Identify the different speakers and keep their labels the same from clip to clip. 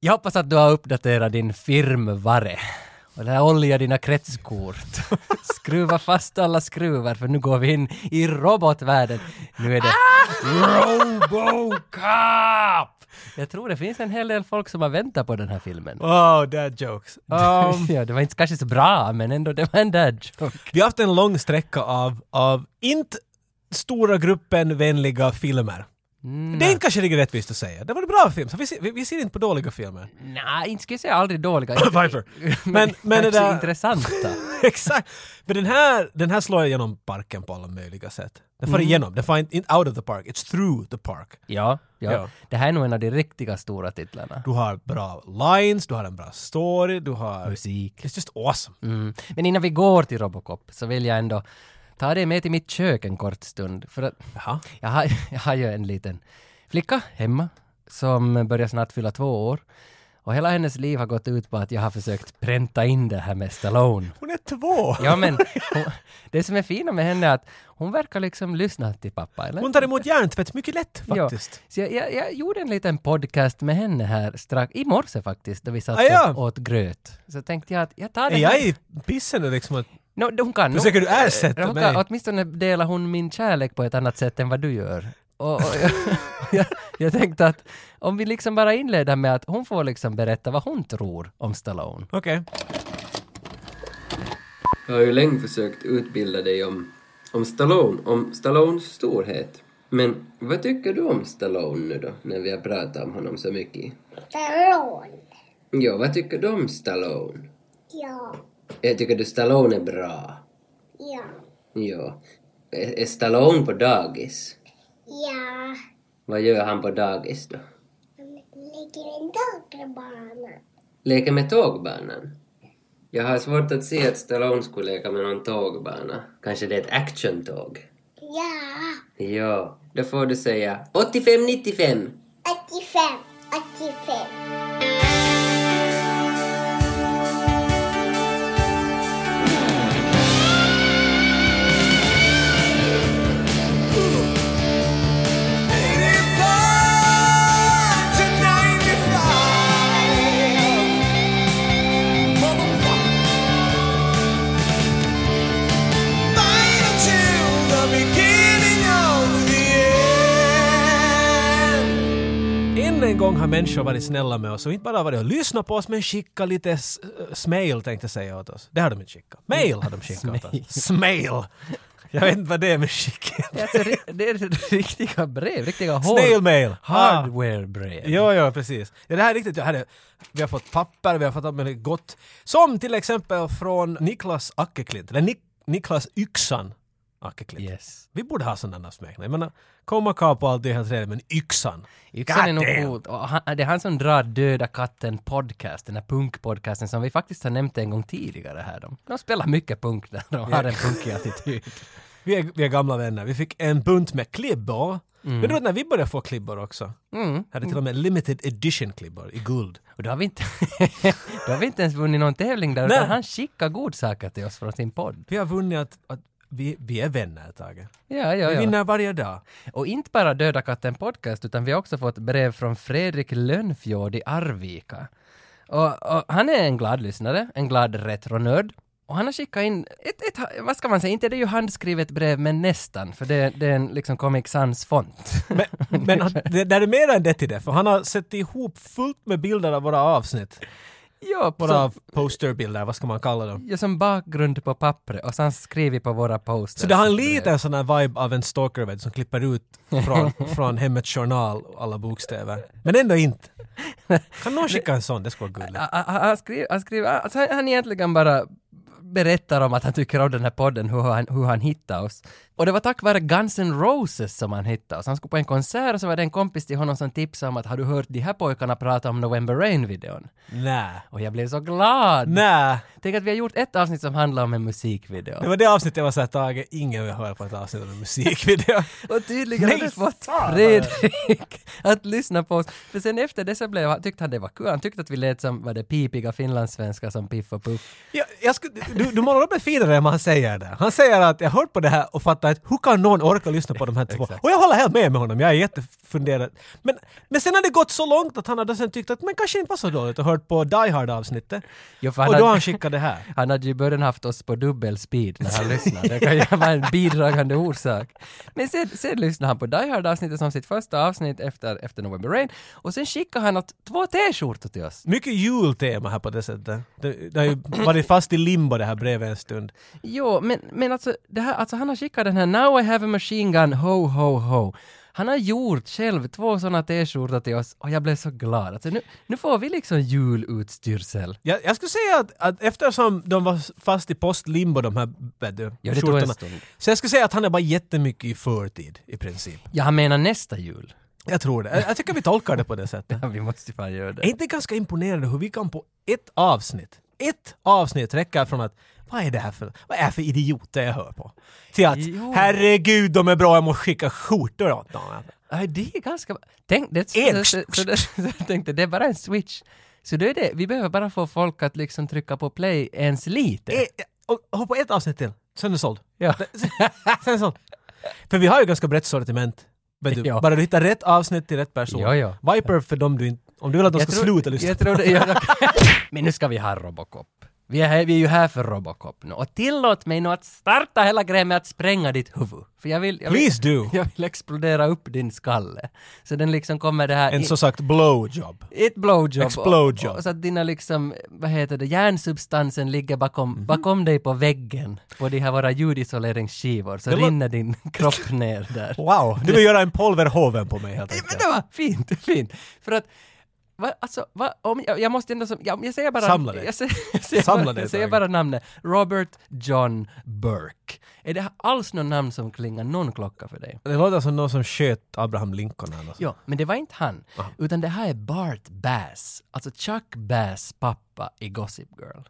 Speaker 1: Jag hoppas att du har uppdaterat din firmware. Och där olja dina kretskort. Skruva fast alla skruvar för nu går vi in i robotvärlden. Nu är det
Speaker 2: Ah!
Speaker 1: Robocop! Jag tror det finns en hel del folk som har väntat på den här filmen.
Speaker 2: Wow, dad jokes. Um,
Speaker 1: ja, det var inte kanske så bra, men ändå, det var en dad joke.
Speaker 2: vi har haft en lång sträcka av, av inte stora gruppen vänliga filmer. Det är inte kanske riktigt rättvist att säga. Det var en bra film, så vi, ser- vi, vi ser inte på dåliga filmer.
Speaker 1: Nej, inte skulle jag säga aldrig dåliga.
Speaker 2: Viper. Men, men det
Speaker 1: kanske
Speaker 2: där...
Speaker 1: intressanta.
Speaker 2: Exakt. Men den här, den här slår igenom parken på alla möjliga sätt. Den får igenom. Den får inte inte out of the park. It's through the park.
Speaker 1: Ja, ja,
Speaker 2: Ja.
Speaker 1: Det här är nog en av de riktiga stora titlarna.
Speaker 2: Du har bra lines, du har en bra story, du har...
Speaker 1: Musik.
Speaker 2: It's just awesome.
Speaker 1: Mm. Men innan vi går till Robocop så vill jag ändå ta dig med till mitt kök en kort stund. För att
Speaker 2: Jaha.
Speaker 1: jag har, jag har ju en liten flicka hemma som börjar snart fylla två år. Och hela hennes liv har gått ut på att jag har försökt pränta in det här med Stallone.
Speaker 2: Hon är två!
Speaker 1: Ja men, hon, det som är fina med henne är att hon verkar liksom lyssna till pappa. Eller?
Speaker 2: Hon tar emot hjärntvätt mycket lätt faktiskt.
Speaker 1: Ja, så jag, jag, jag gjorde en liten podcast med henne här strax, i morse faktiskt, då vi satt
Speaker 2: Ah, ja.
Speaker 1: och åt gröt. Så tänkte jag att jag tar
Speaker 2: Är
Speaker 1: den
Speaker 2: jag i pissen och liksom att...
Speaker 1: No, hon kan nog-
Speaker 2: Försöker du ersätta
Speaker 1: hon
Speaker 2: mig?
Speaker 1: Kan, åtminstone delar hon min kärlek på ett annat sätt än vad du gör. Och, och jag, jag, jag tänkte att om vi liksom bara inleder med att hon får liksom berätta vad hon tror om Stallone.
Speaker 2: Okej.
Speaker 3: Jag har ju länge försökt utbilda dig om, om Stallone, om Stallones storhet. Men vad tycker du om Stallone nu då, när vi har pratat om honom så mycket?
Speaker 4: Stallone.
Speaker 3: Ja, vad tycker du om Stallone?
Speaker 4: Ja,
Speaker 3: Eh, Tycker du Stallone är bra?
Speaker 4: ja,
Speaker 3: Ja. Är, är Stallone på dagis?
Speaker 4: ja.
Speaker 3: Vad gör han på dagis då?
Speaker 4: Han ligger i en dagbana.
Speaker 3: Leker med tågbanan? Jag har svårt att se att Stallone skulle leka med någon tågbana. Kanske det är ett actiontåg?
Speaker 4: Ja,
Speaker 3: Ja, då får du säga 85-95.
Speaker 4: 85, 85.
Speaker 2: Än en gång har människor varit snälla med oss och inte bara varit och lyssnat på oss men skicka lite s- äh, smail tänkte jag säga åt oss. Det har de inte skickat. Mail har de skickat åt oss. Smail! Jag vet inte vad det är med skicka.
Speaker 1: Det är, alltså, ri- det är riktiga brev, riktiga hår.
Speaker 2: Snail mail! Ah.
Speaker 1: Hardware-brev.
Speaker 2: Ja, ja, precis. Ja, det här är riktigt, det här är, vi har fått papper, vi har fått allt möjligt gott. Som till exempel från Niklas Ackeklint, eller Nik- Niklas Yxan Ackeklint.
Speaker 1: Yes.
Speaker 2: Vi borde ha sådana smeknamn. Jag menar, Komakap och allt det är helt trevligt, men Yxan.
Speaker 1: Yxan är nog
Speaker 2: Goddamn!
Speaker 1: coolt. Och han, det är han som drar Döda katten podcast, den här punkpodcasten som vi faktiskt har nämnt en gång tidigare här. De, de spelar mycket punk där, de har en punkig attityd.
Speaker 2: Vi är, vi är gamla vänner. Vi fick en bunt med klibbor.
Speaker 1: Mm.
Speaker 2: Men du vet när vi började få klibbor också? Mm. Hade till och med limited edition klibbor i guld.
Speaker 1: Och då har vi inte, då har vi inte ens vunnit någon tävling där,
Speaker 2: Nej.
Speaker 1: utan han skickar godsaker till oss från sin podd.
Speaker 2: Vi har vunnit att, att vi, vi är vänner ett tag.
Speaker 1: Ja, ja,
Speaker 2: Vi
Speaker 1: ja.
Speaker 2: vinner varje dag.
Speaker 1: Och inte bara Döda katten podcast, utan vi har också fått brev från Fredrik Lönnfjord i Arvika. Och, och han är en glad lyssnare, en glad retronörd. Och han har skickat in ett, ett, vad ska man säga, inte det är ju handskrivet brev, men nästan, för det, det är en liksom Comic Sans-font.
Speaker 2: Men, men han, det, det är mer än det till det, för han har sett ihop fullt med bilder av våra avsnitt.
Speaker 1: ja,
Speaker 2: Våra posterbilder, vad ska man kalla dem?
Speaker 1: ja, som bakgrund på pappret och sen skriver på våra posters.
Speaker 2: Så Alltså, det har en
Speaker 1: brev.
Speaker 2: liten sån här vibe av en stalker vet, du, som klipper ut från, från hemmets journal alla bokstäver. Men ändå inte. Kan någon skicka en sån? Det skulle vara gulligt.
Speaker 1: Han- han- han skriver, han, skriver alltså han, han egentligen bara berättar om att han tycker om den här podden, hur han, hur han hittade oss. Och det var tack vare Guns N' Roses som han hittade oss. Han skulle på en konsert och så var det en kompis till honom som tipsade om att har du hört de här pojkarna prata om November Rain-videon?
Speaker 2: Nä.
Speaker 1: Och jag blev så glad!
Speaker 2: Nä.
Speaker 1: Tänk att vi har gjort ett avsnitt som handlar om en musikvideo.
Speaker 2: Det var det avsnittet jag var såhär Tage, ingen vill höra på ett avsnitt av en musikvideo.
Speaker 1: Och tydligen har
Speaker 2: Nej,
Speaker 1: det fått
Speaker 2: fan.
Speaker 1: Fredrik att lyssna på oss. För sen efter det så blev, han- tyckte han det var kul. Han tyckte att vi lät som, var det pipiga finlandssvenskar som Piff och Puff.
Speaker 2: Jag, jag skulle, du, du målar upp det finare än vad han säger där. Han säger att jag hört på det här och fattar fattar inte, hur kan någon orka lyssna på de här två? Och jag håller helt med med honom, jag är jättefunderad. Men, men sen har det gått så långt att han har då sen tyckt att men kanske inte var så dåligt och hört på Die Hard-avsnittet.
Speaker 1: Jo, för han
Speaker 2: Och då
Speaker 1: hade-
Speaker 2: har han skickat det här.
Speaker 1: Han hade ju i början haft oss på dubbel speed när han lyssnade. Det kan ju vara en bidragande orsak. Men sen, sen lyssnade han på Die Hard-avsnittet som sitt första avsnitt efter, efter November Rain. Och sen skickade han åt två t-skjortor till oss.
Speaker 2: Mycket jultema här på det sättet. Det, det har ju varit fast i limbo det här brevet en stund.
Speaker 1: Jo, men, men alltså, det här, alltså han har skickat den här Now I have a machine gun, ho, ho, ho. Han har gjort själv två sådana t-skjortor till oss och jag blev så glad. Alltså, nu, nu får vi liksom julutstyrsel.
Speaker 2: Jag, jag skulle säga att, att eftersom de var fast i postlimbo de här vet du,
Speaker 1: Ja, det tog en
Speaker 2: skjortorna.
Speaker 1: stund.
Speaker 2: Så jag skulle säga att han är bara jättemycket i förtid i princip.
Speaker 1: Jag menar nästa jul.
Speaker 2: Jag tror det. Jag, jag tycker vi tolkar det på det sättet.
Speaker 1: Ja, vi måste ju fan göra
Speaker 2: Är
Speaker 1: det.
Speaker 2: inte det ganska imponerande hur vi kan på ett avsnitt, ett avsnitt räcker från att vad är det här för, vad är det för idioter jag hör på? Till att
Speaker 1: Jo.
Speaker 2: herregud de är bra, jag måste skicka skjortor åt dem.
Speaker 1: Ja, det är ganska... Tänk, det, så,
Speaker 2: En.
Speaker 1: så, så, så, så jag tänkte, det är bara en switch. Så då är det, vi behöver bara få folk att liksom trycka på play ens lite.
Speaker 2: Eh, eh, Och och på ett avsnitt till, sen är det såld.
Speaker 1: Ja.
Speaker 2: Sen är det såld. För vi har ju ganska brett sortiment. Vet du,
Speaker 1: Ja.
Speaker 2: Bara du hittar rätt avsnitt till rätt person.
Speaker 1: Ja, ja.
Speaker 2: Viper för dem du inte... Om du vill att de ska sluta lyssna.
Speaker 1: Jag tror det, ja, okej. Men nu ska vi ha Robocop. Vi är, här, vi är ju här för Robocop nu. Och tillåt mig nu att starta hela grejen med att spränga ditt huvud. För jag vill... Jag vill
Speaker 2: Please do!
Speaker 1: jag vill explodera upp din skalle. Så den liksom kommer det här...
Speaker 2: En
Speaker 1: i-
Speaker 2: så sagt blowjob.
Speaker 1: Ett blowjob.
Speaker 2: Explodejob.
Speaker 1: Och, och så att dina liksom, vad heter det, hjärnsubstansen ligger bakom,
Speaker 2: Mhm.
Speaker 1: bakom dig på väggen. På de här våra ljudisoleringsskivor. Så
Speaker 2: Det lå-
Speaker 1: rinner din kropp ner där.
Speaker 2: Wow! Du vill göra en polverhoven på mig helt
Speaker 1: Nej, Men
Speaker 2: enkelt.
Speaker 1: det var fint, fint. För att, va, alltså, va, om, jag, jag måste ändå som, jag, jag säger bara...
Speaker 2: Samla dig.
Speaker 1: Jag säger, jag säger,
Speaker 2: Samla
Speaker 1: bara,
Speaker 2: dig,
Speaker 1: jag säger
Speaker 2: Tage.
Speaker 1: bara namnet. Robert John Burke. Är det alls något namn som klingar någon klocka för dig?
Speaker 2: Det låter som någon som sköt Abraham Lincoln eller något.
Speaker 1: Ja, men det var inte han. Utan det här är Bart Bass, alltså Chuck Bass pappa i Gossip Girl.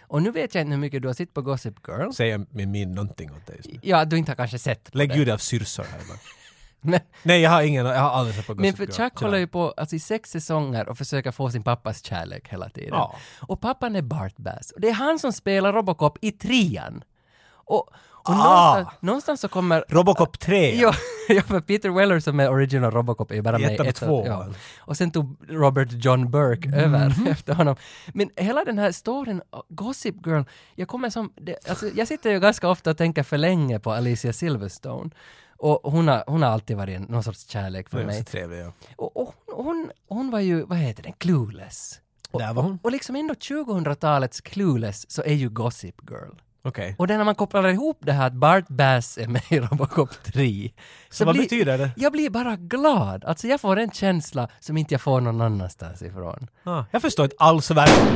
Speaker 1: Och nu vet jag inte hur mycket du har sett på Gossip Girl.
Speaker 2: Säger min min någonting åt dig just nu.
Speaker 1: Ja, du inte har kanske sett.
Speaker 2: Lägg ljud av syrsor här bara.
Speaker 1: Men,
Speaker 2: Nej, jag har ingen, jag har aldrig sett på
Speaker 1: men
Speaker 2: Gossip
Speaker 1: för
Speaker 2: Girl.
Speaker 1: Chuck
Speaker 2: Tyvärr.
Speaker 1: håller ju på alltså, i sex säsonger och försöker få sin pappas kärlek hela tiden.
Speaker 2: Ja.
Speaker 1: Och pappan är Bart Bass. Och det är han som spelar Robocop i trean. Och, och
Speaker 2: Ah!
Speaker 1: någonstans, någonstans så kommer...
Speaker 2: Robocop 3.
Speaker 1: Ja, ja, för Peter Weller som är original Robocop är ju bara
Speaker 2: I
Speaker 1: med i
Speaker 2: ettan och
Speaker 1: ettan,
Speaker 2: tvåan.
Speaker 1: ja. Och sen tog Robert John Burke
Speaker 2: Mm.
Speaker 1: över efter honom. Men hela den här storyn, uh, Gossip Girl, jag kommer som... Det, alltså, jag sitter ju ganska ofta och tänker för länge på Alicia Silverstone. Och hon har, hon har alltid varit en, någon sorts kärlek
Speaker 2: Det
Speaker 1: för
Speaker 2: är
Speaker 1: mig.
Speaker 2: så trevligt, ja.
Speaker 1: Och, och hon, hon, hon var ju, vad heter den, Clueless. Och,
Speaker 2: Där var hon.
Speaker 1: och liksom ändå 2000-talets Clueless så är ju Gossip Girl.
Speaker 2: Okej.
Speaker 1: Och det är när man kopplar ihop det här att Bart Bass är med i Robocop 3. Så,
Speaker 2: vad betyder det?
Speaker 1: Jag blir bara glad. Alltså jag får en känsla som inte jag får någon annanstans ifrån.
Speaker 2: Ah, jag förstår inte alls världen.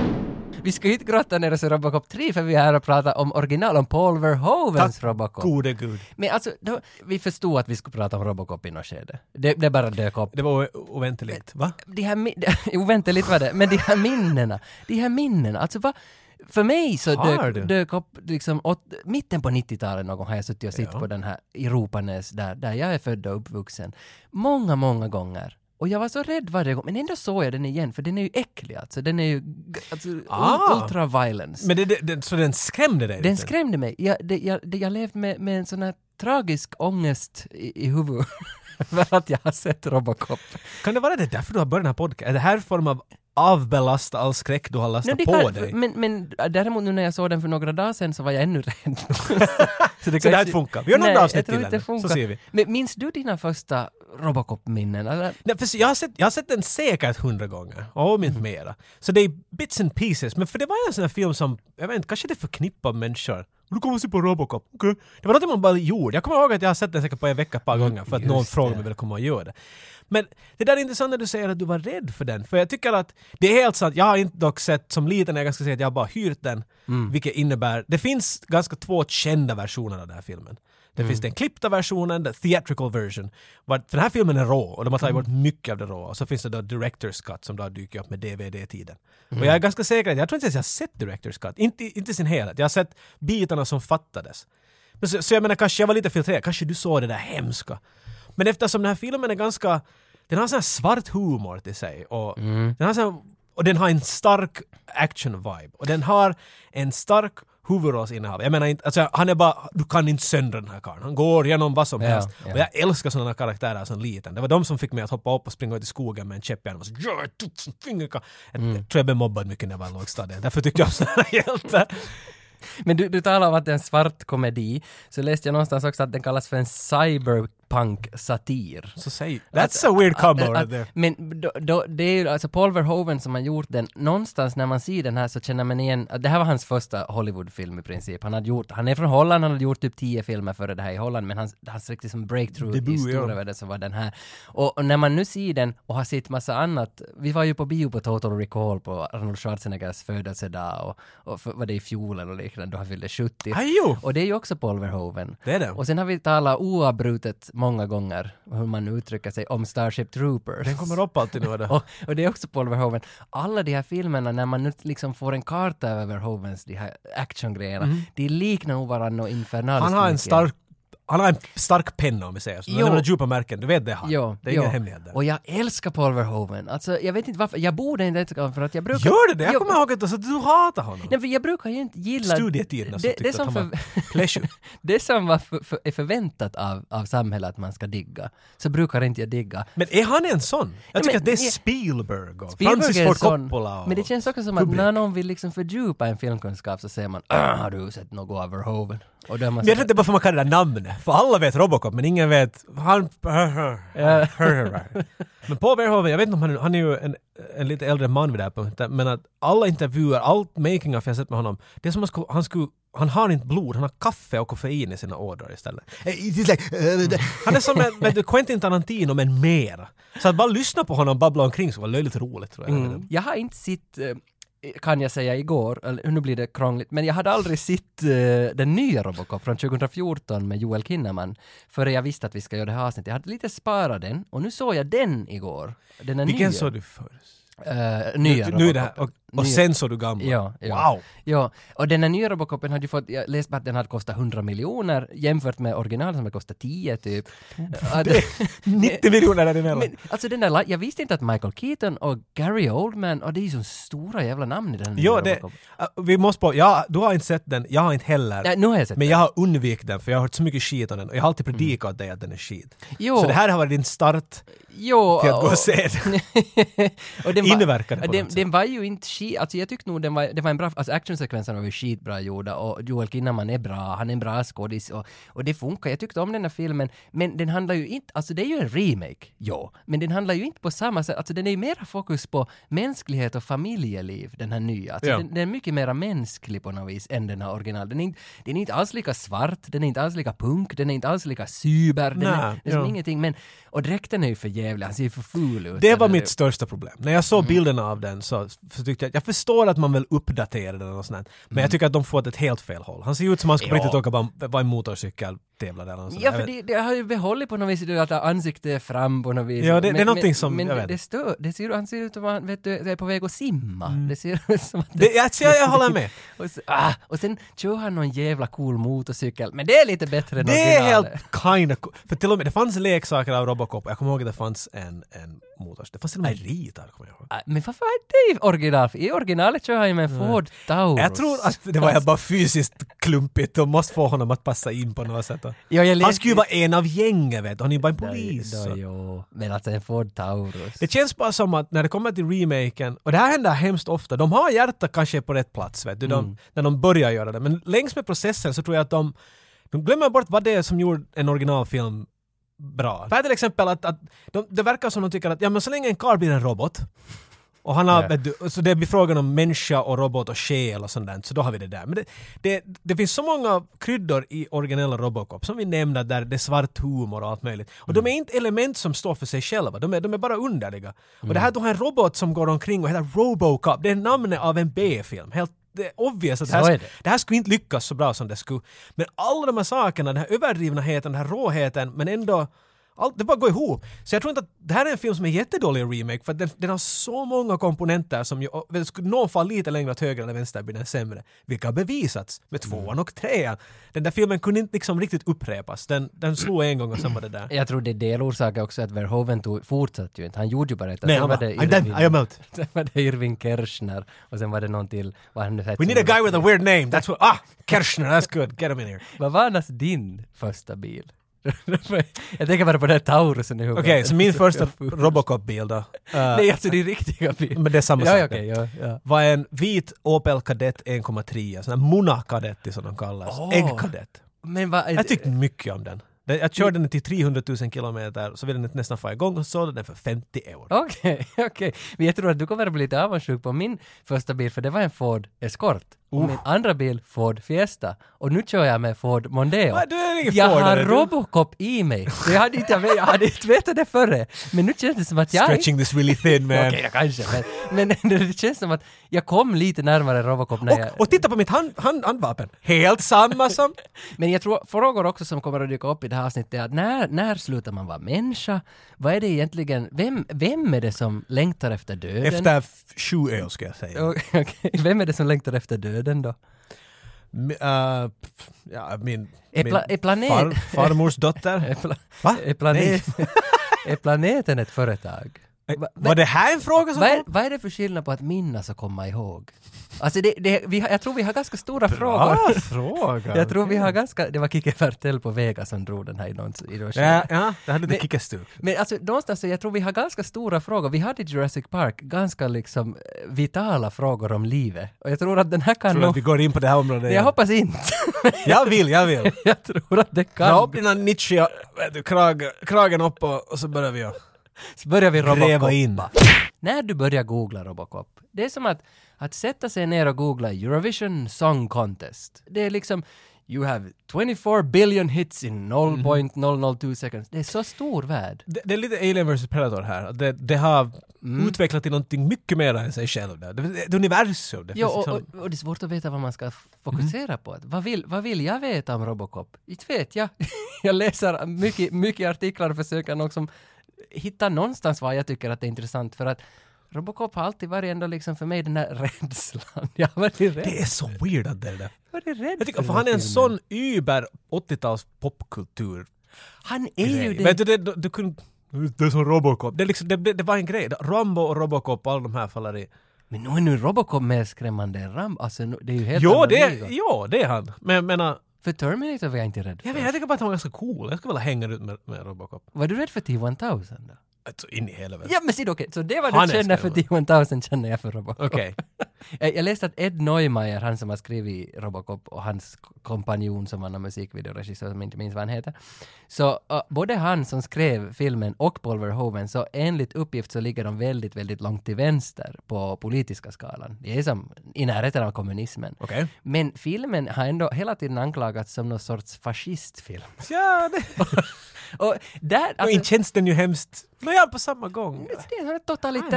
Speaker 1: Vi ska ju inte grotta ner oss i Robocop 3 för vi är här och pratar om original, om Paul Verhovens Robocop.
Speaker 2: Gode gud.
Speaker 1: Men alltså, då, vi förstod att vi skulle prata om Robocop i något skede. Det, det bara dök upp.
Speaker 2: Det var o- oväntat. Va?
Speaker 1: de här min- ovänteligt var det, men de här minnena, de här minnena, alltså va, för mig så
Speaker 2: Har
Speaker 1: dök,
Speaker 2: du?
Speaker 1: dök upp liksom åt, mitten på 90-talet någon gång har jag suttit och sett på den här i Ropanäs där, där jag är född och uppvuxen. Många, många gånger. Och jag var så rädd varje gång, men ändå såg jag den igen för den är ju äcklig alltså. Den är ju g- alltså,
Speaker 2: Ah.
Speaker 1: ah. ultra violence.
Speaker 2: Men det, det, det, så den skrämde dig?
Speaker 1: Den
Speaker 2: lite?
Speaker 1: skrämde mig. Jag, det, jag, det, jag levde med, med en sån här tragisk ångest i, i huvudet för att jag har sett Robocop.
Speaker 2: Kan det vara det därför du har börjat den här podcasten? Är det här form av avbelasta all skräck du har lastat
Speaker 1: Nej, det
Speaker 2: på
Speaker 1: kan,
Speaker 2: dig?
Speaker 1: Men, men äh, däremot nu när jag såg den för några dagar sedan så var jag ännu rädd. så
Speaker 2: det här funkar. Vi gör något
Speaker 1: Nej,
Speaker 2: avsnitt
Speaker 1: jag tror
Speaker 2: till
Speaker 1: inte det
Speaker 2: henne,
Speaker 1: funkar.
Speaker 2: så ser vi.
Speaker 1: Men minns du dina första Robocop-minnen? Alltså, Eller?
Speaker 2: Nej, för jag, har sett, jag har sett den säkert hundra gånger, om inte mera. Så det är bits and pieces, men för det var en sån här film som, jag vet inte, kanske det förknippar människor. Du kommer se på Robocop, okej? Det var något man bara gjorde. Jag kommer ihåg att jag har sett den säkert på en vecka ett par gånger för att
Speaker 1: just
Speaker 2: någon frågade
Speaker 1: det.
Speaker 2: mig vill jag komma och göra det. Men det där är intressant när du säger att du var rädd för den, för jag tycker att det är helt sant. Jag har inte dock sett, som liten, jag ska säga att jag har bara hyrt den, vilket innebär, det finns ganska två kända versioner av den här filmen. Det finns den klippta versionen, the theatrical version. Var- För den här filmen är rå och de har tagit bort mycket av det råa. Och så finns det då director's cut som då har dykt upp med DVD-tiden. Och jag är ganska säker, att- jag tror inte ens jag har sett director's cut. Inte, inte i sin helhet. Jag har sett bitarna som fattades. Men så, så jag menar, kanske jag var lite filtrerad. Kanske du såg det där hemska. Men eftersom den här filmen är ganska... Den har sån här svart humor till sig. Och,
Speaker 1: Mm.
Speaker 2: den, har sån här, och den har en stark action-vibe. Och den har en stark huvudrollsinnehav. Jag menar inte, alltså han är bara, du kan inte söndra den här karln. Han går genom vad som
Speaker 1: Ja,
Speaker 2: helst.
Speaker 1: ja.
Speaker 2: Och jag älskar sådana karaktärer som liten. Det var de som fick mig att hoppa upp och springa ut i skogen med en käpp i armen. och så, "Ja, jag tog som fingerka-" Jag
Speaker 1: Mm.
Speaker 2: jag tror jag blev mobbad mycket när jag var i lågstadiet. Därför tyckte jag om sådana här hjältar.
Speaker 1: Men du, du talar om att det är en svart komedi, så läste jag någonstans också att den kallas för en cyberpunk-satir.
Speaker 2: Så säg, that's a weird combo
Speaker 1: Att-
Speaker 2: right there.
Speaker 1: Men då, då, det är ju alltså Paul Verhoeven som har gjort den. Någonstans när man ser den här så känner man igen att det här var hans första Hollywoodfilm i princip. Han, hade gjort, han är från Holland, han hade gjort typ tio filmer före det här i Holland, men hans, hans riktigt som
Speaker 2: Debut, ja.
Speaker 1: breakthrough-historia var det som var den här. Och, och när man nu ser den och har sett massa annat, vi var ju på bio på Total Recall på Arnold Schwarzeneggers födelsedag och, och för, var det i fjol eller liknande då han fyllde 70.
Speaker 2: Aj, jo.
Speaker 1: Och det är ju också Paul Verhoeven.
Speaker 2: Det är det.
Speaker 1: Och sen har vi talat oavbrutet många gånger, hur man uttrycker sig, om Starship Troopers.
Speaker 2: Den kommer upp alltid nu. och det-
Speaker 1: Och, och det är också Paul Verhoeven. Alla de här filmerna, när man nu liksom får en karta över Verhoevens de här actiongrejerna, de liknar nog varandra och infernaliskt
Speaker 2: Mhm. Han har en
Speaker 1: mycket.
Speaker 2: stark han har en stark penna om vi säger så. Han
Speaker 1: Jo.
Speaker 2: har några djupa märken, du vet det han.
Speaker 1: Jo,
Speaker 2: det är ingen
Speaker 1: jo.
Speaker 2: hemlighet där.
Speaker 1: Och jag älskar Paul Verhoeven. Alltså, jag vet inte varför. Jag borde inte älska honom för att jag brukar...
Speaker 2: Gör det det? Jag
Speaker 1: Jo,
Speaker 2: kommer ihåg att alltså, du hatar honom.
Speaker 1: Nej, för jag brukar ju inte gilla...
Speaker 2: Studietiderna så
Speaker 1: det,
Speaker 2: alltså, tyckte
Speaker 1: det,
Speaker 2: att
Speaker 1: som
Speaker 2: han
Speaker 1: för,
Speaker 2: var pleasure.
Speaker 1: det som var för, för, är förväntat av, av samhället att man ska digga, så brukar inte jag digga.
Speaker 2: Men är han en sån? Jag tycker
Speaker 1: men-
Speaker 2: att det är
Speaker 1: nej.
Speaker 2: Spielberg och
Speaker 1: Spielberg
Speaker 2: Francis
Speaker 1: är en
Speaker 2: Ford
Speaker 1: sån.
Speaker 2: Coppola och...
Speaker 1: Men det känns också som att när någon vill liksom fördjupa en filmkunskap så säger man "Ah, ”Har du sett något av Verhoeven?” och då är man
Speaker 2: Men Alltså,
Speaker 1: så
Speaker 2: jag tror inte det är bara för man kan det där namnet. För alla vet Robocop men ingen vet... Han... men Paul Verhoeven, jag vet inte om han, han är ju en, en lite äldre man vid det här punkten, men att alla intervjuer, allt making of jag sett med honom, det är som att han skulle- han skulle han har inte blod, han har kaffe och koffein i sina ådror istället. Eh, it is like, eh, Han är som en, vet du, Quentin Tarantino men mer. Så att bara lyssna på honom babbla omkring så var löjligt roligt tror jag.
Speaker 1: Mm. Jag har inte sett, eh, kan jag säga igår, eller nu blir det krångligt, men jag hade aldrig sett eh, den nya Robocop från 2014 med Joel Kinnaman förrän jag visste att vi ska göra det här avsnittet. Jag hade lite sparat den och nu såg jag den igår. Den är
Speaker 2: Vilken
Speaker 1: nya.
Speaker 2: såg du först?
Speaker 1: Eh, nya
Speaker 2: Nu är det här,
Speaker 1: Robocop.
Speaker 2: och, och
Speaker 1: Nya-
Speaker 2: sen såg du gamla?
Speaker 1: Ja, ja. Eh,
Speaker 2: Wow!
Speaker 1: Ja, och den här nya Robocopen hade ju fått, jag läste bara att den hade kostat 100 miljoner jämfört med original som hade kostat 10 typ. Att-
Speaker 2: 90 miljoner däremellan!
Speaker 1: men, alltså den där, la- jag visste inte att Michael Keaton och Gary Oldman, och det är ju så stora jävla namn i den
Speaker 2: Ja,
Speaker 1: nya
Speaker 2: det,
Speaker 1: Robocop.
Speaker 2: äh, vi måste bara, ja, du har inte sett den, jag har inte heller.
Speaker 1: Nej, nu har jag sett
Speaker 2: men jag har undvikit den för jag har hört så mycket skit om den och jag har alltid predikat åt dig att den är skit.
Speaker 1: Jo.
Speaker 2: Så det här har varit din start
Speaker 1: Jo,
Speaker 2: till att gå
Speaker 1: och-
Speaker 2: och se den.
Speaker 1: och den var-
Speaker 2: Inverkade på något
Speaker 1: den,
Speaker 2: sätt.
Speaker 1: den var ju inte skit, alltså jag tyckte nog den var, det var en bra, alltså actionsekvenserna var ju skitbra gjorda och Joel Kinnaman är bra, han är en bra skådis och, och det funkar, jag tyckte om den här filmen, men den handlar ju inte, alltså det är ju en remake, ja, men den handlar ju inte på samma sätt, alltså den är ju mera fokus på mänsklighet och familjeliv, den här nya, alltså
Speaker 2: Ja.
Speaker 1: den, den är mycket mera mänsklig på något vis än den här original, den är, inte, den är inte alls lika svart, den är inte alls lika punk, den är inte alls lika cyber, den är,
Speaker 2: Nej,
Speaker 1: det är som
Speaker 2: ja.
Speaker 1: ingenting, men, och dräkten är ju för jävlig, han ser ju för ful ut.
Speaker 2: Det var
Speaker 1: Den-
Speaker 2: mitt största problem. När jag såg
Speaker 1: Mm.
Speaker 2: bilderna av den så, så tyckte jag att jag förstår att man vill uppdatera den och sånt där. Men jag tycker att de får det ett helt fel håll. Han ser ut som han skulle på
Speaker 1: Mm. Ja.
Speaker 2: riktigt åka bara- vara en motorcykel tävla där eller något sånt.
Speaker 1: Ja,
Speaker 2: Jag
Speaker 1: för
Speaker 2: vet-
Speaker 1: det, det har ju behållit på något vis det att ansiktet är fram på något vis.
Speaker 2: Ja, det- det är
Speaker 1: men,
Speaker 2: någonting
Speaker 1: men,
Speaker 2: som-
Speaker 1: Men
Speaker 2: jag
Speaker 1: det,
Speaker 2: vet.
Speaker 1: det stör, det ser, han ser ut som att han vet du, är på väg att simma. Det ser ut som att...
Speaker 2: Mm. det, jag, jag, jag håller med.
Speaker 1: Och, så, ah, och sen kör han någon jävla cool motorcykel, men det är lite bättre än
Speaker 2: Det är helt
Speaker 1: originalet.
Speaker 2: kind of cool. För till och med, det fanns leksaker av Robocop och jag kommer ihåg att det fanns en, en motor. Det fanns till och med en ritar, kommer jag ihåg.
Speaker 1: Ah, Men varför är det original? I originalet kör han ju med en Ford Taurus.
Speaker 2: Jag tror att det var bara fysiskt klumpigt och måste få honom att passa in på något sätt.
Speaker 1: Ja, jag läste-
Speaker 2: Han skulle ju vara en av gänget vet du, han är ju bara en
Speaker 1: Ja,
Speaker 2: polis.
Speaker 1: ja,
Speaker 2: så.
Speaker 1: jo. Men alltså en Ford Taurus.
Speaker 2: Det känns bara som att när det kommer till remaken, och det här händer hemskt ofta, de har hjärtat kanske på rätt plats vet du, de, när de börjar göra det, men längs med processen så tror jag att de, de glömmer bort vad det är som gjorde en originalfilm bra. För här till exempel att, att de, det verkar som de tycker att ja men så länge en karl blir en robot och han har,
Speaker 1: Ja.
Speaker 2: vet du, så det blir frågan om människa och robot och själ och sånt där, så då har vi det där. Men det, det, det finns så många kryddor i originella Robocop som vi nämnde där det är svart humor och allt möjligt. Och
Speaker 1: Mm.
Speaker 2: de är inte element som står för sig själva, de är, de är bara underliga.
Speaker 1: Mm.
Speaker 2: Och det här att du har en robot som går omkring och heter Robocop, det är namnet av en B-film. Helt det är obvious att det
Speaker 1: Så är
Speaker 2: här,
Speaker 1: det.
Speaker 2: det här skulle inte lyckas så bra som det skulle. Men alla de här sakerna, den här överdrivna heten, den här råheten, men ändå Allt, det bara går ihop. Så jag tror inte att det här är en film som är jättedålig i remake för att den, den har så många komponenter som ju, och det skulle någon fall lite längre åt höger eller vänster blir den sämre. Vilka har bevisats med
Speaker 1: Mm.
Speaker 2: tvåan och trean. Den där filmen kunde inte liksom riktigt upprepas. Den, den slog en gång och sen var det där.
Speaker 1: Jag tror det är delorsaken också att Verhoeven tog, fortsatte ju inte. Han gjorde ju bara ett.
Speaker 2: Nej,
Speaker 1: Sen
Speaker 2: han
Speaker 1: var
Speaker 2: bara,
Speaker 1: det
Speaker 2: "I'm done,
Speaker 1: Irving-
Speaker 2: I am out."
Speaker 1: Sen var det Irving Kershner och sen var det någon till. Vad han nu hette.
Speaker 2: We need a guy with a weird name. That's what... Ah! Kershner, that's good. Get him in here.
Speaker 1: Vad var annars din första bil? jag tänker bara på den här Taurusen i huvudet.
Speaker 2: Okej, så min första Robocop-bil då. eh,
Speaker 1: Nej, alltså din riktiga bil.
Speaker 2: Men det är samma
Speaker 1: ja,
Speaker 2: sak.
Speaker 1: ja, okej, ja, ja.
Speaker 2: var en vit Opel Kadett 1,3, sån här Mona-kadett som de kallar
Speaker 1: Åh.
Speaker 2: Äggkadett.
Speaker 1: Men vad...
Speaker 2: Jag tyckte mycket om den. Den- Jag körde den till 300 000 kilometer, så ville den nästan få igång och sålde den för 50 euro.
Speaker 1: Okej, okej. Men jag tror att du kommer att bli lite avundsjuk på min första bil, för det var en Ford Escort. Och min andra bil, Ford Fiesta. Och nu kör jag med Ford Mondeo.
Speaker 2: Ah, du är ingen
Speaker 1: jag har
Speaker 2: Fordare, du.
Speaker 1: Robocop i mig. Så Jag hade, inte, jag hade inte vetat det förre. Men nu känns det som att jag...
Speaker 2: Stretching this really thin man.
Speaker 1: Okej, ja, kanske. Men, men det känns som att jag kom lite närmare Robocop när jag...
Speaker 2: Och, och titta på mitt hand, hand, handvapen! Helt samma som...
Speaker 1: Men jag tror frågor också som kommer att dyka upp i det här avsnittet är att när, när slutar man vara människa? Vad är det egentligen, vem, vem är det som längtar efter döden?
Speaker 2: Efter f- sju öl ska jag säga.
Speaker 1: O- okej. Vem är det som längtar efter döden då?
Speaker 2: M- eh, pff, ja, min...
Speaker 1: Är
Speaker 2: min
Speaker 1: pla- är planet-
Speaker 2: Far, farmors dotter.
Speaker 1: Är, pla-
Speaker 2: Va?
Speaker 1: är, planet, är planeten ett företag? Va- va-
Speaker 2: Var det här en fråga som
Speaker 1: Vad är,
Speaker 2: kom?
Speaker 1: vad är det för skillnad på att minnas och komma ihåg? Alltså det, det, vi har, jag tror vi har ganska stora frågor.
Speaker 2: Bra fråga!
Speaker 1: Jag tror vi har ganska, det var Kike Fertell på Vega som drog den här i någon, i någon skede.
Speaker 2: Ja, ja, det hade
Speaker 1: Men-
Speaker 2: lite kickastup.
Speaker 1: Men alltså någonstans, så jag tror vi har ganska stora frågor. Vi hade i Jurassic Park ganska liksom eh, vitala frågor om livet. Och jag tror att den här kan
Speaker 2: Tror du att vi
Speaker 1: nog...
Speaker 2: går in på det här området
Speaker 1: Jag
Speaker 2: igen?
Speaker 1: hoppas inte.
Speaker 2: Jag vill, jag vill!
Speaker 1: jag tror att det kan.
Speaker 2: Dra upp dina Nietzsche, vet du, krag, kragen upp och, och så börjar vi att
Speaker 1: Så börjar vi
Speaker 2: gräva
Speaker 1: Robocop.
Speaker 2: in.
Speaker 1: När du börjar googla Robocop, det är som att, att sätta sig ner och googla Eurovision Song Contest. Det är liksom You have 24 billion hits in 0.002 seconds. Det är så stor värld.
Speaker 2: Det, det är lite Alien vs Predator här. Det, det har
Speaker 1: Mm.
Speaker 2: utvecklat till någonting mycket mer än sig själv. där. Det, det, är ett universum. Det
Speaker 1: Ja,
Speaker 2: finns
Speaker 1: och,
Speaker 2: liksom,
Speaker 1: och, och det är svårt att veta vad man ska f- fokusera
Speaker 2: Mm.
Speaker 1: på. Att Vad vill, vad vill jag veta om Robocop? Inte vet jag. jag läser mycket, mycket artiklar och försöker liksom hitta någonstans vad jag tycker att det är intressant för att Robocop har alltid varit ändå liksom för mig den här rädslan. Jag har varit rädd.
Speaker 2: det är så weird att det är det.
Speaker 1: Jag har varit rädd
Speaker 2: Jag tycker,
Speaker 1: för
Speaker 2: för
Speaker 1: den
Speaker 2: han är
Speaker 1: filmen.
Speaker 2: en sån über 80-tals popkultur.
Speaker 1: Han är ju
Speaker 2: Men
Speaker 1: det.
Speaker 2: du, det, du, du kunde... Det är som Robocop. Det, är liksom, det, det, det var en grej. Rambo och Robocop, alla de här faller i.
Speaker 1: Men nu är nu Robocop mer skrämmande än Ram. Alltså nu- det är ju helt
Speaker 2: Jo
Speaker 1: annan
Speaker 2: det,
Speaker 1: liga.
Speaker 2: är- jo, det är han. Men jag menar,
Speaker 1: För Terminator var jag inte rädd för.
Speaker 2: jag, vet, jag tycker bara att han var ganska cool. Jag skulle vilja hänga ut med, med Robocop.
Speaker 1: Var du rädd för T-1000 då?
Speaker 2: Alltså in i helvete.
Speaker 1: Ja men se då, okej, så det var
Speaker 2: Han
Speaker 1: det
Speaker 2: är
Speaker 1: jag känner för
Speaker 2: skrämmande.
Speaker 1: T-1000 känner jag för Robocop.
Speaker 2: Okej.
Speaker 1: Eh, Jag jag läste att Ed Neumeier, han som har skrivit Robocop och hans k- kompanjon som var någon musikvideoregissör som jag inte minns vad han heter. Så uh, både han som skrev filmen och Paul Verhoeven, så enligt uppgift så ligger de väldigt, väldigt långt till vänster på politiska skalan. Det är som i närheten av kommunismen.
Speaker 2: Okej.
Speaker 1: Men filmen har ändå hela tiden anklagats som någon sorts fascistfilm.
Speaker 2: Ja, det...
Speaker 1: Och där,
Speaker 2: Och
Speaker 1: alltså,
Speaker 2: inte känns den ju hemskt lojal på samma gång.
Speaker 1: Ah, det är en sån här
Speaker 2: Nej, det är svårt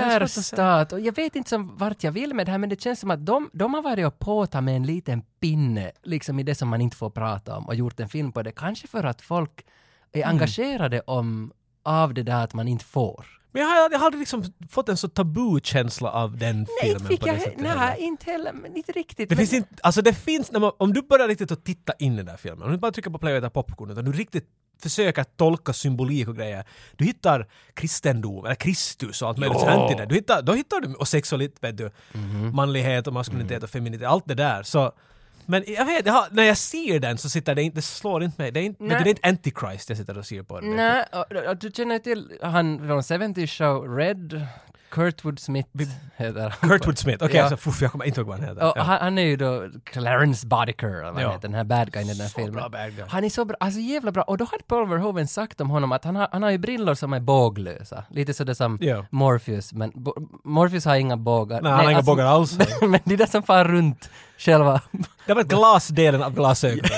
Speaker 1: totalitär
Speaker 2: att säga.
Speaker 1: stat och jag vet inte som vart jag vill med det här men det känns som att de, de har varit och påtat med en liten pinne liksom i det som man inte får prata om och gjort en film på det. Kanske för att folk är engagerade om, av det där att man inte får.
Speaker 2: Men jag har, jag har aldrig liksom fått en så tabukänsla av den
Speaker 1: Nej,
Speaker 2: filmen
Speaker 1: inte fick
Speaker 2: på det
Speaker 1: jag, he-
Speaker 2: sättet. heller.
Speaker 1: nej, inte heller, men inte riktigt.
Speaker 2: Det
Speaker 1: men,
Speaker 2: finns inte, alltså det finns, när man, om du börjar riktigt att titta in i den där filmen, om du inte bara trycker på play och äter popcorn, utan du riktigt försöker tolka symbolik och grejer. Du hittar kristendom, eller Kristus och allt möjligt sånt i det. Du hittar, då hittar du, och sexualitet, vet du,
Speaker 1: Mhm.
Speaker 2: manlighet och maskulinitet
Speaker 1: Mm.
Speaker 2: och feminitet, allt det där. Så, men jag vet, jag har, när jag ser den så sitter det inte, det slår inte mig. Det är inte, vet du,
Speaker 1: Nej.
Speaker 2: det är inte Antichrist jag sitter och ser på. den.
Speaker 1: Nej, och, och, och du känner till han från 70 show, Red, Kurtwood Smith heter han.
Speaker 2: Kurtwood Smith, okej,
Speaker 1: Ja.
Speaker 2: alltså, fuff, jag kommer inte ihåg vad han heter.
Speaker 1: Och
Speaker 2: Ja.
Speaker 1: han, han är ju då Clarence Boddicker, eller vad
Speaker 2: Ja.
Speaker 1: han heter, den här bad guyen i den här filmen.
Speaker 2: bra bad guy.
Speaker 1: Han är så bra, alltså jävla bra. Och då hade Paul Verhoeven sagt om honom att han har, han har ju brillor som är båglösa. Lite sådär som
Speaker 2: Ja.
Speaker 1: Morpheus, men bo, Morpheus har inga bågar. alltså,
Speaker 2: Nej, han har inga bågar alls.
Speaker 1: men det är det som far runt själva
Speaker 2: Det var glasdelen av glasögonen.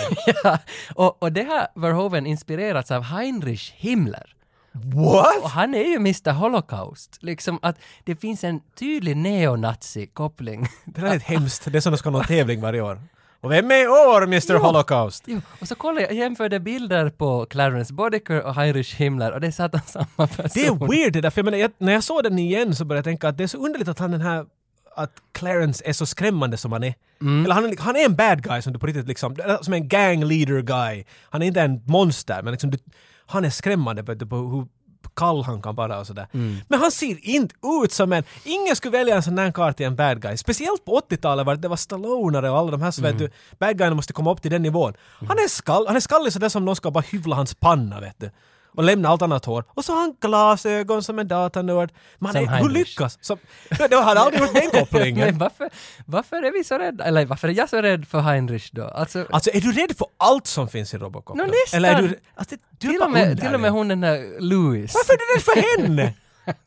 Speaker 1: ja. och, och det har Verhoeven inspirerats av Heinrich Himmler.
Speaker 2: What?
Speaker 1: Och han är ju Mr Holocaust. Liksom att det finns en tydlig neonazi-koppling
Speaker 2: Det där är ett hemskt, det är som att de ska ha någon tävling varje år. Och vem är i år, Mr Holocaust?
Speaker 1: Jo, och så kollade jag, jag jämförde bilder på Clarence Boddicker och Heinrich Himmler och det är satan samma person.
Speaker 2: Det är weird det där, för jag menar, jag, när jag såg den igen så började jag tänka att det är så underligt att han den här att Clarence är så skrämmande som han är. Eller han, är- han är en bad guy som du på riktigt liksom, eller som en gang leader guy. Han är inte en monster men liksom du, han är skrämmande på, på hur kall han kan vara och sådär. Men han ser inte ut som en, ingen skulle välja en sån där karl till en bad guy. Speciellt på 80-talet var det, det var Stallonare och alla de här så vet du, bad guyerna måste komma upp till den nivån. Han är, skall, han är skallig sådär som någon ska bara hyvla hans panna vet du. Och lämna allt annat hår. Och så har han glasögon som en datanörd. Man
Speaker 1: Som
Speaker 2: är, hur
Speaker 1: Heinrich.
Speaker 2: lyckas? Som, det har aldrig gjort den kopplingen.
Speaker 1: Men varför, varför är vi så rädda? Eller varför är jag så rädd för Heinrich då? Alltså,
Speaker 2: Alltså är du rädd för allt som finns i Robocop?
Speaker 1: Nå,
Speaker 2: då?
Speaker 1: nästan.
Speaker 2: Eller är du, alltså, du är
Speaker 1: till,
Speaker 2: bara
Speaker 1: och med,
Speaker 2: underlig.
Speaker 1: till och med hon den där Louis.
Speaker 2: Varför är du rädd för henne?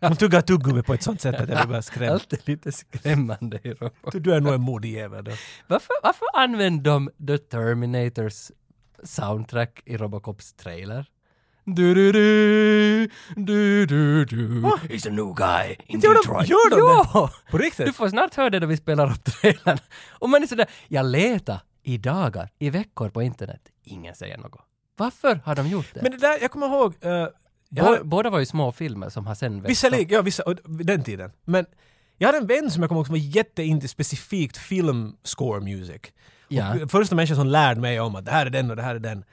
Speaker 2: Hon tuggar tuggummi på ett sånt sätt att jag blir bara skrämd.
Speaker 1: Allt är lite skrämmande i Robocop.
Speaker 2: Du- Du är nog en modig jävel då.
Speaker 1: Varför, varför använder de The Terminators soundtrack i Robocops trailer? Du-du-du, du-du-du, it's a new guy in
Speaker 2: Gör de-
Speaker 1: Detroit.
Speaker 2: gör de det?
Speaker 1: ja!
Speaker 2: På riktigt?
Speaker 1: Du får snart höra det när vi spelar upp trailern. Och man är sådär, jag letar i dagar, i veckor på internet. Ingen säger något. Varför har de gjort det?
Speaker 2: Men det där, jag kommer ihåg... eh, jag
Speaker 1: Bå-
Speaker 2: hade-
Speaker 1: Båda var ju små filmer som har sen växt upp.
Speaker 2: Visserligen, ja vissa, och den tiden. Men jag hade en vän som jag kommer ihåg som var jätteinte specifikt film score music.
Speaker 1: Ja.
Speaker 2: Och första människan som lärde mig om att det här är den och det här är den.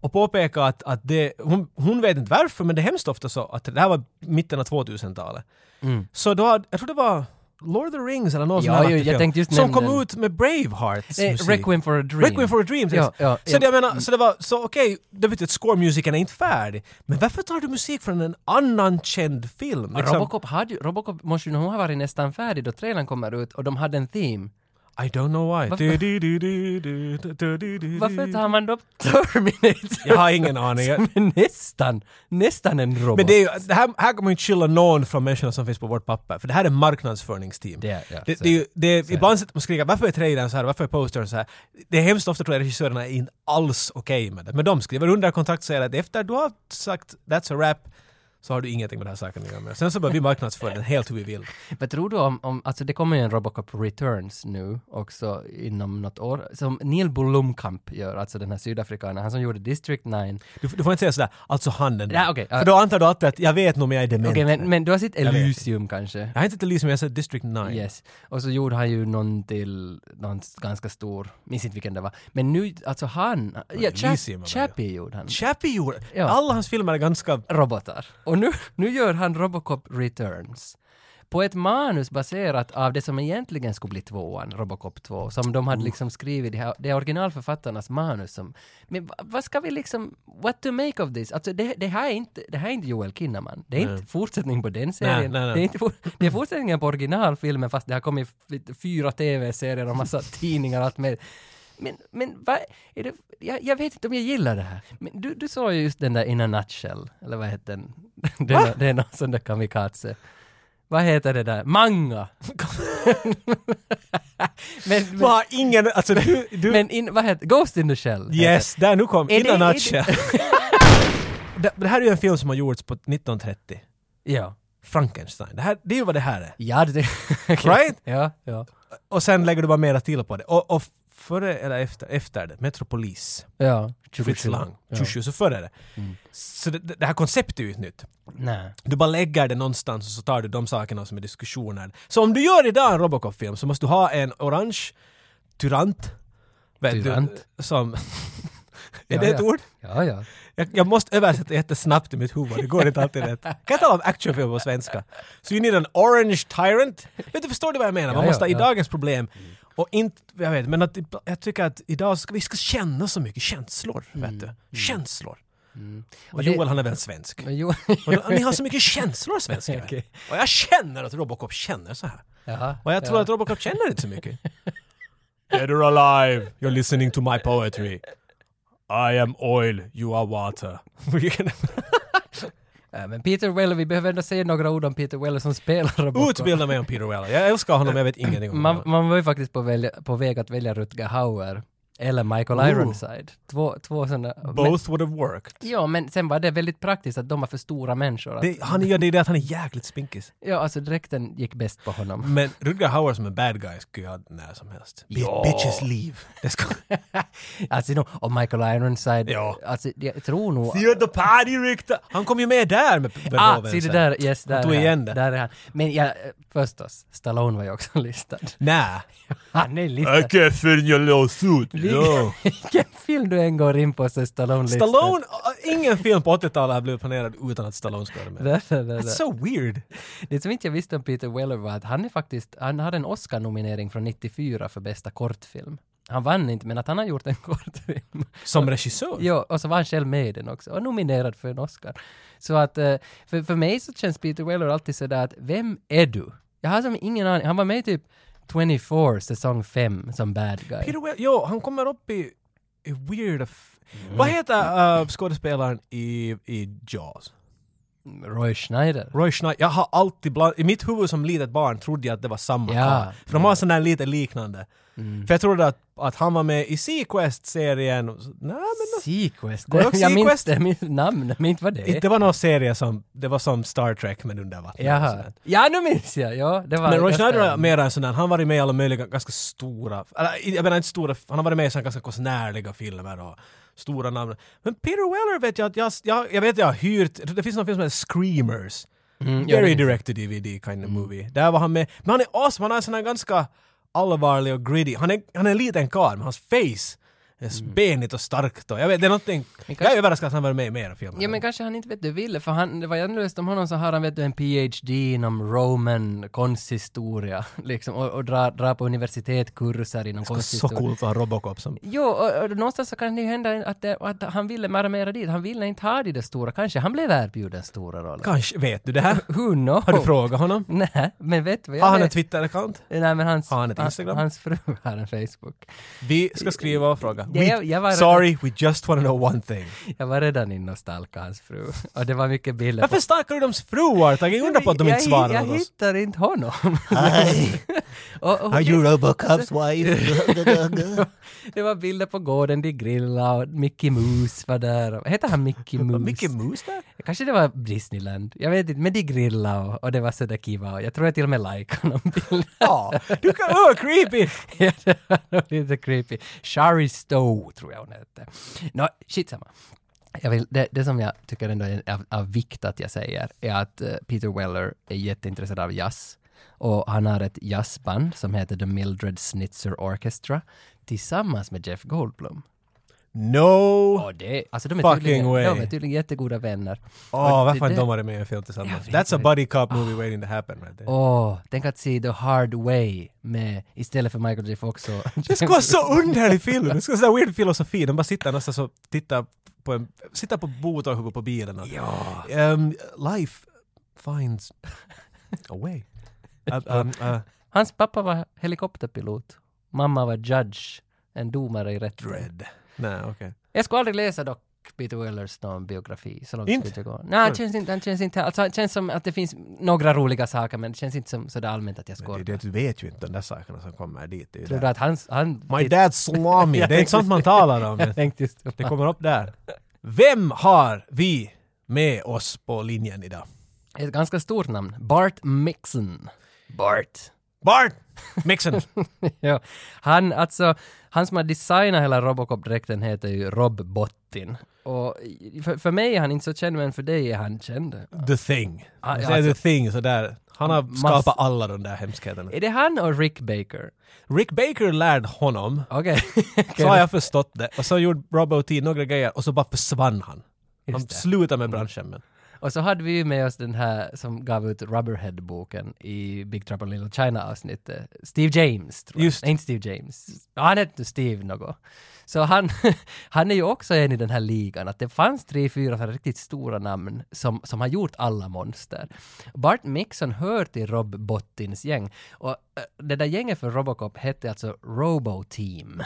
Speaker 2: Och påpeka att, att det, hon, hon vet inte varför men det är hemskt ofta så att det här var mitten av 2000-talet. Så då, hade- jag tror det var Lord of the Rings eller någon
Speaker 1: Mm. Ja,
Speaker 2: sån här
Speaker 1: ju,
Speaker 2: aktiv
Speaker 1: jag
Speaker 2: film
Speaker 1: tänkte just
Speaker 2: som
Speaker 1: nämna
Speaker 2: kom
Speaker 1: den.
Speaker 2: ut med Bravehearts
Speaker 1: Eh,
Speaker 2: musik.
Speaker 1: Requiem for a Dream.
Speaker 2: Requiem for a Dream,
Speaker 1: Ja,
Speaker 2: ja,
Speaker 1: ja,
Speaker 2: så
Speaker 1: ja.
Speaker 2: Det, jag menar, så det var så okej, det betyder att scoremusiken är inte färdig. Men varför tar du musik från en annan känd film? Liksom,
Speaker 1: Robocop, hade, ju- Robocop måste ju nog ha varit nästan färdig då trailern kommer ut och de hade en theme.
Speaker 2: Liksom, I don't know why. Du, du, du, du, du, du, du, du.
Speaker 1: Varför tar man då Terminator?
Speaker 2: Jag har ingen aning.
Speaker 1: Som är nästan, nästan en robot.
Speaker 2: Men det är ju, det här, här kommer man ju inte skilja någon från människorna som finns på vårt papper. För det här är marknadsföringsteam.
Speaker 1: Det är- ja,
Speaker 2: det,
Speaker 1: så
Speaker 2: det är
Speaker 1: är
Speaker 2: ju, det är, ibland sitter man och skriker varför är trailern så här, varför är postern så här? Det är hemskt ofta tror jag regissörerna är inte alls okej med det. Men de skriver under kontrakt och säger att efter du har sagt that's a wrap så har du ingenting med den här saken att göra. med. Sen så börjar vi marknadsföra den helt hur vi vill.
Speaker 1: Vad tror du om, om, alltså det kommer ju en Robocop Returns nu också inom något år, som Neil Blomkamp gör, alltså den här sydafrikanen, han som gjorde District 9. Okej,
Speaker 2: Du, du får inte säga sådär, alltså han den där.
Speaker 1: Ja, okej, ja.
Speaker 2: För då antar du alltid att jag vet nog men jag är dement.
Speaker 1: men, men du har sett
Speaker 2: vet
Speaker 1: Elysium kanske?
Speaker 2: Jag har inte till Lysen, men jag har sett District 9.
Speaker 1: Yes. Och så gjorde han ju någon till, någon ganska stor, minns inte vilken det var. Men nu, alltså han, ja,
Speaker 2: Elysium
Speaker 1: Chap-
Speaker 2: var det,
Speaker 1: Chappie gjorde han.
Speaker 2: Chappie gjorde...
Speaker 1: Ja.
Speaker 2: Alla hans filmer är ganska...
Speaker 1: robotar. Och nu, nu gör han Robocop Returns. På ett manus baserat av det som egentligen skulle bli tvåan, Robocop 2, som de hade liksom skrivit, det här- det är originalförfattarnas manus som... Men va- vad ska vi liksom... What to make of this? Alltså det, det, här, är inte, det här är inte Joel Kinnaman. Det är inte fortsättning på den serien.
Speaker 2: nej, nej.
Speaker 1: Det, är inte for, det är fortsättningen på originalfilmen fast det har kommit f- fyra tv-serier och massa tidningar och allt mer. Men, men vad är det, jag, jag vet inte om jag gillar det här. Men du, du såg ju just den där In a Nutshell, eller vad heter den? Det är, nå- det är någon sån där kamikaze. Vad heter det där? Manga! men,
Speaker 2: Man
Speaker 1: men,
Speaker 2: har ingen... Alltså du... du
Speaker 1: men in, vad heter Ghost in the Shell? heter
Speaker 2: yes, där nu kom...
Speaker 1: Är
Speaker 2: In a
Speaker 1: det- är
Speaker 2: nutshell. det, det här är ju en film som har gjorts på 1930.
Speaker 1: det. Ja.
Speaker 2: Frankenstein. Det, här, det är ju vad det här är.
Speaker 1: Ja, det...
Speaker 2: Right?
Speaker 1: Ja, ja.
Speaker 2: Och sen lägger du bara mera till på det. Och, och före eller efter, efter det, Metropolis,
Speaker 1: Ja.
Speaker 2: Fritz Lang,
Speaker 1: Ja. Mm.
Speaker 2: 27, så före det. Så det, det här konceptet är ju ett nytt.
Speaker 1: Nej.
Speaker 2: Du bara lägger det någonstans och så tar du de sakerna som är diskussioner. Så om du gör idag en Robocop-film så måste du ha en orange Tyrant. Vet du,
Speaker 1: Tyrant.
Speaker 2: Som... är
Speaker 1: Ja,
Speaker 2: det ett
Speaker 1: ja.
Speaker 2: ord?
Speaker 1: Ja, ja.
Speaker 2: Jag, jag måste översätta jättesnabbt i mitt huvud, det går inte alltid rätt. Kan jag tala om actionfilm på svenska? So you need an orange tyrant. Vet du, förstår du vad jag menar? Man
Speaker 1: Ja,
Speaker 2: måste
Speaker 1: ja,
Speaker 2: i
Speaker 1: ja.
Speaker 2: dagens problem och inte, jag vet, men att, jag tycker att idag ska vi ska känna så mycket känslor, vet
Speaker 1: Mm.
Speaker 2: du. Känslor. Och
Speaker 1: det-
Speaker 2: Joel han är väl svensk?
Speaker 1: Men jo...
Speaker 2: Och Ni har så mycket känslor svenskar.
Speaker 1: Okej.
Speaker 2: Och jag känner att Robocop känner så här.
Speaker 1: Jaha.
Speaker 2: Och jag tror att Robocop känner inte så mycket. Dead or alive, you're listening to my poetry. I am oil, you are water.
Speaker 1: Ja, men Peter Weller, vi behöver ändå säga några ord om Peter Weller som spelar Robocop.
Speaker 2: Utbilda mig om Peter Weller. Jag älskar honom, jag vet ingenting om
Speaker 1: Man,
Speaker 2: honom.
Speaker 1: man var ju faktiskt på, välja, på väg att välja Rutger Hauer. eller Michael
Speaker 2: Ooh.
Speaker 1: Ironside. Två, två sådana. Men,
Speaker 2: Both would have worked.
Speaker 1: ja, men sen var det väldigt praktiskt att de var för stora människor. Att,
Speaker 2: Det, han, ja, det är det att han är jäkligt spinkis.
Speaker 1: ja, alltså dräkten gick bäst på honom.
Speaker 2: Men Rutger Hauer som en bad guy skulle jag ha när som helst. Bi-
Speaker 1: Ja.
Speaker 2: Bitches leave. Det ska...
Speaker 1: Alltså, no, och Michael Ironside,
Speaker 2: Ja.
Speaker 1: alltså, jag tror nog...
Speaker 2: Fear the party Rutger! Han kom ju med där med med
Speaker 1: Ah,
Speaker 2: Beethoven
Speaker 1: se det
Speaker 2: sen.
Speaker 1: där, yes,
Speaker 2: Han
Speaker 1: där
Speaker 2: tog
Speaker 1: är
Speaker 2: igen
Speaker 1: han.
Speaker 2: det.
Speaker 1: Där är han. Men ja, eh, förstås, Stallone var ju också listad.
Speaker 2: Nä.
Speaker 1: Han är listad.
Speaker 2: can't fill your lawsuit.
Speaker 1: Vilken- Vilken film du än går in på så är Stallone listad.
Speaker 2: Stallone, äh, ingen film på 80-talet har blivit planerad utan att Stallone ska vara med.
Speaker 1: Där, där, där, där.
Speaker 2: That's so weird.
Speaker 1: Det som inte jag visste om Peter Weller var att han är faktiskt, han hade en Oscar-nominering från 94 för bästa kortfilm. Han vann inte, men att han har gjort en kortfilm.
Speaker 2: Som regissör.
Speaker 1: Ja, och så var han själv med i den också och nominerad för en Oscar. Så att, eh, för, för mig så känns Peter Weller alltid sådär att, vem är du? Jag har som ingen aning, han var med i typ 24 säsong 5 som bad guy.
Speaker 2: Peter Well, jo, han kommer upp i, i weird... F-
Speaker 1: Mm.
Speaker 2: Vad heter äh, skådespelaren i, i Jaws?
Speaker 1: Roy Schneider.
Speaker 2: Roy Schneider. Jag har alltid bland, I mitt huvud som litet barn trodde jag att det var samma
Speaker 1: Ja. Mm.
Speaker 2: karl. För de har sån där lite liknande. För jag trodde att, att han var med i Sequest-serien. och så- Nej, men
Speaker 1: Sequest.
Speaker 2: Går det också
Speaker 1: Jag minns
Speaker 2: Sequest?
Speaker 1: det, minns namnet, men inte vad det
Speaker 2: Det
Speaker 1: är.
Speaker 2: var någon serie som, det var som Star Trek men under vattnet. och
Speaker 1: Jaha.
Speaker 2: sådär.
Speaker 1: Ja, nu minns jag! Ja, det var
Speaker 2: alltså. Men Roy
Speaker 1: ganska-
Speaker 2: Schneider är mer en sån där, han har varit med i alla möjliga ganska stora, eller jag menar inte stora, han har varit med i såna ganska konstnärliga filmer och stora namn. Men Peter Weller vet jag att jag, jag, jag vet jag har hyrt, det finns någon film som heter Screamers.
Speaker 1: ja,
Speaker 2: Very
Speaker 1: det-
Speaker 2: direct to DVD kind of movie. Där var han med, men han är awesome, han är sån här ganska allvarlig och gritty. Han är, han är en liten karl, men hans face är
Speaker 1: Mm.
Speaker 2: s- benigt och starkt och jag vet, det är någonting, jag är överraskad att han varit med i mera filmer.
Speaker 1: Ja men kanske han inte vet du ville, för han, det var jag läste om honom så har han vet du en PhD inom Roman konsthistoria, liksom, och, och drar dra på universitetskurser inom
Speaker 2: så
Speaker 1: konsthistoria.
Speaker 2: coolt att ha Robocop som
Speaker 1: Jo, och, och någonstans så kan det ju hända att, det, att han ville maramera dit, han ville inte ha de där stora, kanske han blev erbjuden stora roller.
Speaker 2: Kanske, vet du det här?
Speaker 1: Who knows?
Speaker 2: Har du frågat honom?
Speaker 1: Nej, men vet du vad jag
Speaker 2: Har han en
Speaker 1: vet?
Speaker 2: Twitter-account?
Speaker 1: Nej men hans,
Speaker 2: Har han ett
Speaker 1: han-
Speaker 2: Instagram?
Speaker 1: hans fru har en Facebook.
Speaker 2: Vi ska skriva och fråga.
Speaker 1: Ja, jag- jag var
Speaker 2: We,
Speaker 1: redan-
Speaker 2: sorry, we just wanna know one thing.
Speaker 1: Jag var redan inne och stalkade hans fru. Och det var mycket bilder på
Speaker 2: Varför stalkar du deras fruar? Tage? Jag undrar på att de
Speaker 1: jag,
Speaker 2: inte
Speaker 1: hi-
Speaker 2: svarar
Speaker 1: Jag
Speaker 2: åt oss.
Speaker 1: hittar inte honom. och, och,
Speaker 5: Robocop's wife?
Speaker 1: det var bilder på gården, de grillade och Mickey Moose var där. Hette han Mickey Moose?
Speaker 2: Mycket mus där?
Speaker 1: Kanske det var Disneyland. Jag vet inte, men de grillade och, och det var sådär kiva. Och Jag tror jag till och med likade någon bild.
Speaker 2: Ja, du kan... Åh, creepy!
Speaker 1: Ja, det var nog lite creepy. Shari Stowe tror jag hon hette. Nå, skitsamma. Jag vill, det, det som jag tycker ändå är av, av vikt att jag säger är att eh, Peter Weller är jätteintresserad av jazz. Och han har ett jazzband som heter The Mildred Snitzer Orchestra tillsammans med Jeff Goldblum.
Speaker 2: No! Åh,
Speaker 1: Och det, alltså de är,
Speaker 2: Fucking
Speaker 1: tydligen,
Speaker 2: way.
Speaker 1: de är tydligen jättegoda vänner.
Speaker 2: varför har
Speaker 1: det-
Speaker 2: inte de varit med i en film tillsammans?
Speaker 1: Jag vet
Speaker 2: That's a
Speaker 1: inte. Ah.
Speaker 2: buddy cop movie waiting to happen right there.
Speaker 1: Åh, tänk att se The Hard Way med, istället för Michael J Fox och...
Speaker 2: Det ska vara så underlig film! Det ska vara så här weird filosofi. De bara sitter nästan så tittar på en... Sitter på bot och huvudet på bilen och...
Speaker 1: Ja.
Speaker 2: Um, life finds a way. Uh, um, uh,
Speaker 1: Hans pappa var helikopterpilot. Mamma var judge, en domare i rätten.
Speaker 2: dread. Nej, okej.
Speaker 1: Jag skulle aldrig läsa dock Peter Wellers någon biografi. Så långt
Speaker 2: Inte?
Speaker 1: skulle jag gå. Nej, han känns inte, han känns inte, alltså han känns som att det finns några roliga saker men det känns inte som sådär allmänt att jag
Speaker 2: Men det,
Speaker 1: skådar.
Speaker 2: det, du vet ju inte de där sakerna som kommer dit. Det är ju
Speaker 1: Tror du
Speaker 2: där.
Speaker 1: att hans, han...
Speaker 2: My dad's salami, det är inte sånt man talar om.
Speaker 1: Jag tänkte just
Speaker 2: Det kommer upp där. Vem har vi med oss på linjen idag?
Speaker 1: Ett ganska stort namn. Bart Mixon. Bart.
Speaker 2: Bart Mixon!
Speaker 1: ja. Han, alltså, han som har designat hela Robocop-dräkten heter ju Rob Bottin. Och för, för mig är han inte så känd, men för dig är han känd.
Speaker 2: The Thing.
Speaker 1: Ah, ja,
Speaker 2: Det är The Thing, sådär. Han har
Speaker 1: Mass-
Speaker 2: skapat alla de där hemskheterna.
Speaker 1: Är det han och Rick Baker?
Speaker 2: Rick Baker lärde honom,
Speaker 1: Eh- Okej.
Speaker 2: så har jag förstått det. Och så gjorde Robbo T några grejer och så bara försvann han. Han
Speaker 1: Just det. Mm.
Speaker 2: slutade med branschen men...
Speaker 1: Och så hade vi ju med oss den här som gav ut Rubberhead-boken i Big Trouble in Little China-avsnittet. Steve James, tror jag.
Speaker 2: Just.
Speaker 1: Nej, inte Steve James. Ja, han hette Steve något. Så han, han är ju också en i den här ligan, att det fanns tre, fyra så här riktigt stora namn som, som har gjort alla monster. Bart Mixon hör till Rob Bottins gäng. Och eh, det där gänget för Robocop hette alltså Robo-Team.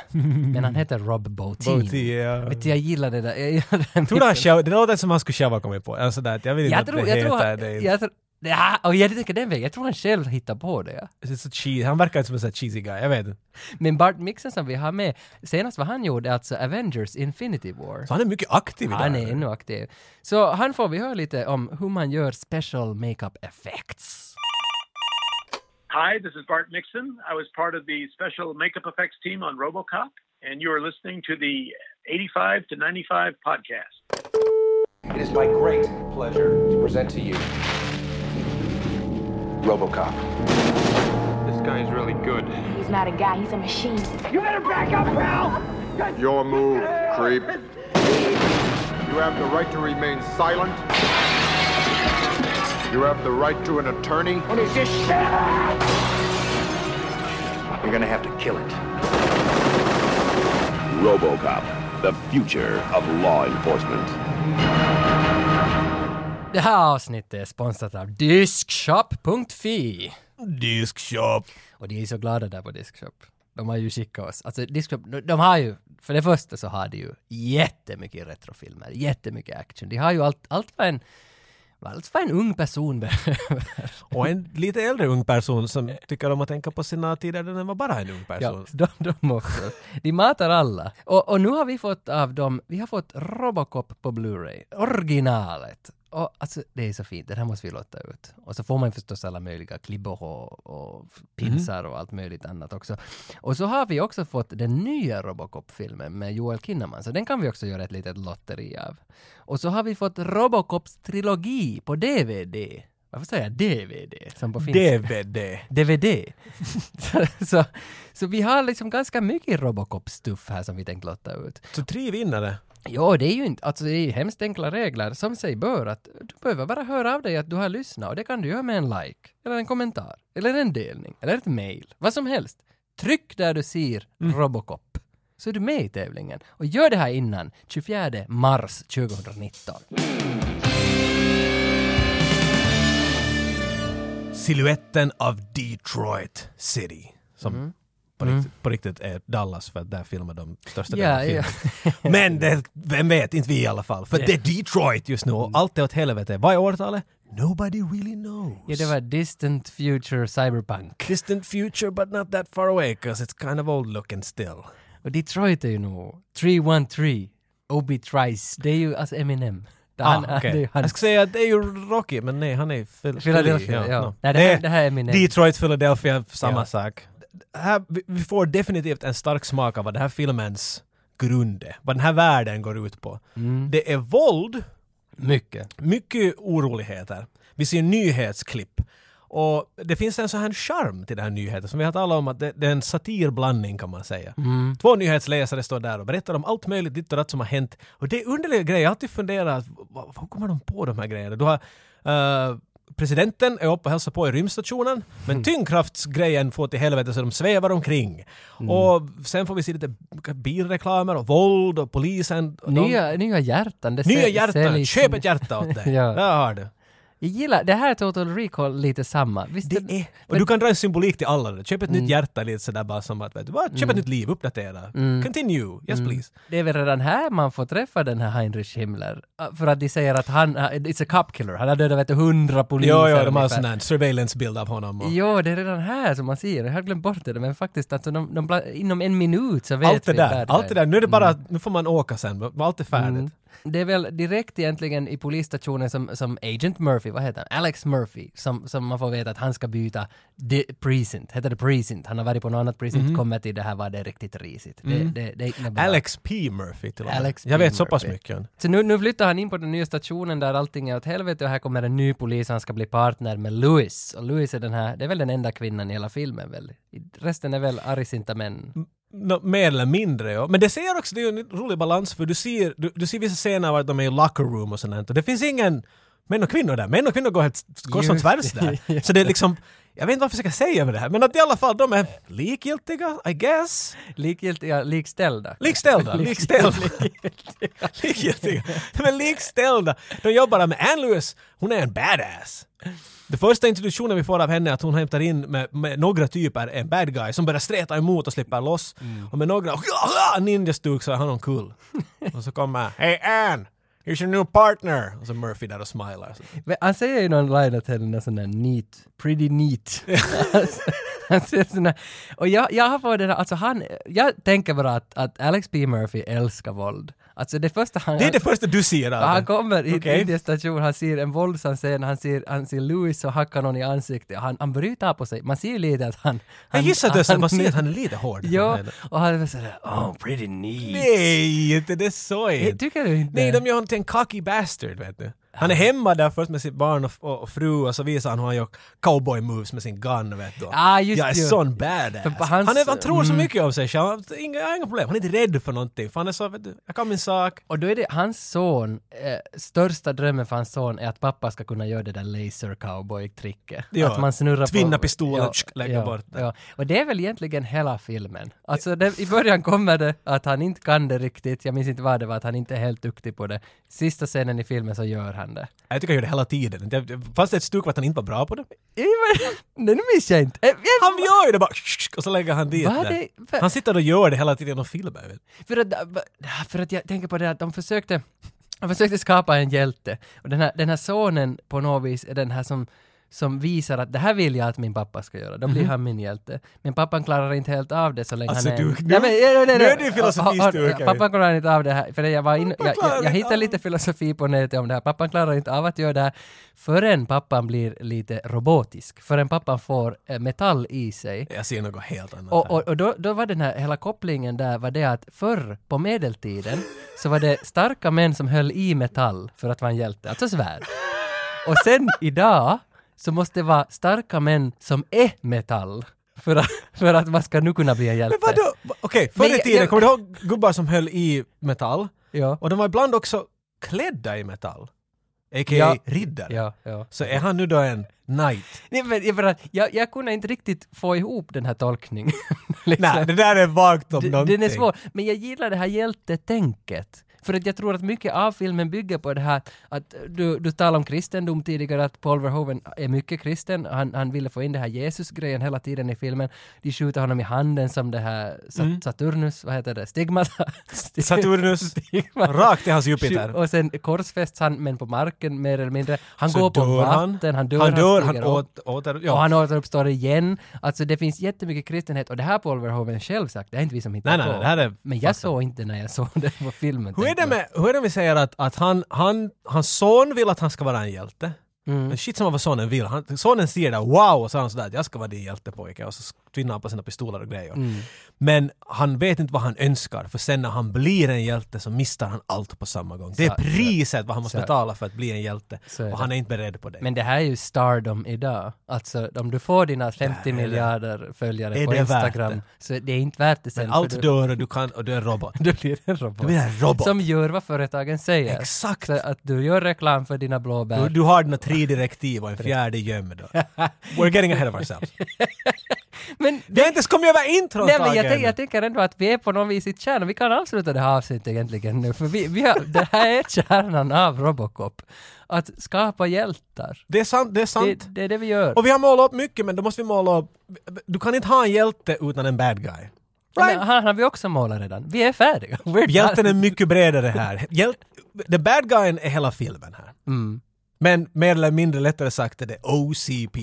Speaker 1: Men han hette Rob Bo-Team.
Speaker 2: Bo T, ja.
Speaker 1: Vet du, jag gillar det där. Jag, gillar det.
Speaker 2: Tror du han själv, det låter som han skulle själv ha kommit på. Alltså där, jag vill inte
Speaker 1: Jag tror,
Speaker 2: att det
Speaker 1: jag,
Speaker 2: heter
Speaker 1: tror,
Speaker 2: det.
Speaker 1: jag, tror, Ja, och jag tänker den vägen. Jag tror han själv hittar på det. Ja.
Speaker 2: Det är så cheesy. Han verkar inte som en sån här cheesy guy, jag vet inte.
Speaker 1: Men Bart Mixon som vi har med, senast vad han gjorde, alltså Avengers Infinity War.
Speaker 2: Så han är mycket aktiv idag.
Speaker 1: Han är ännu aktiv. Så han får vi höra lite om hur man gör special makeup effects.
Speaker 6: Hi, this is Bart Mixon. I was part of the special makeup effects team on Robocop, and you are listening to the 85 to 95 podcast.
Speaker 7: It is my great pleasure to present to you Robocop.
Speaker 8: This guy's really good.
Speaker 9: He's not a guy, he's a machine.
Speaker 8: Your move, creep. You have the right to remain silent. You have the right to an attorney. What is this
Speaker 7: You're gonna have to kill it. Robocop, the future of law enforcement.
Speaker 1: Det här avsnittet är sponsrat av Diskshop.fi.
Speaker 2: Diskshop.
Speaker 1: Och de är så glada där på Diskshop. De har ju skickat oss. Alltså Diskshop, de- de har ju, för det första så har de ju jättemycket retrofilmer, jättemycket action. De har ju allt, allt vad en, vad allt vad en ung person behöver.
Speaker 2: Och en lite äldre ung person som tycker om att tänka på sina tider när den var bara en ung
Speaker 1: Ja,
Speaker 2: person.
Speaker 1: de, de också. De matar alla. Och, och nu har vi fått av dem, vi har fått Robocop på Blu-ray, originalet. Och alltså det är så fint, det här måste vi låta ut. Och så får man förstås alla möjliga klibbor och, och pinsar och allt möjligt annat också. Och så har vi också fått den nya Robocop-filmen med Joel Kinnaman, så den kan vi också göra ett litet lotteri av. Och så har vi fått Robocops trilogi på DVD. Varför säger jag DVD? Som på finska.
Speaker 2: DVD.
Speaker 1: DVD. så, så, så vi har liksom ganska mycket Robocop-stuff här som vi tänkt låta ut.
Speaker 2: Så tre vinnare.
Speaker 1: Jo, det är ju inte, alltså det är ju hemskt enkla regler som sig bör att du behöver bara höra av dig att du har lyssnat och det kan du göra med en like, eller en kommentar, eller en delning, eller ett mail, vad som helst. Tryck där du ser Robocop, så är du med i tävlingen. Och gör det här innan 24 mars 2019.
Speaker 2: Siluetten av Detroit City. Som
Speaker 1: Mm.
Speaker 2: på, riktigt, på riktigt är Dallas för att där filmar de största
Speaker 1: Ja,
Speaker 2: delen av filmen. Men det, vem vet, inte vi i alla fall. För det är Detroit just nu och
Speaker 1: Mm.
Speaker 2: allt är åt helvete. Vad är årtalet? Nobody really knows.
Speaker 1: Ja, det var Distant Future Cyberpunk.
Speaker 2: Distant future but not that far away 'cause it's kind of old looking still.
Speaker 1: Och Detroit är ju nog 313, Obi Trice, det är ju alltså Eminem. Det är han-
Speaker 2: ah, okej.
Speaker 1: det är ju han-
Speaker 2: Jag skulle säga att det är ju Rocky, men nej, han är Phil-
Speaker 1: Philadelphia,
Speaker 2: Philly,
Speaker 1: ja.
Speaker 2: no.
Speaker 1: Nej, det här- det här är min-
Speaker 2: Detroit, Philadelphia, samma
Speaker 1: Ja.
Speaker 2: sak. Det Här, vi- vi får definitivt en stark smak av vad den här filmens grund är, vad den här världen går ut på.
Speaker 1: Mm.
Speaker 2: Det är våld,
Speaker 1: Mycket.
Speaker 2: mycket oroligheter. Vi ser nyhetsklipp. Och det finns en sån här charm till den här nyheten som vi har talat om att det, det är en satirblandning kan man säga. Två nyhetsläsare står där och berättar om allt möjligt ditt och datt som har hänt. Och det är underliga grejer. Jag har alltid funderat, vad- vad- hur kommer de på de här grejerna? Du har eh, Presidenten är uppe och hälsar på i rymdstationen, men tyngdkraftsgrejen får till helvete så de svävar omkring. Och sen får vi se lite bilreklamer och våld och polisen. och de-
Speaker 1: Nya, nya hjärtan. Det
Speaker 2: Nya
Speaker 1: säl-
Speaker 2: hjärtan,
Speaker 1: säljs-
Speaker 2: köp ett hjärta åt dig.
Speaker 1: liksom- Ja.
Speaker 2: Där har du.
Speaker 1: Jag gillar, det här är Total Recall lite samma. Visst
Speaker 2: Det är, och du kan dra en symbolik till alla. Köp ett
Speaker 1: Mm.
Speaker 2: nytt hjärta lite sådär bara som att, vet du, vad? köp ett nytt liv, uppdatera.
Speaker 1: Mm.
Speaker 2: Continue, yes please.
Speaker 1: det är väl redan här man får träffa den här Heinrich Himmler. Ah, För att de säger att han, ah, it's a cop killer, han har dödat vet du hundra poliser.
Speaker 2: Jo, jo, de har
Speaker 1: ungefär.
Speaker 2: sån här surveillance-bild av honom. Och
Speaker 1: Jo, det är redan här som man ser. Jag har glömt bort det, men faktiskt alltså, de, de, bla- inom en minut så vet
Speaker 2: allt det
Speaker 1: vi
Speaker 2: där,
Speaker 1: där
Speaker 2: allt det där. Nu är det bara,
Speaker 1: Mm.
Speaker 2: nu får man åka sen, men allt är färdigt.
Speaker 1: Det är väl direkt egentligen i polisstationen som, som Agent Murphy, vad heter han? Alex Murphy, som, som man får veta att han ska byta de, precinct, heter det precinct? Han har varit på något annat precinct, kommer till det här var det är riktigt risigt. Det, det, det innebär-
Speaker 2: Mm. Alex P. Murphy till och med.
Speaker 1: Alex P.
Speaker 2: Jag vet så pass
Speaker 1: Murphy.
Speaker 2: mycket. om-
Speaker 1: Så nu, nu flyttar han in på den nya stationen där allting är åt helvete och här kommer en ny polis, han ska bli partner med Louis. Och Louis är den här, det är väl den enda kvinnan i hela filmen väl? Resten är väl argsinta män.
Speaker 2: Mm. Nå, mer eller mindre, ja. Men det ser också, det är ju en rolig balans för du ser, du, du ser vissa scener var de är i locker room och sånt där. och det finns ingen män och kvinnor där. Män och kvinnor går, helt, går som
Speaker 1: Just
Speaker 2: tvärs där. Så det är liksom, jag vet inte varför jag ska säga med det här, men att i alla fall de är likgiltiga, I guess.
Speaker 1: Likgiltiga, likställda.
Speaker 2: Likställda, likställda. likgiltiga. De är likställda. De jobbar med Ann Lewis, hon är en badass. Den första introduktionen vi får av henne är att hon hämtar in med, med några typer en bad guy som börjar streta emot och slipper loss.
Speaker 1: Mm.
Speaker 2: Och med några ninjastuk så är han omkull. Och så kommer “Hej Ann! Here's your new partner! Och så Murphy där och smilar. Så.
Speaker 1: Men han säger ju någon line att henne är sån där neat, pretty neat. Alltså, han säger sån där, och jag, jag har fått den här, alltså han, jag tänker bara att, att Alex P. Murphy älskar våld. Alltså det första han...
Speaker 2: Det är det första du ser av
Speaker 1: Ja, han
Speaker 2: den.
Speaker 1: kommer hit
Speaker 2: Okej.
Speaker 1: in i en station, han ser en våldsam scen, han ser, han ser Louis och hackar någon i ansiktet, han, han börjar ju ta på sig, man ser ju lite att han...
Speaker 2: Jag gissar att du
Speaker 1: han-
Speaker 2: bara ser att han är lite hård.
Speaker 1: Ja, och han är sådär ”Oh, pretty neat”.
Speaker 2: Nej, inte det är
Speaker 1: Jag
Speaker 2: sorgligt.
Speaker 1: Tycker du inte?
Speaker 2: Nej, de gör honom till en cocky bastard, vet du. Han är hemma där först med sitt barn och, och, och fru och så visar han hur han gör cowboy moves med sin gun, vet du.
Speaker 1: Ah, just
Speaker 2: jag är
Speaker 1: ju.
Speaker 2: sån badass.
Speaker 1: För på hans- Mm.
Speaker 2: han, är, han tror så mycket om sig själv. Han- Inga, jag har inga problem. Han är inte rädd för någonting. För han är så, vet du, jag kan min sak.
Speaker 1: Och då är det hans son, eh, största drömmen för hans son är att pappa ska kunna göra det där laser cowboy-tricket.
Speaker 2: Ja,
Speaker 1: Att man snurrar
Speaker 2: tvinna
Speaker 1: på...
Speaker 2: pistolen, tsk, lägga
Speaker 1: ja,
Speaker 2: bort den.
Speaker 1: Ja. Och det är väl egentligen hela filmen. Alltså det, i början kommer det att han inte kan det riktigt, jag minns inte vad det var, att han inte är helt duktig på det. Sista scenen i filmen så gör han det.
Speaker 2: Jag tycker jag gör det hela tiden. Det- Fast det är ett stuk att han inte var bra på det.
Speaker 1: Ja, men- Nej, nu minns jag inte. Eh, jag-
Speaker 2: Han gör ju det bara och så lägger han dit
Speaker 1: Vad
Speaker 2: det.
Speaker 1: är det för-
Speaker 2: Han sitter och gör det hela tiden genom filmen. vet du.
Speaker 1: För att, äh, för att jag tänker på det att de försökte, de försökte skapa en hjälte. Och den här, den här sonen på något vis är den här som, som visar att det här vill jag att min pappa ska göra. Då blir han min hjälte. Men pappan klarar inte helt av det så länge
Speaker 2: Mhm. Alltså,
Speaker 1: han är...
Speaker 2: du-
Speaker 1: en-
Speaker 2: nu-
Speaker 1: Nej, men- nej, nej,
Speaker 2: nu
Speaker 1: nej.
Speaker 2: är det ju
Speaker 1: Ja,
Speaker 2: filosofistuga,
Speaker 1: ja, ja,
Speaker 2: Kevin.
Speaker 1: Pappan klarar inte av det här. För jag, var in, jag,
Speaker 2: klarar
Speaker 1: jag, jag
Speaker 2: inte
Speaker 1: hittade
Speaker 2: av-
Speaker 1: lite filosofi på nätet om det här. Pappan klarar inte av att göra det här förrän pappan blir lite robotisk. Förrän pappan får eh, metall i sig.
Speaker 2: Jag ser något helt annat.
Speaker 1: Och,
Speaker 2: här.
Speaker 1: och, och då, då var den här hela kopplingen där var det att förr på medeltiden så var det starka män som höll i metall för att vara en hjälte, alltså svärd. Och sen idag så måste det vara starka män som är metall för att, för att man ska nu kunna bli en hjälte.
Speaker 2: Men vadå? Va- Okej, förr
Speaker 1: Men
Speaker 2: i
Speaker 1: jag-
Speaker 2: tiden,
Speaker 1: jag-
Speaker 2: kommer du ihåg gubbar som höll i metall?
Speaker 1: Ja.
Speaker 2: Och de var ibland också klädda i metall. A.k.a.
Speaker 1: Ja.
Speaker 2: riddare.
Speaker 1: Ja, ja.
Speaker 2: Så är han nu då en knight?
Speaker 1: Nej, men jag, bara, jag, jag kunde inte riktigt få ihop den här tolkningen. liksom.
Speaker 2: Nej, det där är vagt om
Speaker 1: D-
Speaker 2: någonting.
Speaker 1: Den är svår, men jag gillar det här hjältetänket. För att jag tror att mycket av filmen bygger på det här att du, du talade om kristendom tidigare, att Paul Verhoeven är mycket kristen. Han, han ville få in det här Jesus-grejen hela tiden i filmen. De skjuter honom i handen som det här Sat- Saturnus, vad heter det, stigmata?
Speaker 2: Mm. Saturnus,
Speaker 1: Stigmata.
Speaker 2: rakt i hans Jupiter.
Speaker 1: Och sen korsfästs han, men på marken mer eller mindre. Han
Speaker 2: Så
Speaker 1: går på
Speaker 2: dör
Speaker 1: vatten, han dör,
Speaker 2: han, dör, han
Speaker 1: stiger upp.
Speaker 2: åt, åter, ja.
Speaker 1: Och han återuppstår igen. Alltså det finns jättemycket kristenhet och det här Paul Verhoeven själv sagt, det är inte vi som hittar
Speaker 2: Nej, nej,
Speaker 1: på.
Speaker 2: nej, det här är
Speaker 1: Men jag
Speaker 2: fakta.
Speaker 1: såg inte när jag såg det på filmen.
Speaker 2: hur, är
Speaker 1: tänkte
Speaker 2: det
Speaker 1: jag.
Speaker 2: med, hur är det med säger att, att han, han, hans son vill att han ska vara en hjälte?
Speaker 1: Mm.
Speaker 2: Men shit som vad sonen vill. Han, sonen ser det, wow, och så är han sådär, jag ska vara din hjältepojke. Och så tvinnar han på sina pistoler och grejer.
Speaker 1: Mm.
Speaker 2: Men han vet inte vad han önskar, för sen när han blir en hjälte så misstar han allt på samma gång. Det är
Speaker 1: Så-
Speaker 2: priset vad han måste
Speaker 1: så-
Speaker 2: betala för att bli en hjälte.
Speaker 1: Så är
Speaker 2: och
Speaker 1: det.
Speaker 2: han är inte beredd på det.
Speaker 1: Men det här är ju stardom idag. Alltså om du får dina 50 miljarder följare
Speaker 2: Är
Speaker 1: på
Speaker 2: det värt
Speaker 1: Instagram
Speaker 2: det?
Speaker 1: så det är inte värt det sen.
Speaker 2: Men
Speaker 1: för
Speaker 2: allt
Speaker 1: du,
Speaker 2: dör och du, kan, och du är en robot.
Speaker 1: du blir en robot.
Speaker 2: Du blir en robot.
Speaker 1: Som gör vad företagen säger.
Speaker 2: Exakt.
Speaker 1: Så att du gör reklam för dina blåbär.
Speaker 2: Du, du har dina tre direktiv och en fjärde gömd. We're getting ahead of ourselves.
Speaker 1: Men
Speaker 2: Vi har inte ens kommit över introt
Speaker 1: Nej men jag,
Speaker 2: Tage,
Speaker 1: tänk, jag tänker ändå att vi är på något vis i kärnan, vi kan avsluta det här avsnittet egentligen nu, för vi, vi har, det här är kärnan av Robocop. Att skapa hjältar.
Speaker 2: Det är sant. Det är sant.
Speaker 1: Det, det är det vi gör.
Speaker 2: Och vi har målat upp mycket men då måste vi måla upp... Du kan inte ha en hjälte utan en bad guy.
Speaker 1: Men han har vi också målat redan. Vi är färdiga. We're
Speaker 2: Hjälten
Speaker 1: done.
Speaker 2: är mycket bredare här. Hjäl... The bad guyen är hela filmen här.
Speaker 1: Mm.
Speaker 2: Men mer eller mindre lättare sagt är det OCP.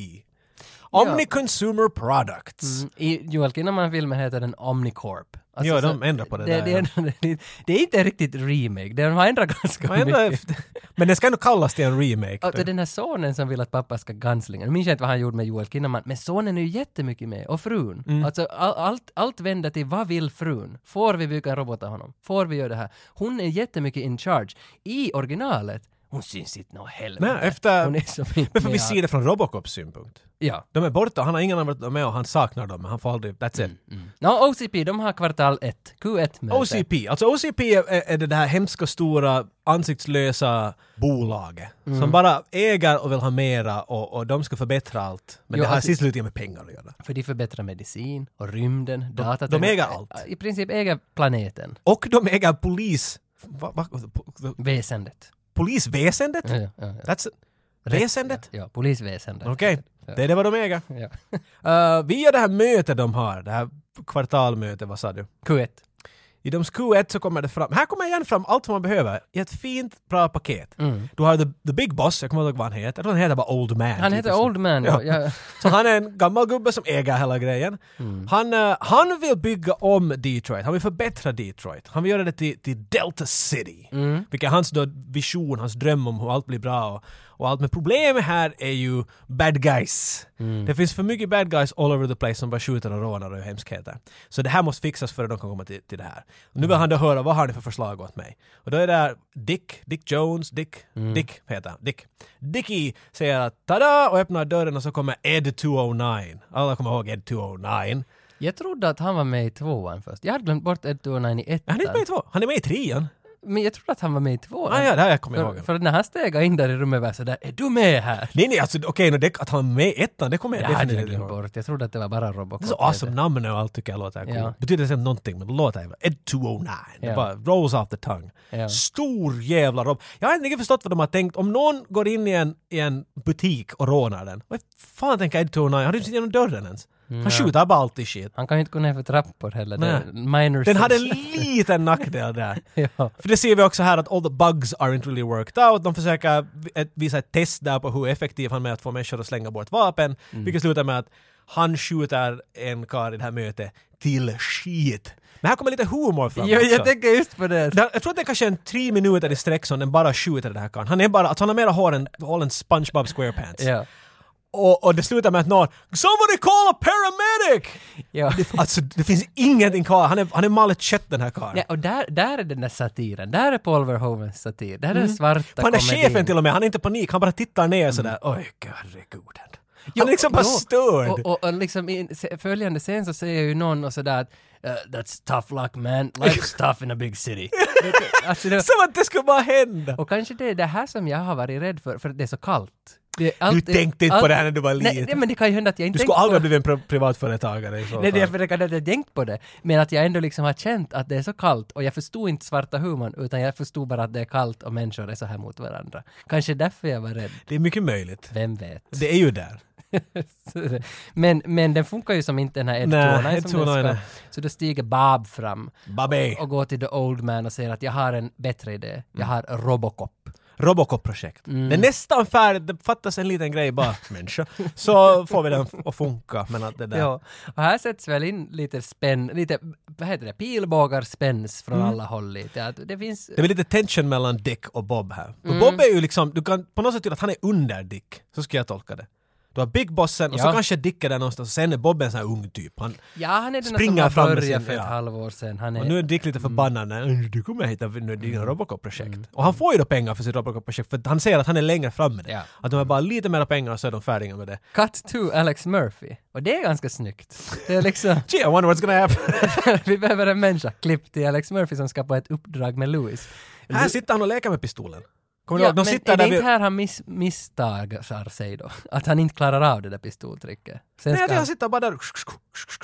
Speaker 2: Omni-Consumer Products.
Speaker 1: I Joel Kinnaman-filmen heter den Omnicorp. Alltså,
Speaker 2: Ja,
Speaker 1: så-
Speaker 2: de ändrar på det
Speaker 1: det,
Speaker 2: där,
Speaker 1: Det,
Speaker 2: ja.
Speaker 1: är- det, är- det är inte riktigt remake, de har ändrat ganska
Speaker 2: Man ändrar
Speaker 1: mycket.
Speaker 2: efter- men det ska nog kallas till en remake. typ.
Speaker 1: Och den här sonen som vill att pappa ska gunslinga, nu minns jag inte vad han gjorde med Joel Kinnaman, men sonen är ju jättemycket med, och frun.
Speaker 2: Mm.
Speaker 1: Alltså all, allt, allt vänder till vad vill frun? Får vi bygga en robot av honom? Får vi göra det här? Hon är jättemycket in charge. I originalet, hon syns inte nå helvete.
Speaker 2: Nej, efter-
Speaker 1: Hon är som inte
Speaker 2: men för vi
Speaker 1: med
Speaker 2: ser det från Robocops synpunkt.
Speaker 1: Ja.
Speaker 2: De är borta, han har ingen annan varit med och han saknar dem men han får aldrig... That's
Speaker 1: Mm,
Speaker 2: it.
Speaker 1: No, OCP, de har kvartal 1, Q1-möte.
Speaker 2: OCP, alltså OCP är, är det här hemska stora ansiktslösa bolaget
Speaker 1: Mm.
Speaker 2: som bara äger och vill ha mera och, och de ska förbättra allt. Men
Speaker 1: Jo,
Speaker 2: det har
Speaker 1: alltså-
Speaker 2: sist slutligen med pengar att göra.
Speaker 1: För de förbättrar medicin och rymden, data.
Speaker 2: de äger allt.
Speaker 1: I princip äger planeten,
Speaker 2: Och de äger polis... Va, va, po-
Speaker 1: väsendet.
Speaker 2: polisväsendet?
Speaker 1: Ja, ja, ja.
Speaker 2: That's it. Väsendet?
Speaker 1: Ja, polisväsendet.
Speaker 2: Okej,
Speaker 1: Ja.
Speaker 2: det är det vad de äger. Eh,
Speaker 1: Ja.
Speaker 2: Uh, via det här mötet de har, det här kvartalmötet, vad sa du?
Speaker 1: Q1.
Speaker 2: I de sko ett så kommer det fram, här kommer igen fram allt vad man behöver i ett fint, bra paket.
Speaker 1: Mm.
Speaker 2: Du har the, the Big Boss, jag kommer inte ihåg vad han heter, jag tror han heter bara Old Man.
Speaker 1: Han heter
Speaker 2: typ.
Speaker 1: Old Man. Ja. Ja. Mm.
Speaker 2: Så han är en gammal gubbe som äger hela grejen. Han, eh, han vill bygga om Detroit, han vill förbättra Detroit. Han vill göra det till, till Delta City.
Speaker 1: Mm.
Speaker 2: Vilket är hans då vision, hans dröm om hur allt blir bra och, och allt. Men problemet här är ju bad guys.
Speaker 1: Mm.
Speaker 2: Det finns för mycket bad guys all over the place som bara skjuter och rånar och gör hemskheter. Så det här måste fixas före de kan komma till, till det här. Nu
Speaker 1: Mm.
Speaker 2: vill han då höra, vad har ni för förslag åt mig? Och då är det här Dick, Dick Jones, Dick,
Speaker 1: Mm.
Speaker 2: Dick heter han, Dick. Dickie säger att tada och öppnar dörren och så kommer Ed 209. Alla kommer ihåg Ed 209.
Speaker 1: Jag trodde att han var med i tvåan först. Jag hade glömt bort Ed 209 i
Speaker 2: Han är inte med i
Speaker 1: ettan.
Speaker 2: två, han är med i trean.
Speaker 1: Men jag trodde att han var med i tvåan.
Speaker 2: Ah, ja, det här kommer jag
Speaker 1: för,
Speaker 2: ihåg.
Speaker 1: för när han steg in där i rummet var jag sådär, är du med här?
Speaker 2: Nej, nej, alltså okej, okay, att han är med i ettan, det kommer
Speaker 1: Det
Speaker 2: jag
Speaker 1: hade jag
Speaker 2: definitivt
Speaker 1: glömt
Speaker 2: ihåg.
Speaker 1: bort. Jag trodde att det var bara Robocop.
Speaker 2: Det är så awesome namn och allt tycker jag låter coolt.
Speaker 1: Ja.
Speaker 2: Betyder inte någonting men det låter jävla... Ed 209.
Speaker 1: Ja.
Speaker 2: Det bara rolls off the tongue.
Speaker 1: Ja.
Speaker 2: Stor jävla rob. Jag har inte riktigt förstått vad de har tänkt. Om någon går in i en, i en butik och rånar den. Vad fan tänker Ed 209? Han oh har inte sett genom dörren ens. Han skjuter bara alltid shit.
Speaker 1: Han kan ju inte gå ner för trappor heller. Det är
Speaker 2: Nej.
Speaker 1: minor
Speaker 2: Den hade en
Speaker 1: sin-
Speaker 2: liten nackdel där.
Speaker 1: Ja.
Speaker 2: För det ser vi också här att all the bugs aren't really worked out. De försöker vi- ett- visa ett test där på hur effektiv han är med att få människor att slänga bort vapen.
Speaker 1: Mm.
Speaker 2: Vilket slutar med att han skjuter en karl i det här mötet till skit. Men här kommer lite humor fram
Speaker 1: Jo,
Speaker 2: också.
Speaker 1: jag tänker just på det.
Speaker 2: Där- Jag tror att det är kanske är en tre minuter i sträck som den bara skjuter den här karln. Han är bara, alltså han har mera hår än, håll en SpongeBob SquarePants.
Speaker 1: Ja.
Speaker 2: Och, och det slutar med att någon “Somebody call a paramedic!”
Speaker 1: Ja.
Speaker 2: Alltså det finns ingenting kvar. Han är, han är malet kött den här karln.
Speaker 1: Nej, och där, där är den där satiren. Där är Paul Verhoevens satir. Där är den svarta
Speaker 2: Mm. Fan, den där
Speaker 1: komedin.
Speaker 2: chefen till och med, han är inte i panik, han bara tittar ner
Speaker 1: Mm.
Speaker 2: sådär. Oj, herregud. Han
Speaker 1: Jo,
Speaker 2: är liksom bara
Speaker 1: jo.
Speaker 2: störd.
Speaker 1: Och, och, och liksom i se- följande scen så säger ju någon och sådär att "Eh, “That's tough luck man, life's tough in a big city”. Vet du, alltså det,
Speaker 2: Som att det skulle bara hända.
Speaker 1: och kanske det är det här som jag har varit rädd för, för att det är så kallt. Det är
Speaker 2: Du
Speaker 1: allt-
Speaker 2: tänkte inte på
Speaker 1: allt-
Speaker 2: det här när du var
Speaker 1: Nej,
Speaker 2: liten.
Speaker 1: nej, men det kan ju hända att jag inte
Speaker 2: Du skulle
Speaker 1: tänkte på
Speaker 2: aldrig ha
Speaker 1: det.
Speaker 2: blivit en pri- privatföretagare i så
Speaker 1: Nej, det är
Speaker 2: fall.
Speaker 1: för att jag hade tänkt på det. Men att jag ändå liksom har känt att det är så kallt och jag förstod inte svarta humorn utan jag förstod bara att det är kallt och människor är så här mot varandra. Kanske därför jag var rädd.
Speaker 2: Det är mycket möjligt.
Speaker 1: Vem vet?
Speaker 2: Det är ju där.
Speaker 1: men, men den funkar ju som inte den här Ed
Speaker 2: Nej,
Speaker 1: Tornay
Speaker 2: Ed
Speaker 1: som den
Speaker 2: Tornay,
Speaker 1: ska.
Speaker 2: nej.
Speaker 1: Så då stiger Bob fram
Speaker 2: Babé.
Speaker 1: och går till The Old Man och säger att jag har en bättre idé.
Speaker 2: Mm.
Speaker 1: Jag har Robocop.
Speaker 2: Robocop-projekt.
Speaker 1: Mm.
Speaker 2: Det är nästan färdigt, det fattas en liten grej bara. Människa. Så får vi den f- att funka. Men att det där.
Speaker 1: Ja, och här sätts väl in lite spänn, lite, vad heter det, pilbågar spänns från
Speaker 2: Mm.
Speaker 1: alla håll lite. Att det finns...
Speaker 2: Det blir lite tension mellan Dick och Bob här.
Speaker 1: Mm.
Speaker 2: För Bob är ju liksom, du kan på något sätt tyda att han är under Dick. Så ska jag tolka det. Du har Big Bossen och så
Speaker 1: Ja.
Speaker 2: kanske Dick är där någonstans och sen är Bob en sån här ung typ. Han,
Speaker 1: Ja, han är den som
Speaker 2: Springa
Speaker 1: har
Speaker 2: fram med
Speaker 1: börjat
Speaker 2: sin-
Speaker 1: för ett
Speaker 2: ja.
Speaker 1: halvår sedan. Han är,
Speaker 2: och nu är Dick lite förbannad när "Mm, du kommer hitta nu dina
Speaker 1: Mm.
Speaker 2: Robocop-projekt. Och han får ju då pengar för sitt Robocop-projekt för att han säger att han är längre fram med det.
Speaker 1: Ja.
Speaker 2: Att de har bara lite mera pengar och så är de färdiga med det.
Speaker 1: Cut to Alex Murphy. Och det är ganska snyggt. Det är liksom,
Speaker 2: Gee, I wonder what's gonna happen.
Speaker 1: vi behöver en människa. Klipp till Alex Murphy som ska på ett uppdrag med Louis.
Speaker 2: här sitter han och leker med pistolen. Kommer du
Speaker 1: Ja,
Speaker 2: ihåg?
Speaker 1: men
Speaker 2: De sitter
Speaker 1: är det
Speaker 2: där
Speaker 1: inte
Speaker 2: vid...
Speaker 1: här han miss, misstagar sig då? Att han inte klarar av det där pistoltricket? Sen
Speaker 2: Nej, jag
Speaker 1: ska
Speaker 2: tror han
Speaker 1: han,
Speaker 2: sitter bara där.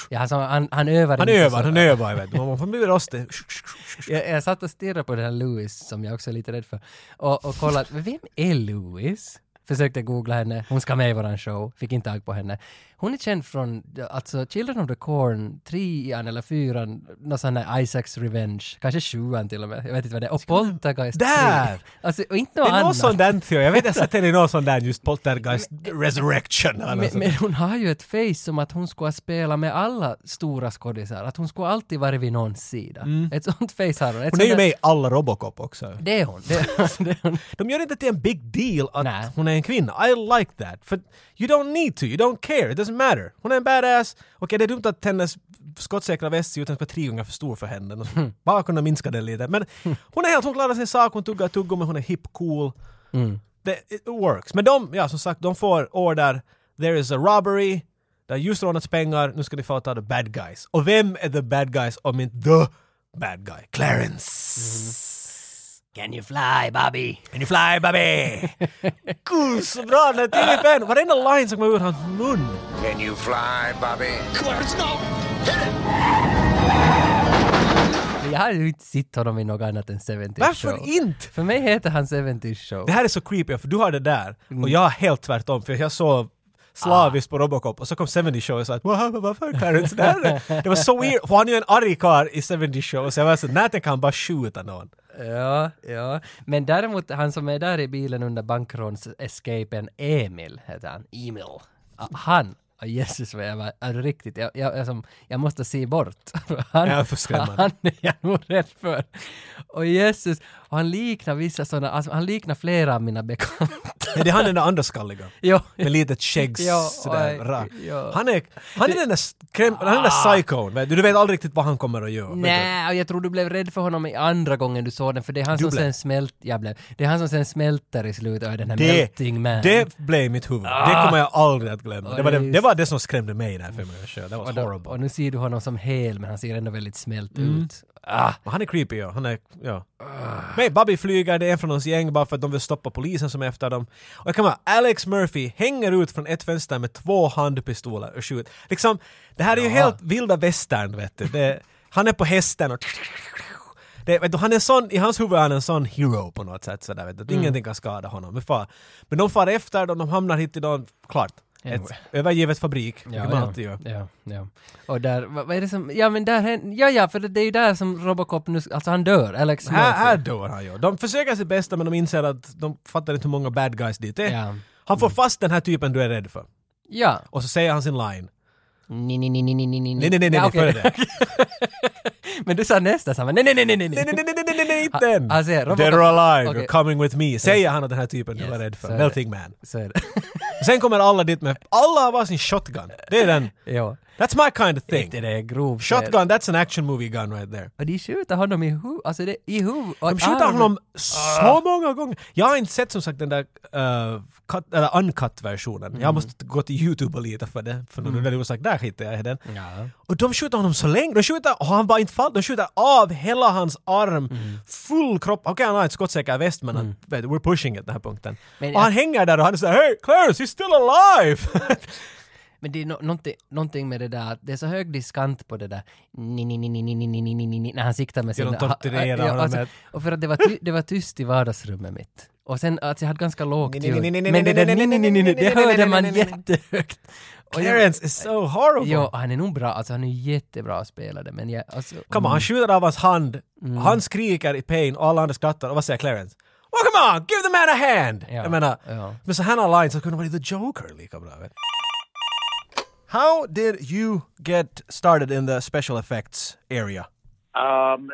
Speaker 1: ja, alltså, han, han övar
Speaker 2: Han
Speaker 1: inte
Speaker 2: övar,
Speaker 1: så-
Speaker 2: han övar, jag vet Man får bli rostig.
Speaker 1: Jag, jag satt och stirrade på den här Louis som jag också är lite rädd för och, och kollade, vem är Louis? Försökte googla henne, hon ska med i våran show, fick inte tag på henne. Hon är känd från alltså Children of the Corn, trean eller fyran, någon sån där Isaacs Revenge, kanske sjuan till och med, jag vet inte vad det är, och Poltergeist
Speaker 2: Där!
Speaker 1: 3. Alltså, och inte
Speaker 2: Det
Speaker 1: något
Speaker 2: är någon
Speaker 1: annat.
Speaker 2: sån där, tror jag. Jag vet inte, att det är någon sån där just Poltergeist Resurrection. eller
Speaker 1: Men,
Speaker 2: något sånt.
Speaker 1: men hon har ju ett face som att hon skulle ha spelat med alla stora skådisar, att hon skulle alltid varit vid någons sida. Ett sånt face har hon. Ett
Speaker 2: Mm. Hon är ju
Speaker 1: sånt-
Speaker 2: med i alla szóval. Robocop också.
Speaker 1: Det är hon. Det, det är hon.
Speaker 2: De gör inte till en big deal att
Speaker 1: Nej.
Speaker 2: hon är en kvinna. I like that. För you don't need to, you don't care, it doesn't matter. Hon är en badass. Okej, det är dumt att hennes skottsäkra väst ser ut att vara tre gånger för stor för henne. De skulle Bara kunna minska den lite. Men hon är helt, hon klarar sin sak, hon tuggar tuggummi, hon är hip, cool. Det it works. Men de, ja som sagt, de får order. There is a robbery. Det har just rånats pengar, nu ska ni få ta the bad guys. Och vem är the bad guys om inte the bad guy? Clarence!
Speaker 1: Can you fly, Bobby?
Speaker 2: And you fly baby! Gud så bra den här tv Varenda line som kommer ur hans mun!
Speaker 8: Can you fly, Bobby?
Speaker 1: Men Jag har ju inte sett honom i något annat än 70
Speaker 2: Varför
Speaker 1: show.
Speaker 2: inte?
Speaker 1: För mig heter han 70 show.
Speaker 2: Mm. Det här är så creepy för du har det där och jag har helt tvärtom för jag såg slaviskt på Robocop och så kom 70 Show och sa att "Wow, varför är Clarence där? det var så weird, för han är ju en arg karl i 70 Show så jag var så när tänker han bara skjuta någon?
Speaker 1: Ja, ja. Men däremot han som är där i bilen under bankråns-escapen, Emil heter han. Emil. Ah, Han. ah, Jesus vad jag var, ah, riktigt, jag, jag, jag, som, jag måste se bort. Han,
Speaker 2: Ja, för skrämmande.
Speaker 1: han är jag nog rädd för. Och Jesus, och han liknar vissa sådana, alltså, han liknar flera av mina bekanta.
Speaker 2: Men det är han den där underskalliga.
Speaker 1: jo,
Speaker 2: Med litet skägg
Speaker 1: Ja,
Speaker 2: sådär
Speaker 1: oj,
Speaker 2: rakt.
Speaker 1: ja.
Speaker 2: Han är, han är den där skräm, han är den där psykon. vet Du Du vet aldrig riktigt vad han kommer att göra. vet du.
Speaker 1: Nej, och jag tror du blev rädd för honom i andra gången du såg den, för det är han
Speaker 2: Du
Speaker 1: som
Speaker 2: blev.
Speaker 1: sen smält, jag blev, det är han som sen smälter i slutet och är den här
Speaker 2: Det,
Speaker 1: melting man. Ah.
Speaker 2: det blev mitt huvud. Det kommer jag aldrig att glömma. Det var det,
Speaker 1: Oj.
Speaker 2: det var det som skrämde mig i den här filmen. jag kör. Det var
Speaker 1: Och, då,
Speaker 2: horrible.
Speaker 1: och nu ser du honom som hel, men han ser ändå väldigt smält ut. Ah,
Speaker 2: Men han är creepy ja. Han är, ja. Men Bobby flyger, det är en från hans gäng bara för att de vill stoppa polisen som är efter dem. Och jag kan vara, Alex Murphy hänger ut från ett fönster med två handpistoler och skjuter. Liksom, det här är ju helt vilda västern vet du. Det, han är på hästen och det, vet du, han är sån, i hans huvud är han en sån hero på något sätt sådär vet
Speaker 1: Mm.
Speaker 2: du. Att Ingenting kan skada honom. Men, far. men de far efter dem, de hamnar hit till dem, klart.
Speaker 1: Anyway.
Speaker 2: Ett övergivet fabrik, vilket man alltid gör.
Speaker 1: ja, ja. Och där, vad, vad är det som, ja men där hän- ja ja, för det, det är ju där som Robocop nu, alltså han dör, Alex Murphy.
Speaker 2: Här, här dör han ju. De försöker sitt bästa men de inser att de fattar inte hur många bad guys dit är.
Speaker 1: Ja.
Speaker 2: Han får fast den här typen du är rädd för.
Speaker 1: Ja.
Speaker 2: Och så säger han sin line.
Speaker 1: Nej, nej, nej, nej, nej, nej, nej.
Speaker 2: Nej, nej, nej, nej,
Speaker 1: Ja,
Speaker 2: nej,
Speaker 1: okej.
Speaker 2: före det.
Speaker 1: Men du sa nästa samma, nej, nej, nej, nej, nej,
Speaker 2: Nej, nej, nej, nej, nej, nej, nej, inte den!
Speaker 1: Han- han säger, Robocop-
Speaker 2: They're alive,
Speaker 1: Okej.
Speaker 2: you're coming with me. Säger han att den här typen du
Speaker 1: Yes,
Speaker 2: var rädd
Speaker 1: så
Speaker 2: för.
Speaker 1: är
Speaker 2: Melting man.
Speaker 1: Så är det.
Speaker 2: Sen kommer alla dit med, alla har varsin shotgun. Det är den.
Speaker 1: ja.
Speaker 2: That's my kind of
Speaker 1: Inte
Speaker 2: thing.
Speaker 1: det är grov
Speaker 2: Shotgun, that's an action movie gun right there.
Speaker 1: Och de skjuter honom i huvudet, alltså det, i huvudet. och
Speaker 2: De skjuter
Speaker 1: armen.
Speaker 2: honom
Speaker 1: Ah.
Speaker 2: så många gånger. Jag har inte sett som sagt den där eh, cut, eller uncut-versionen.
Speaker 1: Mm.
Speaker 2: Jag måste gå till YouTube och leta för det. För mm. de sagt, där hittade jag den.
Speaker 1: Ja.
Speaker 2: Och de skjuter honom så länge. De skjuter, och han bara inte faller. De skjuter av hela hans arm.
Speaker 1: Mm.
Speaker 2: Full kropp. Okej, han har ett skottsäker väst men han, vet, we're pushing it den här punkten.
Speaker 1: Men
Speaker 2: och han hänger där och han säger Hey Clarence, he's still alive!
Speaker 1: Men det är no- någonting, någonting med det där, att det är så hög diskant på det där ni, ni, ni, ni, ni, ni, ni, ni, ni, ni, ni, när han siktar med
Speaker 2: Ja,
Speaker 1: sin...
Speaker 2: de torturerar
Speaker 1: Ja,
Speaker 2: honom
Speaker 1: alltså,
Speaker 2: med-
Speaker 1: Och för att det var, ty, det var tyst i vardagsrummet mitt. Och sen att alltså, jag hade ganska lågt
Speaker 2: Ni, ni,
Speaker 1: ljud.
Speaker 2: ni, ni, ni,
Speaker 1: Men det där
Speaker 2: ni, ni,
Speaker 1: ni, ni, ni, ni, ni, det
Speaker 2: ni, ni,
Speaker 1: hörde
Speaker 2: ni,
Speaker 1: man
Speaker 2: ni, ni, ni.
Speaker 1: jättehögt. Och jag-
Speaker 2: Clarence is so horrible!
Speaker 1: Ja, han är nog bra, alltså han är jättebra spelare men jag... Alltså,
Speaker 2: Come on, han skjuter av hans hand.
Speaker 1: Mm.
Speaker 2: Han skriker i pain och alla andra skrattar. Och vad säger Clarence? Oh come on, give the man a hand!
Speaker 1: Ja,
Speaker 2: Jag menar,
Speaker 1: ja.
Speaker 2: med sådana lines så kunde vara the Joker lika bra. Vet? How did you get started in the special effects area?
Speaker 6: Um,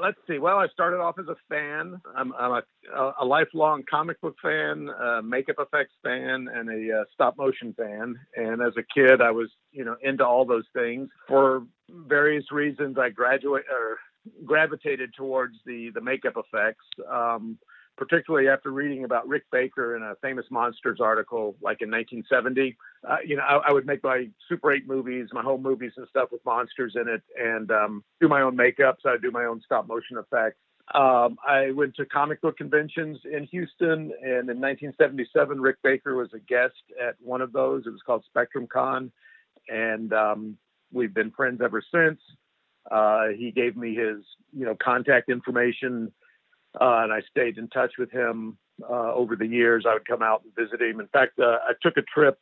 Speaker 6: let's see. Well, I started off as a fan. I'm, I'm a, a lifelong comic book fan, uh, makeup effects fan, and a uh, stop motion fan. And as a kid, I was you know into all those things. For various reasons, I graduate or gravitated towards the the makeup effects. Um, particularly after reading about Rick Baker in a famous monsters article, like in 1970, uh, you know, I, I would make my Super 8 movies, my home movies and stuff with monsters in it, and um, do my own makeups. I would do my own stop motion effects. Um, I went to comic book conventions in Houston, and in 1977, Rick Baker was a guest at one of those. It was called Spectrum Con, and um, we've been friends ever since. Uh, he gave me his, you know, contact information uh, and I stayed in touch with him uh, over the years. I would come out and visit him. In fact, uh, I took a trip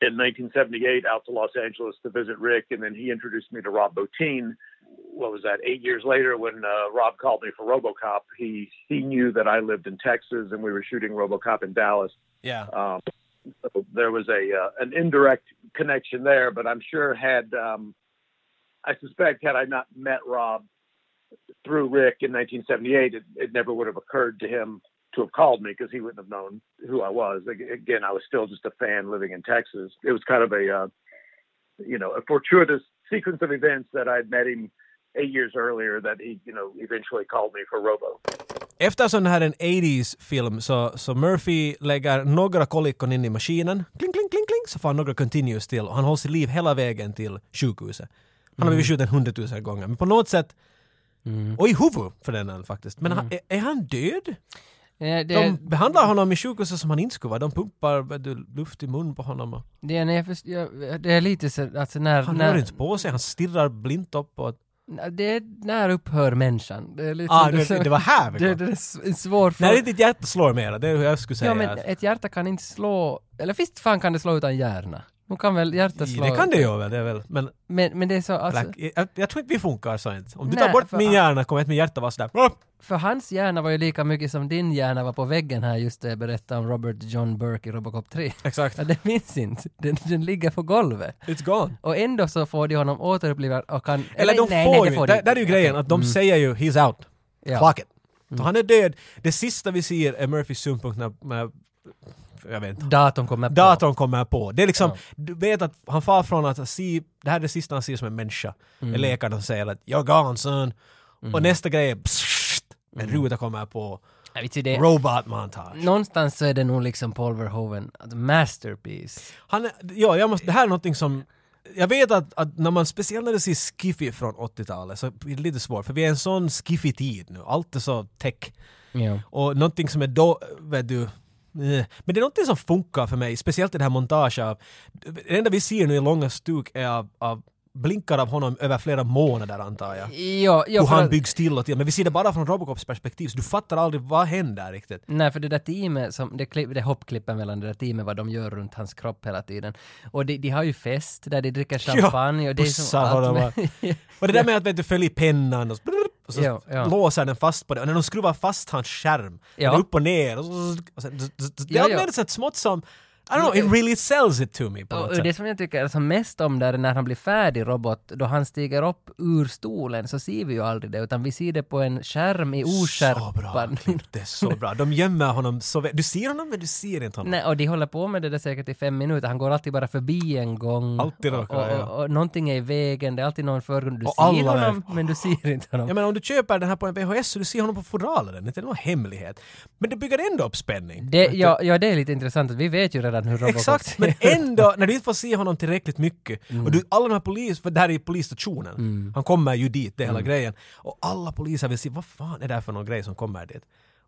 Speaker 6: in 1978 out to Los Angeles to visit Rick, and then he introduced me to Rob Bottin. What was that? Eight years later, when uh, Rob called me for RoboCop, he he knew that I lived in Texas and we were shooting RoboCop in Dallas.
Speaker 2: Yeah.
Speaker 6: Um, so there was a uh, an indirect connection there, but I'm sure had um, I suspect had I not met Rob through Rick in 1978, it, it never would have occurred to him to have called me because he wouldn't have known who I was. Ag- Again, I was still just a fan living in Texas. It was kind of a uh, you know a fortuitous sequence of events that I'd met him eight years earlier that he you know eventually called me for Robo.
Speaker 2: Eftersom det här är en 80s-film så, så Murphy lägger några kollikon in i maskinen. Kling, kling, kling, kling. Så får han några continues till och han hålls i liv hela vägen till sjukhuset. Han har blivit
Speaker 1: Mm.
Speaker 2: skjuten hundratusen gånger. Men på något sätt, och i huvudet för den delen faktiskt. Men han, är, är han död?
Speaker 1: Eh, Mm. det,
Speaker 2: De behandlar honom i sjukhuset som han inte skulle vara. De pumpar vet du, luft i mun på honom. och
Speaker 1: det, är- nej, jag först- jag- det är lite så, alltså när...
Speaker 2: Han
Speaker 1: när,
Speaker 2: rör inte på sig, han stirrar blint uppåt.
Speaker 1: Nä, Det är när upphör människan? Det, är liksom,
Speaker 2: Ah, det, det var här vi
Speaker 1: det,
Speaker 2: kom.
Speaker 1: det är en s- en svår
Speaker 2: När
Speaker 1: fråga.
Speaker 2: ditt hjärta slår mera, det är hur jag skulle säga.
Speaker 1: Ja, men
Speaker 2: att-
Speaker 1: ett hjärta kan inte slå... Eller visst fan kan det slå utan hjärna? Nu kan väl hjärta slå...
Speaker 2: det kan det ju väl, det är väl. Men
Speaker 1: Men, men det är så... Alltså,
Speaker 2: Black, jag, jag tror inte vi funkar så inte. Om du
Speaker 1: Nej,
Speaker 2: tar bort
Speaker 1: för-
Speaker 2: min hjärna kommer inte min hjärta vara sådär. "Åh!"
Speaker 1: för hans hjärna var ju lika mycket som din hjärna var på väggen här just det jag berättade om Robert John Burke i Robocop 3.
Speaker 2: Exakt.
Speaker 1: Ja, det minns inte. Den, den ligger på golvet.
Speaker 2: It's gone.
Speaker 1: Och ändå så får de honom återuppliva och kan...
Speaker 2: Eller, de
Speaker 1: nej,
Speaker 2: får
Speaker 1: nej, det
Speaker 2: ju,
Speaker 1: får de
Speaker 2: där,
Speaker 1: inte.
Speaker 2: där är ju grejen att de säger ju “He's out”.
Speaker 1: Ja. Mm.
Speaker 2: Clock it. Så han är död. Det sista vi ser är Murphys synpunkt när, när jag vet inte,
Speaker 1: Datorn kommer på.
Speaker 2: datorn kommer på. Det är liksom, du vet att han far från att se, det här är det sista han ser som en människa. Mm. Läkaren som säger att “You're gone son”.
Speaker 1: Mm.
Speaker 2: Och nästa grej är pssst, en ruta kommer på.
Speaker 1: Jag vet ju det.
Speaker 2: Robot montage.
Speaker 1: Någonstans så är det nog liksom Paul Verhoeven, alltså masterpiece.
Speaker 2: Han är, ja, jag måste, det här är någonting som... Jag vet att, att när man, speciellt när det ser skiffy från 80-talet så är det lite svårt för vi är i en sån skiffy tid nu. Allt är så tech.
Speaker 1: Ja.
Speaker 2: Och någonting som är då, vet du... eh. Men det är någonting som funkar för mig, speciellt i det här montaget av... Det enda vi ser nu i långa stuk är av, av blinkar av honom över flera månader antar jag.
Speaker 1: Ja, ja,
Speaker 2: Hur
Speaker 1: för
Speaker 2: han
Speaker 1: att-
Speaker 2: byggs till och till. Men vi ser det bara från Robocops perspektiv så du fattar aldrig vad händer riktigt.
Speaker 1: Nej, för det där teamet, som, det, klipp, det hoppklippen mellan det där teamet, vad de gör runt hans kropp hela tiden. Och de, de har ju fest där de dricker champagne och det är som
Speaker 2: pussar honom.
Speaker 1: med-
Speaker 2: Och det där med att vet du följer pennan och så, och så
Speaker 1: Ja, ja.
Speaker 2: låser den fast på det. Och när de skruvar fast hans skärm,
Speaker 1: Ja.
Speaker 2: den är upp och ner och, så, och sen, det
Speaker 1: Ja,
Speaker 2: är
Speaker 1: ja.
Speaker 2: allmänt sett smått som, I don't know, it really sells it to me på
Speaker 1: Och
Speaker 2: något
Speaker 1: och det
Speaker 2: sätt.
Speaker 1: som jag tycker är som mest om där är när han blir färdig robot, då han stiger upp ur stolen så ser vi ju aldrig det, utan vi ser det på en skärm i
Speaker 2: Så bra,
Speaker 1: oskärpan.
Speaker 2: Klipp, det är så bra. De gömmer honom så väl. Du ser honom men du ser inte honom.
Speaker 1: Nej, och de håller på med det där säkert i fem minuter. Han går alltid bara förbi en gång.
Speaker 2: Alltid råkar,
Speaker 1: och, och,
Speaker 2: ja.
Speaker 1: och, och någonting är i vägen, det är alltid någon i förgrunden. Du
Speaker 2: Och
Speaker 1: ser
Speaker 2: alla är-
Speaker 1: honom, men du ser inte honom.
Speaker 2: Jag menar om du köper den här på en VHS så du ser honom på fodralen, det är inte någon hemlighet. Men det bygger ändå upp spänning. Typ.
Speaker 1: Det, ja, ja, det är lite intressant. att Vi vet ju redan hur Robocop
Speaker 2: Exakt,
Speaker 1: ser
Speaker 2: men
Speaker 1: ut.
Speaker 2: ändå, när du inte får se honom tillräckligt mycket,
Speaker 1: Mm.
Speaker 2: och du, alla de här polis, för det här är ju polisstationen, han kommer ju dit, det är hela
Speaker 1: Mm.
Speaker 2: grejen, och alla poliser vill se, vad fan är det här för någon grej som kommer dit?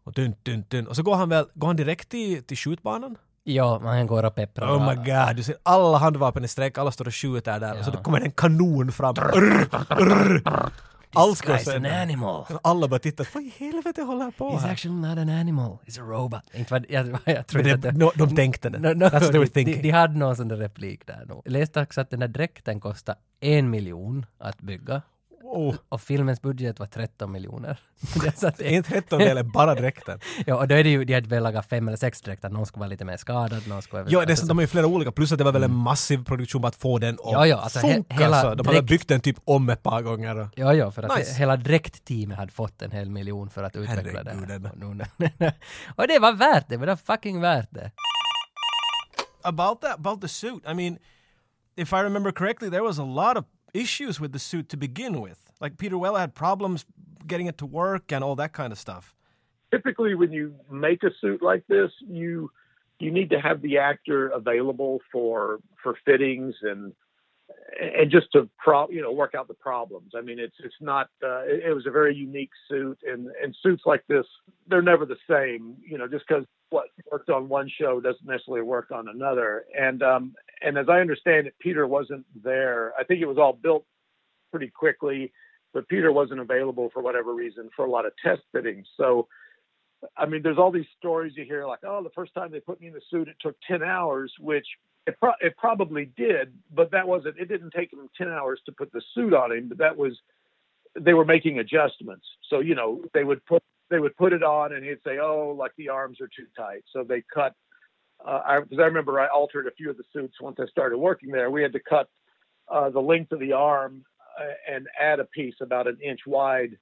Speaker 2: Och dun, dun, dun. Och så går han väl, går han direkt till, till skjutbanan?
Speaker 1: Ja, men han går och pepprar.
Speaker 2: Oh my god, du ser alla handvapen i sträck, alla står och skjuter där, och så då kommer en kanon fram. Rrr, rrr. Allt går
Speaker 1: Guy's an
Speaker 2: sönder.
Speaker 1: animal.
Speaker 2: Alla bara tittar, vad i helvete håller på
Speaker 1: He's
Speaker 2: här?
Speaker 1: actually not an animal. He's a robot. Inte vad jag, vad jag tror
Speaker 2: Men
Speaker 1: inte
Speaker 2: det,
Speaker 1: att det-
Speaker 2: no, de tänkte det.
Speaker 1: No, no,
Speaker 2: That's what they were
Speaker 1: de, de,
Speaker 2: thinking.
Speaker 1: de hade någon sån där replik där nog. Jag läste också att den där dräkten kostade en miljon att bygga.
Speaker 2: Oh,
Speaker 1: Och filmens budget var 13 miljoner. Det är så att-
Speaker 2: en trettondel är bara dräkten.
Speaker 1: ja, och då är det ju, de hade väl lagat fem eller sex dräkter. Någon skulle vara lite mer skadad, någon skulle...
Speaker 2: Ja, det är, sant, de har ju flera olika, plus att det var väl en massiv produktion bara att få den att
Speaker 1: Alltså- Mm. Ja, ja, alltså he-
Speaker 2: funka
Speaker 1: hela
Speaker 2: så. De hade
Speaker 1: direkt-
Speaker 2: byggt den typ om ett par gånger. och-
Speaker 1: Ja, ja, för att
Speaker 2: Nice.
Speaker 1: he- hela dräktteamet hade fått en hel miljon för att utveckla det
Speaker 2: Herreguden.
Speaker 1: här. Och nu- Och det var värt det, men det var fucking värt det.
Speaker 2: About that, about the suit, I mean, if I remember correctly there was a lot of issues with the suit to begin with. Like Peter Weller had problems getting it to work and all that kind of stuff.
Speaker 6: typically when you make a suit like this you you need to have the actor available for for fittings and and just to pro you know work out the problems i mean it's it's not uh, it, it was a very unique suit and and suits like this they're never the same you know just because what worked on one show doesn't necessarily work on another and um and as i understand it peter wasn't there i think it was all built pretty quickly but peter wasn't available for whatever reason for a lot of test fittings so I mean, there's all these stories you hear like, oh, the first time they put me in the suit, it took 10 hours, which it, pro- it probably did, but that wasn't, it didn't take them 10 hours to put the suit on him, but that was, they were making adjustments. So, you know, they would put, they would put it on and he'd say, oh, like the arms are too tight. So they cut, because uh, I, 'cause I remember I altered a few of the suits once I started working there. We had to cut uh, the length of the arm uh, and add a piece about an inch wide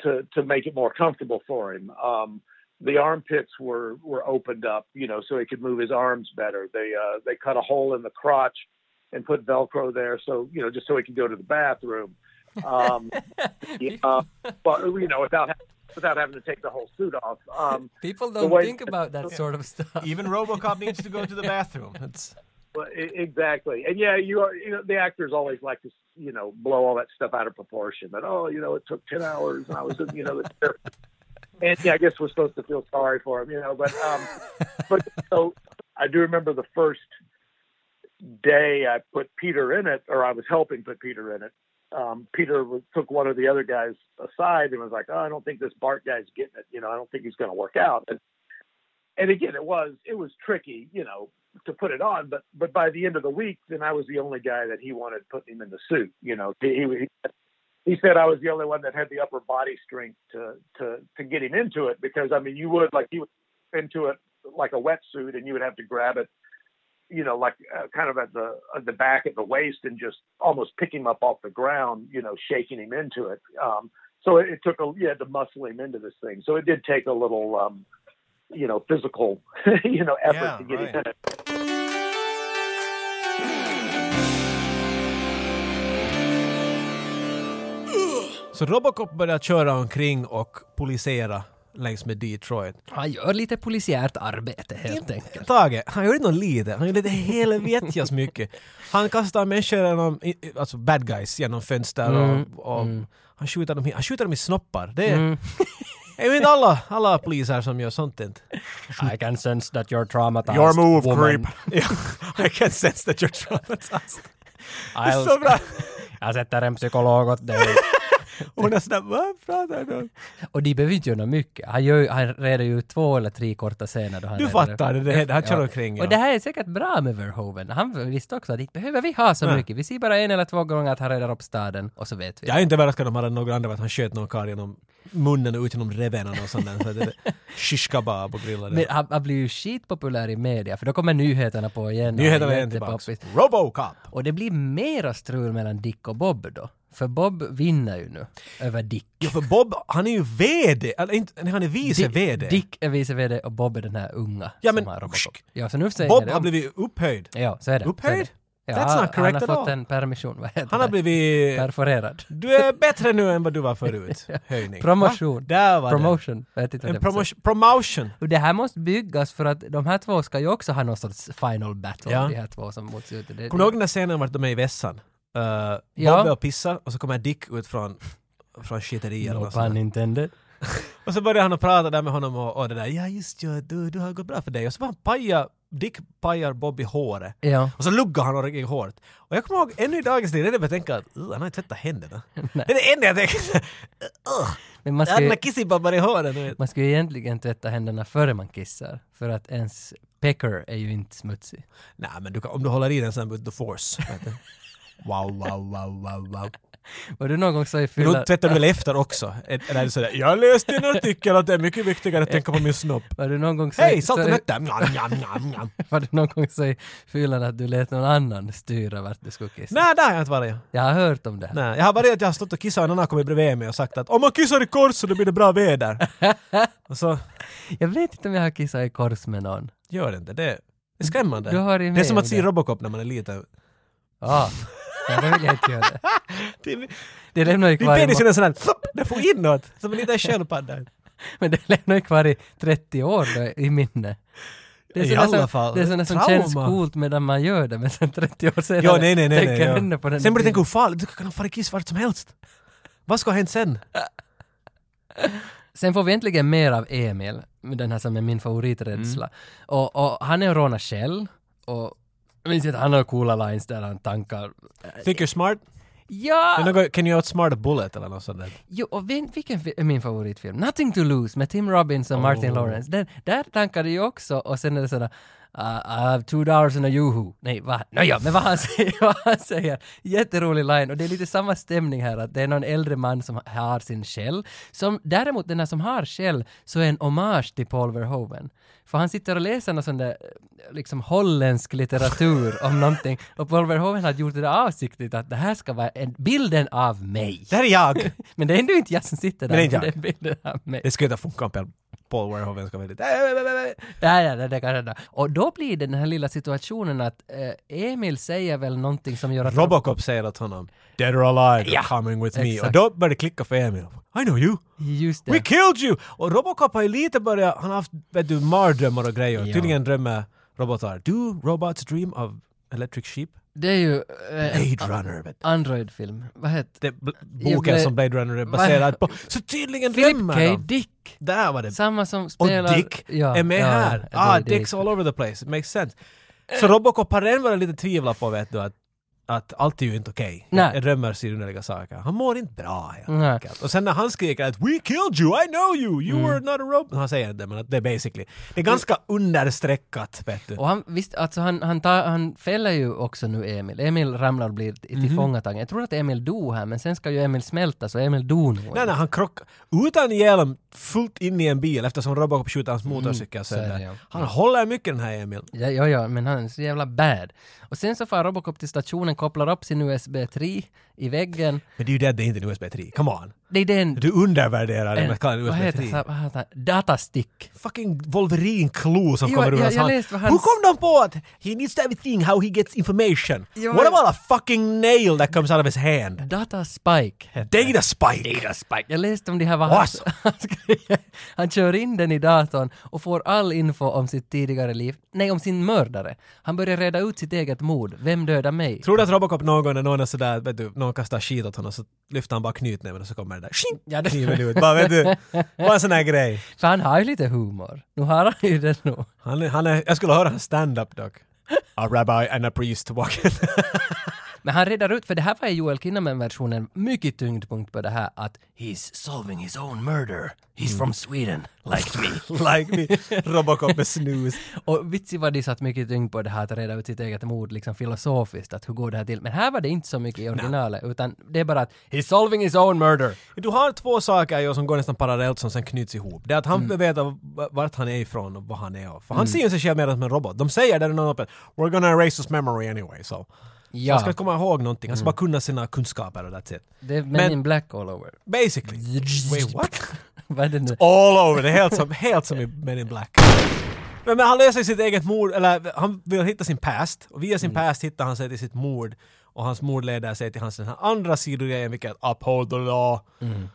Speaker 6: to to make it more comfortable for him. Um, the armpits were were opened up, you know, so he could move his arms better. They uh, they cut a hole in the crotch and put Velcro there, so you know, just so he could go to the bathroom. Um, yeah, but you know, without without having to take the whole suit off. Um,
Speaker 1: People
Speaker 6: The
Speaker 1: don't
Speaker 6: way-
Speaker 1: think about that sort of stuff.
Speaker 2: Even Robocop needs to go to the bathroom. It's,
Speaker 6: Well, e- exactly, and yeah, you are. You know, the actors always like to, you know, blow all that stuff out of proportion. That oh, you know, it took ten hours, and I was, you know, the, and yeah, I guess we're supposed to feel sorry for him, you know, but um, but so I do remember the first day I put Peter in it, or I was helping put Peter in it, um, Peter was, took one of the other guys aside and was like, "Oh, I don't think this Bart guy's getting it. You know, I don't think he's going to work out." And, and again, it was it was tricky, you know, to put it on. But but by the end of the week, then I was the only guy that he wanted putting him in the suit. You know, he he, he said I was the only one that had the upper body strength to to to get him into it because I mean, you would like he would into it like a wetsuit, and you would have to grab it you know, like uh, kind of at the at the back at the waist and just almost pick him up off the ground, you know, shaking him into it. Um, so it, it took a you had to muscle him into this thing. So it did take a little, um, you know, physical, you know, effort
Speaker 2: Yeah,
Speaker 6: to get
Speaker 2: right.
Speaker 6: him in it.
Speaker 2: Så Robocop börjar köra omkring och polisera längs med Detroit.
Speaker 1: Han gör lite polisiärt arbete helt enkelt.
Speaker 2: Tage, han gjorde nog lite. Han gjorde det helvetjas mycket. Han kastar människor genom, i- i- alltså bad guys, genom fönster
Speaker 1: Mm,
Speaker 2: och, och han, skjuter dem, i- han skjuter dem i snoppar. Det är, det är ju inte alla, alla poliser som gör sånt inte.
Speaker 1: I can sense that you're traumatized. Alltså, woman.
Speaker 2: Ja, I can sense that you're traumatized. Det är
Speaker 1: I'll-
Speaker 2: så bra.
Speaker 1: Jag sätter en psykolog åt dig.
Speaker 2: Hon är sådär, vad pratar du om?
Speaker 1: Och de behöver inte göra något mycket. Han, gör, ju- han reder ju två eller tre korta scener. Då han
Speaker 2: Du
Speaker 1: reder
Speaker 2: fattar det, det, han kör omkring.
Speaker 1: Och det här är säkert bra med Verhoeven. Han visste också att inte behöver vi ha så mycket. Vi ser bara en eller två gånger att han reder upp staden och så vet vi.
Speaker 2: Jag är inte överraskad om han hade några andra att han sköt någon karl genom munnen och ut genom revbenen och sånt där. Så det är shish kebab och grillade.
Speaker 1: Men han, han blir ju skitpopulär i media för då kommer nyheterna på igen.
Speaker 2: Nyheterna
Speaker 1: Han
Speaker 2: är tillbaks.
Speaker 1: jättepoppis.
Speaker 2: Robocop!
Speaker 1: Och det blir mera strul mellan Dick och Bob då. För Bob vinner ju nu över Dick.
Speaker 2: Jo, för Bob, han är ju VD! Eller inte, nej, han är vice
Speaker 1: Dick-
Speaker 2: VD.
Speaker 1: Dick är vice VD och Bob är den här unga
Speaker 2: Ja,
Speaker 1: som
Speaker 2: men-
Speaker 1: har Robocop. Ja, så nu säger jag
Speaker 2: Bob
Speaker 1: det.
Speaker 2: har blivit upphöjd.
Speaker 1: Ja, så är det.
Speaker 2: Upphöjd?
Speaker 1: Så är det.
Speaker 2: That's
Speaker 1: han-
Speaker 2: not correct
Speaker 1: Han
Speaker 2: at
Speaker 1: har fått
Speaker 2: all.
Speaker 1: en permission, vad heter
Speaker 2: Han har
Speaker 1: det?
Speaker 2: blivit...
Speaker 1: Perforerad.
Speaker 2: Du är bättre nu än vad du var förut. Höjning.
Speaker 1: Promotion.
Speaker 2: Va? Där var
Speaker 1: Promotion. Jag vet inte
Speaker 2: det.
Speaker 1: vad
Speaker 2: En
Speaker 1: det betyder.
Speaker 2: promotion. promotion.
Speaker 1: Och det här måste byggas för att de här två ska ju också ha någon sorts final battle,
Speaker 2: Ja.
Speaker 1: de här två som mot slutet. Det-
Speaker 2: Kommer du ihåg den där scenen vart de är i vässan? Uh, Bob
Speaker 1: Ja.
Speaker 2: är och pissar och så kommer Dick ut från, från skiteriet. eller
Speaker 1: No
Speaker 2: något sånt där.
Speaker 1: pun intended.
Speaker 2: Och så började han att prata där med honom och, och det där ja just ja, du, du har gått bra för dig. Och så var han paja, Dick pajar Bobby håret.
Speaker 1: Ja.
Speaker 2: Och så luggar han och riktigt hårt. Och jag kommer ihåg ännu i dagens liv, det är det jag tänker att "Ugh, han har inte tvättat händerna. Det är det enda jag tänker. Ugh,
Speaker 1: Men man ska,
Speaker 2: Han
Speaker 1: ju,
Speaker 2: har kissibabbar i håret. du vet.
Speaker 1: man ska ju egentligen tvätta händerna före man kissar, för att ens pecker är ju inte smutsig.
Speaker 2: Nej men du, kan- om du håller i den sen with the force. vet du. Wow, wow, wow, wow, wow.
Speaker 1: Var du någon gång så i
Speaker 2: Men
Speaker 1: fyllan...
Speaker 2: Då tvättar du väl efter också? Eller är det sådär, jag läste i en artikel att det är mycket viktigare att tänka på min snopp.
Speaker 1: Var du någon gång så,
Speaker 2: Hej,
Speaker 1: så,
Speaker 2: salt och nötter! Njam, njam, njam, njam.
Speaker 1: Var du någon gång så i fyllan att du lät någon annan styra vart du skulle kissa?
Speaker 2: Nej, där har jag inte varit.
Speaker 1: Jag har hört om det här.
Speaker 2: Nej, jag har varit att jag har stått och kissat och en annan har kommit bredvid mig och sagt att om man kissar i kors så då blir det bra väder. och så
Speaker 1: Jag vet inte om jag har kissat i kors med någon.
Speaker 2: gör det inte. Det det är skrämmande.
Speaker 1: Du har det
Speaker 2: det är
Speaker 1: med
Speaker 2: som
Speaker 1: om
Speaker 2: att se
Speaker 1: det.
Speaker 2: Robocop när man är liten.
Speaker 1: Ah. Ja, det vill jag inte göra.
Speaker 2: Din
Speaker 1: Det lämnar ju
Speaker 2: din
Speaker 1: kvar i
Speaker 2: penis är sån här, flopp, den får inåt, som en liten sköldpadda.
Speaker 1: Men det lämnar ju kvar i 30 år då, i minne. Det är
Speaker 2: I
Speaker 1: sådana
Speaker 2: alla
Speaker 1: som,
Speaker 2: fall.
Speaker 1: Det är sådana som
Speaker 2: Trauma.
Speaker 1: känns coolt medan man gör det, men sen 30 år senare
Speaker 2: Ja, nej, nej, nej. nej
Speaker 1: tänker
Speaker 2: ja.
Speaker 1: ännu på den
Speaker 2: Sen borde du
Speaker 1: bilden.
Speaker 2: tänka hur farligt, du kan ha farit kiss vart som helst. Vad ska ha hänt sen?
Speaker 1: Sen får vi äntligen mer av Emil, den här som är min favoriträdsla.
Speaker 2: Mm.
Speaker 1: Och, och han är rånar Shell och jag minns inte, han har coola lines där han tankar.
Speaker 2: Think you're smart? Det är
Speaker 1: Ja!
Speaker 2: något, Can you outsmart a bullet eller något sånt där.
Speaker 1: Jo, och vem- vilken fi- är min favoritfilm? Nothing to lose med Tim Robbins och Martin Lawrence. Den, där tankar det ju också och sen är det sådär Uh, I have two dollars and a yoo-hoo. Nej, va? Nåja, men vad han, säger, vad han säger. Jätterolig line och det är lite samma stämning här att det är någon äldre man som har sin shell. Som däremot den här som har shell så är en hommage till Paul Verhoeven. För han sitter och läser någon sån där liksom holländsk litteratur om någonting och Paul Verhoeven har gjort det där avsiktligt att det här ska vara en, bilden av mig.
Speaker 2: Där är jag!
Speaker 1: Men det är ändå inte jag som sitter där.
Speaker 2: Men det är inte
Speaker 1: men
Speaker 2: jag.
Speaker 1: Det är bilden av mig.
Speaker 2: Det skulle inte funka om Paul Verhoeven ska vara lite...
Speaker 1: Nej, nej, nej, det kan hända. Och då blir det den här lilla situationen att eh, Emil säger väl någonting som gör att...
Speaker 2: Robocop säger åt honom “Dead or alive,
Speaker 1: Ja,
Speaker 2: you're coming with me”
Speaker 1: exakt.
Speaker 2: och då börjar det klicka för Emil. “I know you!
Speaker 1: Just det.
Speaker 2: We killed you!” Och Robocop har ju lite börjat, han har haft vet du, mardrömmar och grejer.
Speaker 1: Ja.
Speaker 2: Tydligen drömmer robotar. Do robots dream of electric sheep?
Speaker 1: Det är ju... Eh, en
Speaker 2: Blade Runner vet du.
Speaker 1: Android-film. Vad heter
Speaker 2: Det är bl- boken
Speaker 1: Bla-
Speaker 2: som Blade Runner är baserad på. Så tydligen
Speaker 1: Philip
Speaker 2: drömmer
Speaker 1: K.
Speaker 2: de.
Speaker 1: Dick.
Speaker 2: Där var det.
Speaker 1: Samma som
Speaker 2: Och
Speaker 1: spelar...
Speaker 2: Dick
Speaker 1: ja,
Speaker 2: är med
Speaker 1: ja,
Speaker 2: här.
Speaker 1: ja,
Speaker 2: ah,
Speaker 1: det är
Speaker 2: Dick's all over the place. It makes sense. Så Robocop har redan varit lite tvivla på vet du att att allt är ju inte okej.
Speaker 1: Nej.
Speaker 2: Jag römmer underliga saker. Han mår inte bra helt
Speaker 1: Nej. Mm.
Speaker 2: enkelt. Och sen när han skriker att “We killed you, I know you, you were not a robot”. Han säger inte det, men att det är basically. Det är ganska understreckat, vet du.
Speaker 1: Och han, visst, alltså han, han, tar, han fäller ju också nu Emil. Emil ramlar och blir till-
Speaker 2: Mhm.
Speaker 1: tillfångatagen. Jag tror att Emil dog här, men sen ska ju Emil smälta, så Emil dog nog.
Speaker 2: Nej, nej, han krockar utan hjälm fullt in i en bil eftersom Robocop skjuter hans
Speaker 1: Mm,
Speaker 2: motorcykel
Speaker 1: så är det,
Speaker 2: sönder.
Speaker 1: ja.
Speaker 2: Han håller mycket den här Emil.
Speaker 1: Ja, ja, ja, men han är så jävla bad. Och sen så far Robocop till stationen, kopplar upp sin USB 3 i väggen.
Speaker 2: Men det är ju det att det inte är en USB 3. Come on.
Speaker 1: Det är den...
Speaker 2: Du undervärderar det med att kalla det
Speaker 1: vad
Speaker 2: USB
Speaker 1: heter
Speaker 2: 3.
Speaker 1: det? Vad heter det? Datastick.
Speaker 2: fucking Wolverine-klo som
Speaker 1: Jo,
Speaker 2: kommer ur
Speaker 1: jag-
Speaker 2: hans
Speaker 1: jag
Speaker 2: hand.
Speaker 1: läste vad
Speaker 2: Hur
Speaker 1: hans-
Speaker 2: kom de på att he needs to have a thing how he gets information?
Speaker 1: Jo,
Speaker 2: What
Speaker 1: men-
Speaker 2: about a fucking nail that comes out of his hand?
Speaker 1: Data Spike heter
Speaker 2: Data spike!
Speaker 1: Spike. Jag läste om det här vad han,
Speaker 2: What?
Speaker 1: han skrev. Han kör in den i datorn och får all info om sitt tidigare liv. Nej, om sin mördare. Han börjar reda ut sitt eget mord. Vem dödar mig?
Speaker 2: Tror du att Robocop någon gång när någon är sådär, vet du, någon kastar skit åt honom så lyfter han bara knytnäven och så kommer det där shing,
Speaker 1: Ja, det-
Speaker 2: kniven ut. Bara vet du, bara en sån här grej.
Speaker 1: För han har ju lite humor. Nu har han ju det nog.
Speaker 2: Han, är- han är, jag skulle höra hans stand-up dock. A rabbi and a priest walking.
Speaker 1: Men han redar ut, för det här var i Joel Kinnaman-versionen mycket tyngdpunkt på det här att “He's solving his own murder. He's from Sweden, like me”.
Speaker 2: like me. Robocop med snus.
Speaker 1: Och Vitsi var de satt mycket tyngd på det här att reda ut sitt eget mod liksom filosofiskt, att hur går det här till? Men här var det inte så mycket i originalet, utan det är bara att “He's solving his own murder”.
Speaker 2: Du har två saker ju som går nästan parallellt som sen knyts ihop. Det är att han
Speaker 1: Mm.
Speaker 2: vill veta v- vart han är ifrån och vad han är. av. För han ser ju sig själv mer som en robot. De säger där i någon öppen “We're gonna erase his memory anyway” så. Han ska
Speaker 1: Ja, Mm.
Speaker 2: inte komma ihåg någonting, han ska bara kunna sina kunskaper och that's it.
Speaker 1: det är men,
Speaker 2: Men-
Speaker 1: in black all over.
Speaker 2: Basically. Wait what?
Speaker 1: Vad är det nu?
Speaker 2: All over, det är helt som, helt som i Men in Black. Men, men han löser sitt eget mord, eller han vill hitta sin past. Och via
Speaker 1: Mm.
Speaker 2: sin past hittar han sig till sitt mord. Och hans mord leder sig till hans den här andra sidogrejen, vilket är att uphold the law.
Speaker 1: Mm.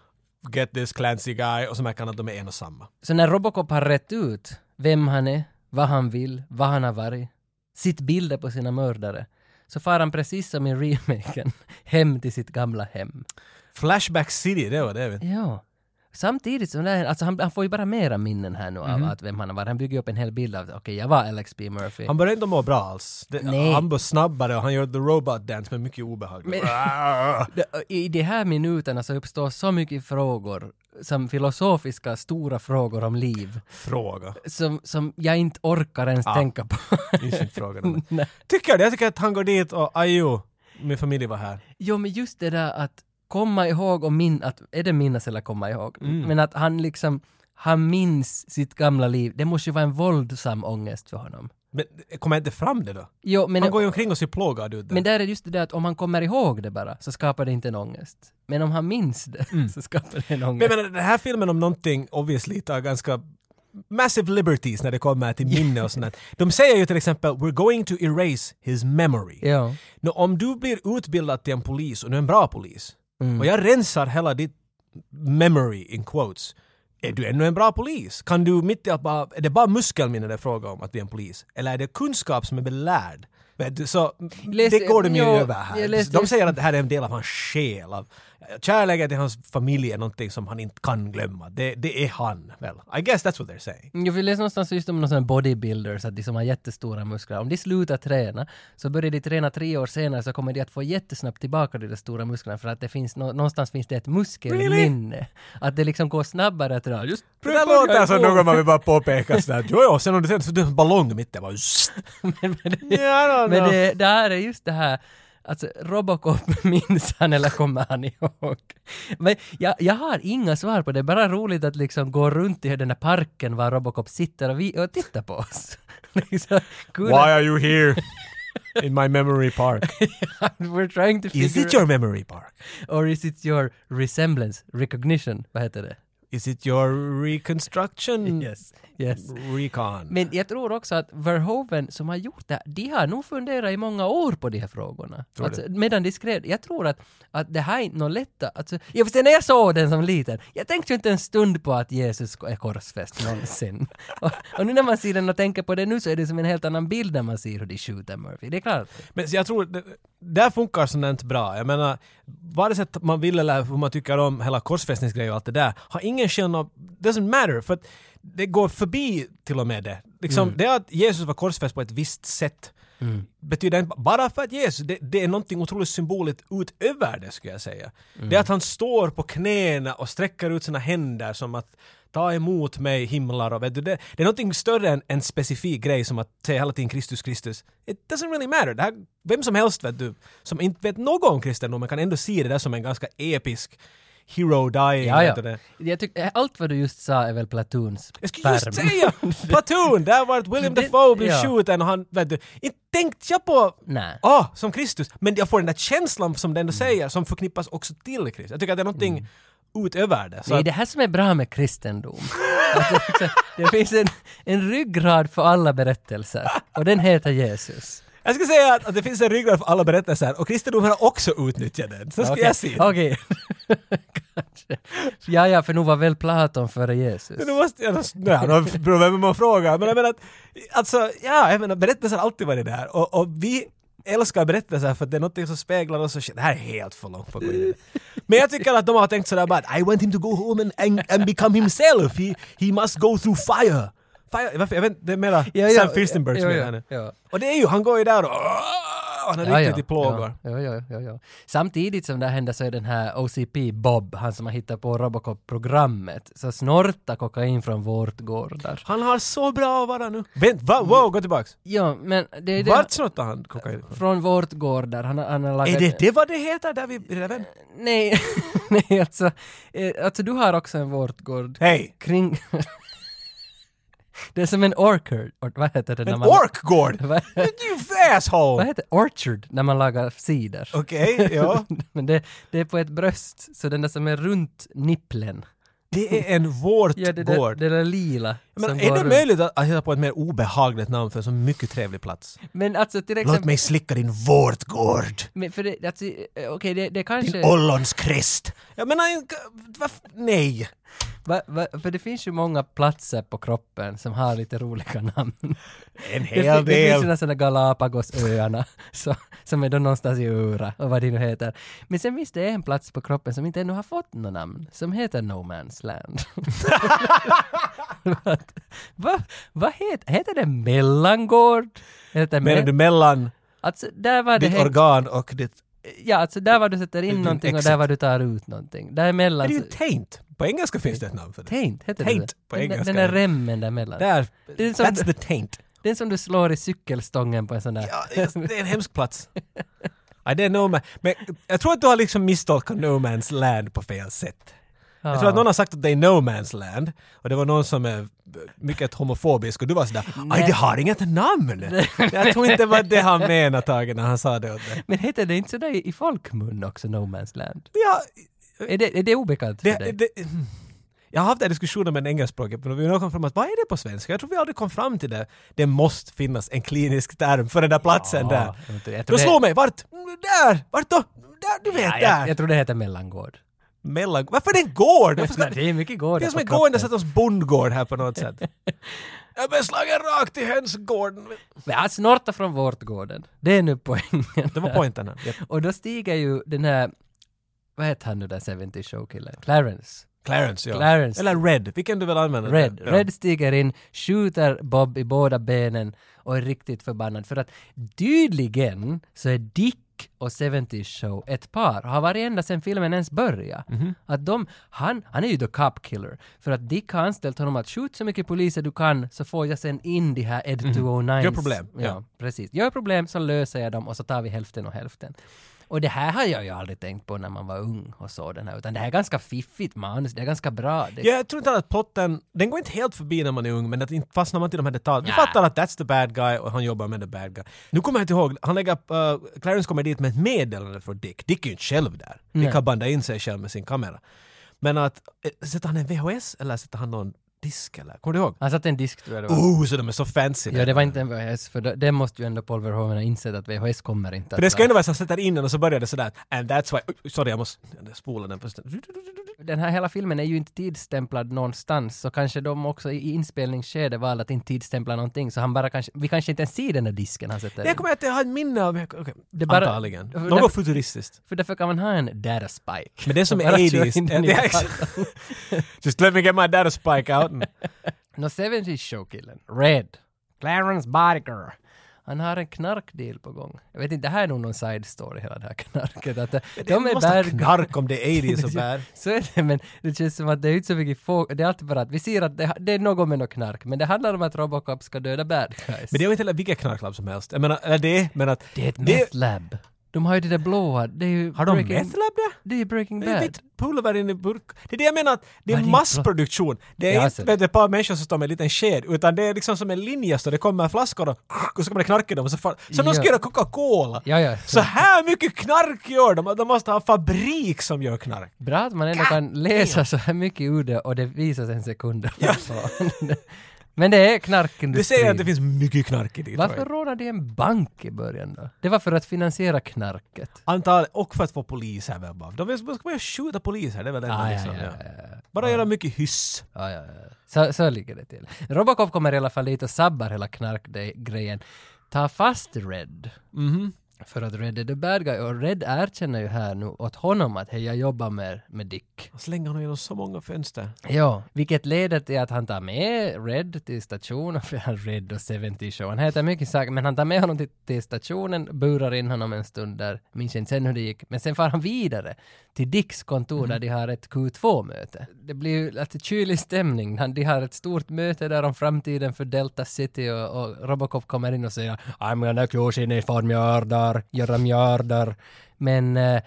Speaker 2: Get this Clancy guy. Och så märker han att de är en och samma.
Speaker 1: Så när Robocop har rätt ut vem han är, vad han vill, vad han har varit, sitt bilder på sina mördare, så far han precis som i remaken hem till sitt gamla hem.
Speaker 2: Flashback City, det var det. Vet. du.
Speaker 1: Ja. Samtidigt som det här, alltså han, han får ju bara mera minnen här nu av att vem han har varit. Han bygger ju upp en hel bild av, okej jag var Alex B. Murphy.
Speaker 2: Han börjar inte må bra alls. Det,
Speaker 1: Nej.
Speaker 2: han blir snabbare och han gör the robot dance med mycket obehag.
Speaker 1: Men- Det- I de här minuterna så uppstår så mycket frågor, som filosofiska stora frågor om liv,
Speaker 2: Fråga.
Speaker 1: som, som jag inte orkar ens tänka på.
Speaker 2: Just inte fråga. den. Tycker jag det? Jag tycker att han går dit och ajo, min familj var här.
Speaker 1: Jo, men just det där att komma ihåg och min, att, är det minnas eller komma ihåg? Men att han liksom, han minns sitt gamla liv. Det måste ju vara en våldsam ångest för honom.
Speaker 2: Men kommer inte fram det då?
Speaker 1: Jo, men,
Speaker 2: Han går ju omkring och ser plågad ut. där.
Speaker 1: men där är just det där att om han kommer ihåg det bara så skapar det inte en ångest. Men om han minns det så skapar det en ångest.
Speaker 2: Men jag menar, den här filmen om någonting obviously tar ganska massive liberties när det kommer till minne och sånt där. De säger ju till exempel “We're going to erase his memory”.
Speaker 1: ja.
Speaker 2: Nå, om du blir utbildad till en polis och du är en bra polis
Speaker 1: Mm.
Speaker 2: och jag rensar hela ditt memory in quotes. Är du ännu en bra polis? Kan du mitt i att bara, är det bara muskelminne det är fråga om att bli en polis? Eller är det kunskap som är belärd? Vet du, så m-
Speaker 1: Läste-
Speaker 2: det går de ju
Speaker 1: jo,
Speaker 2: över här.
Speaker 1: jag läste
Speaker 2: De
Speaker 1: just-
Speaker 2: säger att det här är en del av hans själ. Av, kärleken till hans familj är någonting som han inte kan glömma. Det, det är han väl? I guess that's what they're saying.
Speaker 1: Jag vill läsa någonstans just om någon sån här bodybuilders, att de som har jättestora muskler, om de slutar träna, så börjar de träna tre år senare så kommer de att få jättesnabbt tillbaka de där stora musklerna för att det finns, nå- någonstans finns det ett muskelminne. Att det liksom går snabbare att träna. Just
Speaker 2: Det där låter som något man vill bara påpeka sådär. Jo, jo, sen om du tänker så du har en ballong mitt där bara...
Speaker 1: men, men, det,
Speaker 2: Yeah, I don't
Speaker 1: men
Speaker 2: know.
Speaker 1: det, det här är just det här, alltså Robocop minns han eller kommer han ihåg? Men jag, jag har inga svar på det, bara roligt att liksom gå runt i den här parken var Robocop sitter och, vi, och tittar på oss. liksom, kunna-
Speaker 2: Why are you here? In my memory park.
Speaker 1: We're trying to figure
Speaker 2: Is it your memory park?
Speaker 1: Or is it your resemblance, recognition, vad heter det?
Speaker 2: Is it your reconstruction?
Speaker 1: Yes.
Speaker 2: Recon.
Speaker 1: Men jag tror också att Verhoeven som har gjort det här, de har nog funderat i många år på de här frågorna. Alltså, medan de skrev, jag tror att, att det här är inte något lätt att- alltså, jag förstår, när jag såg den som liten, jag tänkte ju inte en stund på att Jesus är korsfäst någonsin. och, och nu när man ser den och tänker på det nu så är det som en helt annan bild när man ser hur de skjuter Murphy, det är klart.
Speaker 2: Men så jag tror, det- där funkar sådant bra. Jag menar, vare sig att man vill eller hur man tycker om hela korsfästningsgrejen och allt det där, har ingen känsla av, doesn't matter, för att det går förbi till och med det. Liksom, Det är att Jesus var korsfäst på ett visst sätt. betyder inte, bara för att Jesus, det, det är någonting otroligt symboliskt utöver det skulle jag säga. Det är att han står på knäna och sträcker ut sina händer som att ta emot mig himlar och vet du, det, det är någonting större än en specifik grej som att säga hela tiden Kristus, Kristus. It doesn't really matter. Det här, vem som helst vet du, som inte vet något om kristendomen kan ändå se det där som en ganska episk hero dying.
Speaker 1: Ja,
Speaker 2: vet du
Speaker 1: ja.
Speaker 2: det.
Speaker 1: Jag tyck, allt vad du just sa är väl Platoons
Speaker 2: Jag skulle just
Speaker 1: perm.
Speaker 2: säga Platoon! Där var William
Speaker 1: Det-
Speaker 2: Dafoe blev
Speaker 1: ja.
Speaker 2: skjuten och han, vet du, inte tänkte jag på
Speaker 1: Nej. Mm.
Speaker 2: ah, som Kristus, men jag får den där känslan som den ändå säger, som förknippas också till Kristus. Jag tycker att det är någonting utöver det. Så
Speaker 1: Mm. Det är
Speaker 2: att,
Speaker 1: det här som är bra med kristendom. Att det, liksom, det finns en, en ryggrad för alla berättelser och den heter Jesus.
Speaker 2: Jag ska säga att, att det finns en ryggrad för alla berättelser och kristendomen har också utnyttjat den. Så ska
Speaker 1: Okej.
Speaker 2: jag se.
Speaker 1: Okej. Kanske. Ja, ja, för nog var väl Platon före Jesus.
Speaker 2: Nu måste jag... Nej, det beror vem man frågar. Men jag menar att, alltså, ja, jag menar, berättelser har alltid varit där. Och, och vi älskar berättelser för att det är något som speglar oss och shit, det här är helt för långt för att gå in i det. Men jag tycker att de har tänkt sådär bara att, I want him to go home and, and, and become himself. He, he must go through fire. Fire, varför, jag vet inte, det är mera
Speaker 1: Ja, ja,
Speaker 2: Sam Firstenbergs
Speaker 1: ja, ja,
Speaker 2: menar jag nu.
Speaker 1: ja.
Speaker 2: Och det är ju, han går ju där och, han är riktigt i plågor.
Speaker 1: Ja, ja, ja, ja. Samtidigt som det här händer så är den här OCP Bob, han som har hittat på Robocop-programmet, så snortar kokain från vårtgårdar.
Speaker 2: Han har så bra att vara nu. Vänt, va, wow, gå tillbaks.
Speaker 1: Ja, men det är det...
Speaker 2: Vart snortar han kokain ifrån?
Speaker 1: Från vårtgårdar, han, har- han har lagat...
Speaker 2: Är det det vad det heter där vid Reven?
Speaker 1: Nej, nej alltså, eh, alltså du har också en vårtgård
Speaker 2: Hej!
Speaker 1: kring... det är som en orchard, or, vad heter det när
Speaker 2: En
Speaker 1: man...
Speaker 2: orkgård!
Speaker 1: Vad,
Speaker 2: You
Speaker 1: vad
Speaker 2: asshole!
Speaker 1: heter orchard när man lagar cider?
Speaker 2: Okej, ja.
Speaker 1: Men det, det är på ett bröst, så den där som är runt nipplen.
Speaker 2: Det är
Speaker 1: Ja,
Speaker 2: en
Speaker 1: det,
Speaker 2: vårtgård.
Speaker 1: där, det där lila.
Speaker 2: Men
Speaker 1: som
Speaker 2: är
Speaker 1: går
Speaker 2: det
Speaker 1: runt.
Speaker 2: möjligt att att hitta på ett mer obehagligt namn för en så mycket trevlig plats?
Speaker 1: Men alltså till
Speaker 2: Låt
Speaker 1: exempel...
Speaker 2: mig slicka din vårtgård!
Speaker 1: Men för det, alltså, eh, okej, det, det kanske...
Speaker 2: Din ollonskrist! Jag menar, en- varf- nej!
Speaker 1: Va, va, för det finns ju många platser på kroppen som har lite roliga namn.
Speaker 2: En
Speaker 1: Det, fin-
Speaker 2: hel
Speaker 1: det finns ju
Speaker 2: del.
Speaker 1: de sådana Galapagosöarna så, som är då någonstans i Ura och vad det nu heter. Men sen finns det en plats på kroppen som inte ännu har fått något namn som heter No Man's Land. vad va, vad heter, heter det mellangård? Heter
Speaker 2: Menar
Speaker 1: me-
Speaker 2: du mellan
Speaker 1: alltså där var det
Speaker 2: ditt
Speaker 1: he-
Speaker 2: organ och ditt...
Speaker 1: Ja, alltså där var du sätter in
Speaker 2: Din
Speaker 1: någonting och
Speaker 2: exit.
Speaker 1: där var du tar ut någonting. Däremellan...
Speaker 2: Är det ju
Speaker 1: så-
Speaker 2: taint? På engelska finns det ett namn för det.
Speaker 1: Alltså, Taint heter det
Speaker 2: Taint
Speaker 1: det.
Speaker 2: på
Speaker 1: Den där-
Speaker 2: engelska.
Speaker 1: Den där remmen däremellan.
Speaker 2: Där.
Speaker 1: Det är som-
Speaker 2: That's the taint.
Speaker 1: Den som du slår i cykelstången på en sån där...
Speaker 2: Ja, det är en hemsk plats. I don't know, man. men jag tror att du har liksom misstolkat No Man's Land på fel sätt. Jag tror att någon har sagt att det är No Man's Land och det var någon som är mycket homofobisk och du var sådär ”Aj, det har inget namn!” Jag tror inte det var det han menade Tage när han sa det åt dig.
Speaker 1: Men heter det inte sådär i i folkmun också, No Man's Land?
Speaker 2: Ja,
Speaker 1: Är det, är det obekant för
Speaker 2: det,
Speaker 1: dig?
Speaker 2: det, mm. jag har haft den här diskussionen med en engelskspråkig men vi har kommit fram att vad är det på svenska? Jag tror vi aldrig kom fram till det. Det måste finnas en klinisk term för den där platsen
Speaker 1: Ja,
Speaker 2: där.
Speaker 1: jag tror- jag tror
Speaker 2: Du
Speaker 1: det-
Speaker 2: slår mig, vart? Mm, Där! Vart då? Där, du vet,
Speaker 1: Ja,
Speaker 2: där!
Speaker 1: jag, jag tror det heter mellangård.
Speaker 2: mellan... Varför är det en gård? Varför ska...
Speaker 1: Nej, det är mycket gård.
Speaker 2: Det är som
Speaker 1: på
Speaker 2: en gård,
Speaker 1: kroppen.
Speaker 2: det sätter oss bondgård här på något sätt. Jag blev slagen rakt i hönsgården.
Speaker 1: Men han snortar från vårtgården. Det är nu poängen.
Speaker 2: Det var pointen här. Yep.
Speaker 1: Och då stiger ju den här... Vad heter han nu den 70 show-killen? Clarence.
Speaker 2: Clarence, ja.
Speaker 1: Clarence.
Speaker 2: Eller Red, vilken du vill använda.
Speaker 1: Red.
Speaker 2: Ja.
Speaker 1: Red stiger in, skjuter Bob i båda benen och är riktigt förbannad. För att tydligen så är Dick och 70 Show ett par har varit ända sedan filmen ens började.
Speaker 2: Mhm.
Speaker 1: Att de, han, han är ju the cop killer. För att Dick har anställt honom att skjut så mycket poliser du kan så får jag sen in de här Ed 209.
Speaker 2: Mhm. Gör problem,
Speaker 1: Ja,
Speaker 2: ja.
Speaker 1: precis. Gör problem så löser jag dem och så tar vi hälften och hälften. Och det här har jag ju aldrig tänkt på när man var ung och så den här, utan det här är ganska fiffigt manus, det är ganska bra. Det,
Speaker 2: Ja, jag tror inte att plotten, den går inte helt förbi när man är ung men att inte fastnar man till de här detaljerna. Du fattar att that's the bad guy och han jobbar med the bad guy. Nu kommer jag inte ihåg, han lägger, upp, eh, Clarence kommer dit med ett meddelande från Dick. Dick är ju inte själv där. Dick har bandat in sig själv med sin kamera. Men att, eh, sätter han en VHS eller sätter han någon disk eller? Kommer du ihåg?
Speaker 1: Han satte en disk tror jag det var.
Speaker 2: Oh, så de är så fancy!
Speaker 1: Ja, det var inte en VHS, för det, det måste ju ändå Paul Verhoeven ha insett att VHS kommer inte
Speaker 2: För det ska ju ändå vara så att sätter in den och så börjar det sådär And that's why... Oj, Sorry, jag måste spola den. på stund.
Speaker 1: Den här hela filmen är ju inte tidsstämplad någonstans, så kanske de också i i inspelningsskedet valde att inte tidsstämpla någonting, så han bara kanske, vi kanske inte ens ser den där disken han sätter
Speaker 2: Det
Speaker 1: in.
Speaker 2: kommer jag att ha ett minne av. Okay.
Speaker 1: Det bara-
Speaker 2: Antagligen.
Speaker 1: Därför-
Speaker 2: Något futuristiskt.
Speaker 1: För därför kan man ha en data spike.
Speaker 2: Men det som är
Speaker 1: Bara kör
Speaker 2: 80s...
Speaker 1: in den i
Speaker 2: Ja, det är exakt. Just let me get my data spike out. Mm.
Speaker 1: No 70s showkillen, Red, Clarence Barker. Han har en knarkdeal på gång. Jag vet inte, det här är nog någon side story hela det här knarket. Att eh,
Speaker 2: Det
Speaker 1: de är
Speaker 2: måste ha
Speaker 1: bad guys.
Speaker 2: knark om det är 80s och bär.
Speaker 1: Så är det, men det känns som att det är inte så mycket få, det är alltid bara att vi ser att det, det är något med något knark, men det handlar om att Robocop ska döda bad guys.
Speaker 2: Men det är ju inte heller vilket knarklabb som helst. Jag menar, eller det, men att...
Speaker 1: Det är ett meth lab. De har ju det där blåa, det är ju
Speaker 2: Har de
Speaker 1: Breaking-
Speaker 2: methlab där?
Speaker 1: Det är Breaking
Speaker 2: Det är
Speaker 1: Bad.
Speaker 2: vitt pulver in i burk. Det är det jag menar, att det är
Speaker 1: Vad är det?
Speaker 2: massproduktion. Det
Speaker 1: Jag
Speaker 2: är
Speaker 1: har
Speaker 2: inte
Speaker 1: sett
Speaker 2: vet, du, ett par människor som står med en liten sked, utan det är liksom som en linje, så det kommer flaskor och, och så kommer det knark i dem. och Så far, som de ska
Speaker 1: Ja.
Speaker 2: göra Coca-Cola!
Speaker 1: Ja, ja.
Speaker 2: Så här mycket knark gör de! De måste ha en fabrik som gör knark.
Speaker 1: Bra att man ändå kan läsa så här mycket ur det och det visas en sekund. men det är
Speaker 2: Du säger att det
Speaker 1: knarkindustrin.
Speaker 2: finns mycket knark i det, tror
Speaker 1: Varför
Speaker 2: jag.
Speaker 1: rånade de en bank i början då? Det var för att finansiera knarket.
Speaker 2: Antal, och för att få poliser väl bara. De vill, ska bara skjuta poliser, det är väl det enda
Speaker 1: Ah, ja,
Speaker 2: liksom.
Speaker 1: ja,
Speaker 2: ja. Bara göra mycket hyss.
Speaker 1: Ja, ja, ja. Så, så ligger det till. Robocop kommer i alla fall dit och sabbar hela knarkgrejen. Ta fast Red. För att Red är the bad guy och Red erkänner ju här nu åt honom att hej jag jobbar med, med Dick.
Speaker 2: Och slänga honom genom så många fönster.
Speaker 1: Ja, vilket leder till att han tar med Red till stationen, för han Red och 70 Show, han heter mycket saker, men han tar med honom till, till stationen, burar in honom en stund där, minns jag inte sen hur det gick, men sen far han vidare till Dicks kontor där de har ett Q2-möte. Det blir ju lite kylig stämning, han, de har ett stort möte där om framtiden för Delta City och, och Robocop kommer in och säger I'm gonna close in if I murder, göra mörder. Men eh,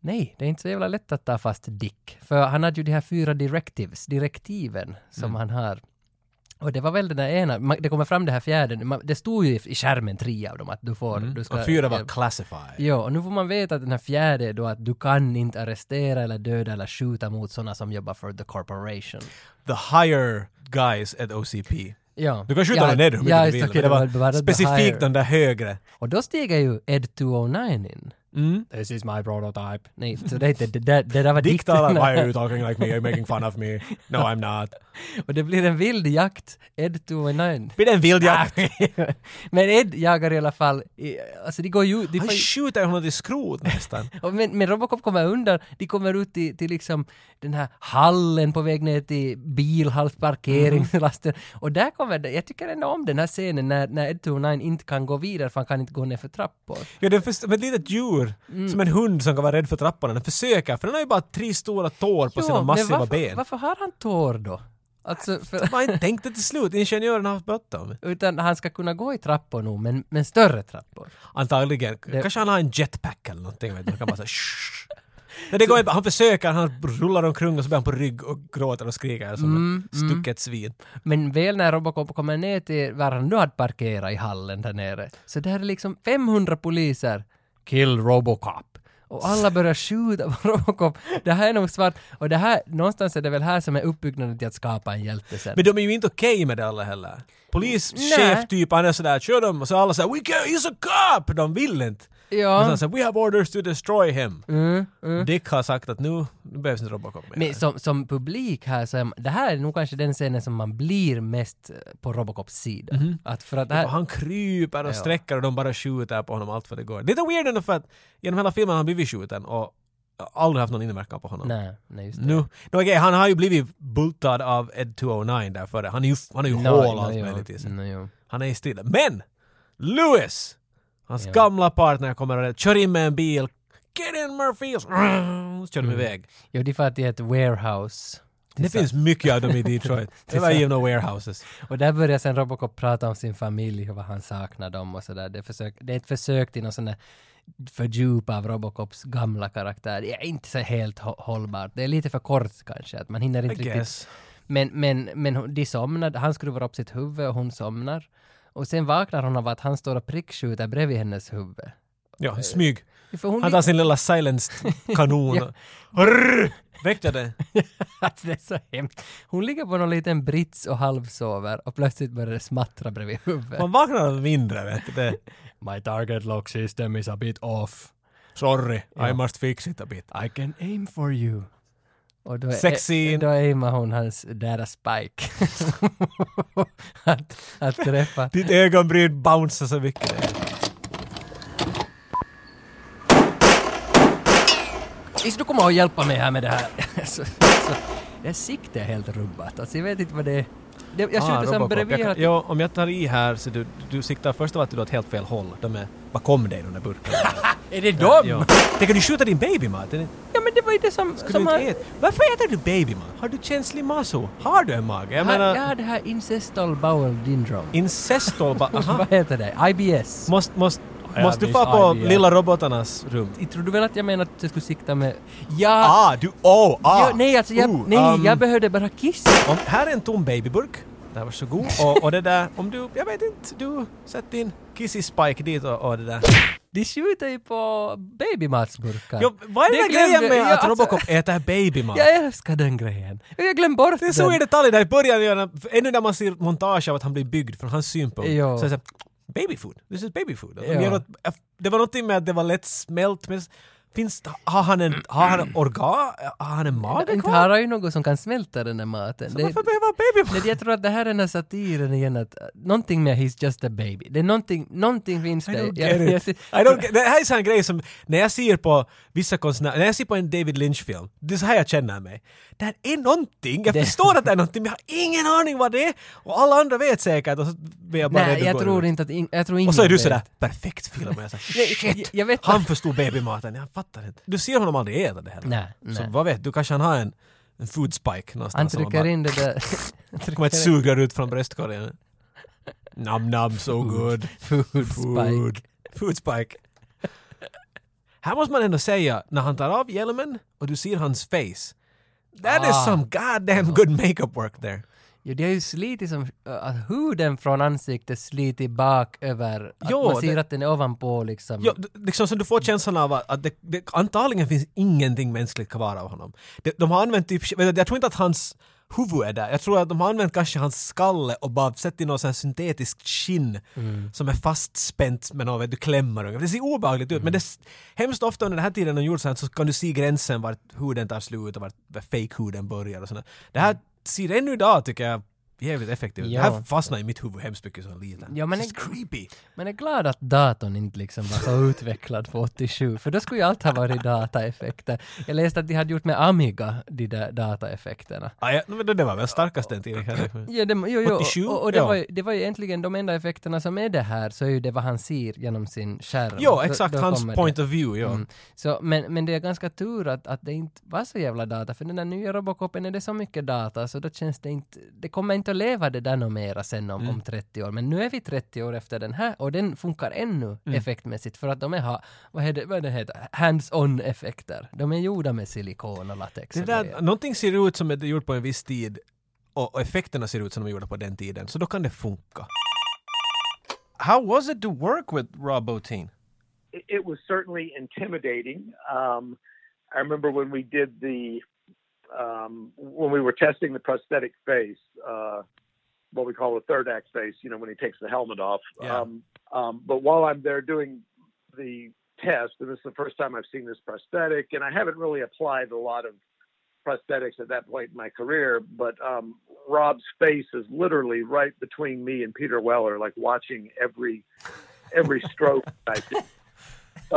Speaker 1: Nej, det är inte så jävla lätt att ta fast Dick. För han hade ju de här fyra directives, direktiven
Speaker 2: Mm.
Speaker 1: som han har. Och det var väl den där ena, man- det kommer fram det här fjärde, man, det stod ju i- i skärmen tre av dem att du får... Du ska,
Speaker 2: Mm. Och fyra var
Speaker 1: ja.
Speaker 2: classified.
Speaker 1: Ja, och nu får man veta att den här fjärde är då att du kan inte arrestera eller döda eller skjuta mot sådana som jobbar för the corporation.
Speaker 2: The higher guys at OCP.
Speaker 1: Ja.
Speaker 2: Du kan skjuta
Speaker 1: ja,
Speaker 2: dem ner hur mycket
Speaker 1: ja,
Speaker 2: du
Speaker 1: just
Speaker 2: vill,
Speaker 1: okej,
Speaker 2: men det
Speaker 1: det var
Speaker 2: var specifikt
Speaker 1: higher.
Speaker 2: den där högre.
Speaker 1: Och då stiger ju Ed 209 in.
Speaker 2: Mm.
Speaker 1: This is my prototype. Nej, så det, är inte- det, det, det där var
Speaker 2: Dick talar, why are
Speaker 1: dikten.
Speaker 2: you talking like me? You're making fun of me. No I'm not.
Speaker 1: Och det blir en vild jakt, Ed 209.
Speaker 2: Blir det en vild
Speaker 1: Ah,
Speaker 2: jakt?
Speaker 1: men Ed jagar i alla fall, i- alltså de går ju... De
Speaker 2: Han
Speaker 1: får, ju-
Speaker 2: skjuter honom till skrot nästan.
Speaker 1: och men, men Robocop kommer undan, de kommer ut till, till liksom den här hallen på väg ner till
Speaker 2: Mm.
Speaker 1: bilhallsparkeringslasten. Och där kommer det, jag tycker ändå om den här scenen när, när Ed 209 inte kan gå vidare för han kan inte gå ner för trappor.
Speaker 2: Ja, det är först- ett litet djur,
Speaker 1: Mm.
Speaker 2: som en hund som kan vara rädd för trapporna. Den försöker, för den har ju bara tre stora tår på sina
Speaker 1: men
Speaker 2: massiva
Speaker 1: varför,
Speaker 2: ben.
Speaker 1: varför har han tår då? Alltså, för,
Speaker 2: De har inte tänkt det till slut, ingenjören har haft bråttom.
Speaker 1: utan han ska kunna gå i trappor nog, men, men större trappor.
Speaker 2: Antagligen. Kanske han har en jetpack eller någonting. Vet du. Han kan bara så här, "Shh." Nej, det går inte. Han försöker, han rullar omkring och så blir han på rygg och gråter och skriker som
Speaker 1: Mm,
Speaker 2: ett stucket svin.
Speaker 1: Men väl när Robocop kommer ner till var han nu hade parkerat i hallen där nere, så där är liksom 500 poliser. Kill Robocop. Och alla börjar skjuta på Robocop. Det här är nog svart. Och det här, någonstans är det väl här som är uppbyggnaden till att skapa en hjälte sen.
Speaker 2: Men de är ju inte okej med det alla heller. Polischef
Speaker 1: Nej.
Speaker 2: typ, han är sådär, kör dem och så alla säger “We can't, he's a cop!” De vill inte.
Speaker 1: Ja.
Speaker 2: Och sen säger “We have orders to destroy him”.
Speaker 1: Mm.
Speaker 2: Dick har sagt att nu, nu behövs inte Robocop mer.
Speaker 1: Men som, som publik här, så är, man- det här är nog kanske den scenen som man blir mest eh, på Robocops sida. Att för att det här,
Speaker 2: Och Mhm. han kryper och
Speaker 1: Ja.
Speaker 2: sträcker och de bara skjuter på honom allt vad det går. Lite weird ändå för att genom hela filmen har han blivit skjuten och aldrig haft någon inverkan på honom.
Speaker 1: Nej, nej just det.
Speaker 2: Nu, no, okay, han har ju blivit bultad av Ed 209 där före. Han är ju, han är ju
Speaker 1: Nå,
Speaker 2: hål
Speaker 1: nå,
Speaker 2: och allt
Speaker 1: jo.
Speaker 2: möjligt i sig.
Speaker 1: Nå, jo.
Speaker 2: Han är i stilla. Men! Lewis! Hans
Speaker 1: Ja.
Speaker 2: gamla partner kommer och kör in med en bil. Get in Murphy! Och så, så kör de
Speaker 1: Mm.
Speaker 2: iväg.
Speaker 1: Jo, det är för att det är ett warehouse.
Speaker 2: Det finns mycket av dem i Detroit. Det var givna warehouses.
Speaker 1: Och där börjar sen Robocop prata om sin familj och vad han saknar dem och sådär. Det, är försök- det är ett försök till någon sån där fördjup av Robocops gamla karaktär. Det är inte så helt hå- hållbart. Det är lite för kort kanske, att man hinner
Speaker 2: I
Speaker 1: inte riktigt
Speaker 2: guess.
Speaker 1: men, men, men hon- de somnar, han skruvar upp sitt huvud och hon somnar. Och sen vaknar hon av att han står och prickskjuter bredvid hennes huvud. Eh,
Speaker 2: Ja, smyg.
Speaker 1: För hon
Speaker 2: Han tar sin lilla silence-kanon. och- Rrrr! Väckte det?
Speaker 1: Alltså det är så hemskt. Hon ligger på någon liten brits och halvsover och plötsligt börjar det smattra bredvid huvudet.
Speaker 2: Man vaknar av mindre, vet du. Det-
Speaker 1: My target lock system is a bit off.
Speaker 2: Sorry, I must fix it a bit.
Speaker 1: I can aim for you. Och då, eh,
Speaker 2: Sex scene.
Speaker 1: Då aimar hon hans dära Spike. att, att träffa.
Speaker 2: Ditt ögonbryn bouncear så mycket.
Speaker 1: Is, du kommer att hjälpa mig här med det här. så, så, det här siktet är helt rubbat. Alltså jag vet inte vad det är. Jag, jag skjuter som
Speaker 2: Ah, Robocop.
Speaker 1: bredvid
Speaker 2: Jag kan-
Speaker 1: att...
Speaker 2: Jo, om jag tar i här så du, du siktar först av allt du åt helt fel håll. De är bakom dig, de där burkarna.
Speaker 1: Är det dem?
Speaker 2: Jo. Tänker du skjuta din baby, Martin?
Speaker 1: Ja men det var ju det som...
Speaker 2: Ska
Speaker 1: som
Speaker 2: du
Speaker 1: han-
Speaker 2: inte äta? Varför äter du baby, man? Har du känslig maso? Har du en mage? Jag
Speaker 1: här,
Speaker 2: menar...
Speaker 1: ja, det här incestal bowel syndrome.
Speaker 2: Incestol bara... Aha.
Speaker 1: Vad heter det? IBS?
Speaker 2: Måste, måste,
Speaker 1: Ja,
Speaker 2: måste du
Speaker 1: visst,
Speaker 2: få på
Speaker 1: idea.
Speaker 2: lilla robotarnas rum?
Speaker 1: Tror du väl att jag menar att jag skulle sikta med... Ja!
Speaker 2: Ah, du... Oh, ah!
Speaker 1: ja nej alltså jag...
Speaker 2: Oh,
Speaker 1: nej,
Speaker 2: um,
Speaker 1: jag behövde bara kissa.
Speaker 2: Om, här är en tom babyburk. Där, varsågod. Och, och det där, om du, jag vet inte, du sätt din kissy spike dit och, och det där.
Speaker 1: De skjuter ju på babymatsburkar.
Speaker 2: Jo, vad är
Speaker 1: Det
Speaker 2: den där grejen
Speaker 1: glömde-
Speaker 2: med
Speaker 1: ja,
Speaker 2: att
Speaker 1: alltså,
Speaker 2: Robocop äter babymat?
Speaker 1: Jag älskar den grejen. Jag glömde bort
Speaker 2: Det är så i
Speaker 1: den.
Speaker 2: detalj där i början, Jonna. ännu när man ser montage av att han blir byggd från hans synpunkt.
Speaker 1: Jo.
Speaker 2: Så är det såhär, baby food, this is baby food.
Speaker 1: Ja.
Speaker 2: De gör något, äh, det var någonting med att det var lätt smält, men finns, har han en, har han organ, har han en mage
Speaker 1: Inte
Speaker 2: kvar?
Speaker 1: har jag ju något som kan smälta den där maten. Det-
Speaker 2: Varför behöver han baby
Speaker 1: Nej,
Speaker 2: food?
Speaker 1: jag tror att det här är den här satiren igen att uh, någonting med “He's just a baby”. Det är någonting, någonting finns
Speaker 2: I
Speaker 1: det.
Speaker 2: don't
Speaker 1: Jag- jag
Speaker 2: get
Speaker 1: ser-
Speaker 2: it. I don't get, det här är sån här grej som, när jag ser på vissa konstnärer, när jag ser på en David Lynch-film, det är så här jag känner mig. Det här är någonting, jag
Speaker 1: Det-
Speaker 2: förstår att det är någonting, men jag har ingen aning vad det är! Och alla andra vet säkert, och så blir jag bara rädd
Speaker 1: Nej,
Speaker 2: och
Speaker 1: jag
Speaker 2: går
Speaker 1: tror
Speaker 2: ur.
Speaker 1: inte att... In, jag tror ingen
Speaker 2: Och så är du
Speaker 1: vet.
Speaker 2: sådär perfekt film och jag säger
Speaker 1: Nej,
Speaker 2: shit!
Speaker 1: jag- jag vet-
Speaker 2: han förstod babymaten, jag fattar inte. Du ser honom aldrig äta det heller.
Speaker 1: Nej,
Speaker 2: Så
Speaker 1: nej.
Speaker 2: vad vet du, kanske han har en, en food spike någonstans.
Speaker 1: Han
Speaker 2: som
Speaker 1: trycker
Speaker 2: Alltså, bara-
Speaker 1: in det där...
Speaker 2: Kommer ett sugrör ut från bröstkorgen. Nam nam so good.
Speaker 1: Food spike.
Speaker 2: Food spike. Här måste man ändå säga, när han tar av hjälmen och du ser hans face. That
Speaker 1: Ah.
Speaker 2: is some goddamn good makeup work there.
Speaker 1: Jo, det har ju slitit som... Att huden från ansiktet sliter bak över... Att
Speaker 2: Jo,
Speaker 1: man ser
Speaker 2: det-
Speaker 1: att den är ovanpå liksom.
Speaker 2: Ja, d- liksom så du får känslan av att att det, det, antagligen finns ingenting mänskligt kvar av honom. De, de har använt typ, vet du, jag tror inte att hans huvud är där. Jag tror att de har använt kanske hans skalle och bara sett i någon sån här syntetisk skinn
Speaker 1: Mm.
Speaker 2: som är fastspänt med någon, vet du, klämmar ungefär. Det ser obehagligt ut men
Speaker 1: Mm.
Speaker 2: det, s- hemskt ofta under den här tiden de gjorde så här så kan du se gränsen vart huden tar slut och vart, vart fake-huden börjar och sådär. Det här ser ännu idag tycker jag jävligt effektivt.
Speaker 1: Mm. Ja.
Speaker 2: Det här fastnar i mitt huvud hemskt mycket som liten.
Speaker 1: Ja, men
Speaker 2: It's
Speaker 1: det-
Speaker 2: creepy.
Speaker 1: Men jag är glad att datorn inte liksom var så utvecklad på 87, för då skulle ju allt ha varit dataeffekter. Jag läste att de hade gjort med Amiga, de där dataeffekterna.
Speaker 2: Ah, ja, men det det var väl starkast den tiden kanske.
Speaker 1: Ja, det, jo, jo,
Speaker 2: 87?
Speaker 1: och, och det,
Speaker 2: Ja.
Speaker 1: var ju, det var ju egentligen de enda effekterna som är det här, så är ju det vad han ser genom sin skärm.
Speaker 2: Ja,
Speaker 1: Då-
Speaker 2: exakt.
Speaker 1: då
Speaker 2: hans
Speaker 1: kommer
Speaker 2: point
Speaker 1: det.
Speaker 2: of view, ja.
Speaker 1: Mm. Så, men, men det är ganska tur att, att det inte var så jävla data, för den där nya Robocopen är det så mycket data så då känns det inte, det kommer inte att leva det där något mera sen om,
Speaker 2: Mm.
Speaker 1: om 30 år. Men nu är vi 30 år efter den här och den funkar ännu
Speaker 2: Mm.
Speaker 1: effektmässigt för att de är, ha, vad, är det, vad det heter, hands-on effekter. De är gjorda med silikon och latex.
Speaker 2: Det
Speaker 1: och
Speaker 2: där,
Speaker 1: grejer.
Speaker 2: någonting ser ut som det är gjort på en viss tid och, och effekterna ser ut som de är gjorda på den tiden, så då kan det funka. How was it to work with Robotine?
Speaker 6: it, it was certainly intimidating. Um, I remember when we did the um, when we were testing the prosthetic face, uh, what we call the third act face. You know, when he takes the helmet off.
Speaker 2: Yeah.
Speaker 6: Um, um, but while I'm there doing the test, and this is the first time I've seen this prosthetic, and I haven't really applied a lot of prosthetics at that point in my career, but um, Rob's face is literally right between me and Peter Weller, like watching every every stroke I do. So,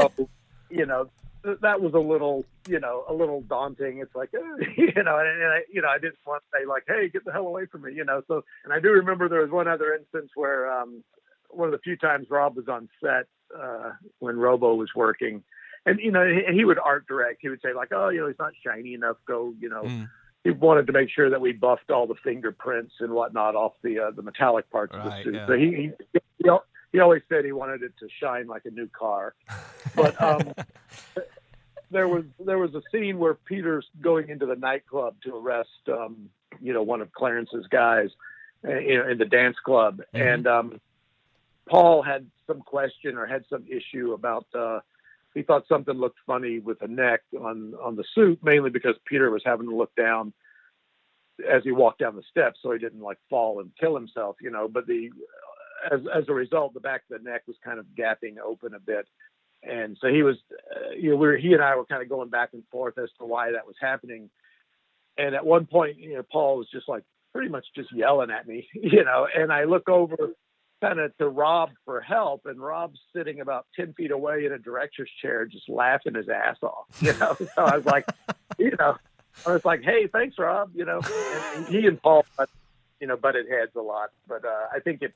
Speaker 6: you know, th- that was a little, you know, a little daunting. It's like, eh, you know, and, and I, you know, I didn't want to say like, hey, get the hell away from me, you know. So, and I do remember there was one other instance where um, one of the few times Rob was on set uh, when Robo was working, and you know, he, he would art direct. He would say like, oh, you know, he's not shiny enough. Go, you know.
Speaker 2: Mm.
Speaker 6: He wanted to make sure that we buffed all the fingerprints and whatnot off the uh, the metallic parts of the
Speaker 2: Right,
Speaker 6: suit.
Speaker 2: yeah.
Speaker 6: So he, he he al- he always said he wanted it to shine like a new car. But um, there was there was a scene where Peter's going into the nightclub to arrest um, you know one of Clarence's guys uh, you know, in the dance club, and um, Paul had some question or had some issue about uh, he thought something looked funny with the neck on on the suit, mainly because Peter was having to look down as he walked down the steps, so he didn't like fall and kill himself, you know. But the as as a result, the back of the neck was kind of gapping open a bit, and so he was, uh, you know, we were he and I were kind of going back and forth as to why that was happening, and at one point, you know, Paul was just like pretty much just yelling at me, you know, and I look over kind of to Rob for help, and Rob's sitting about ten feet away in a director's chair, just laughing his ass off, you know. so I was like, you know, I was like, hey, thanks, Rob, you know, and he and Paul. you know, butted heads a lot. But uh, I think it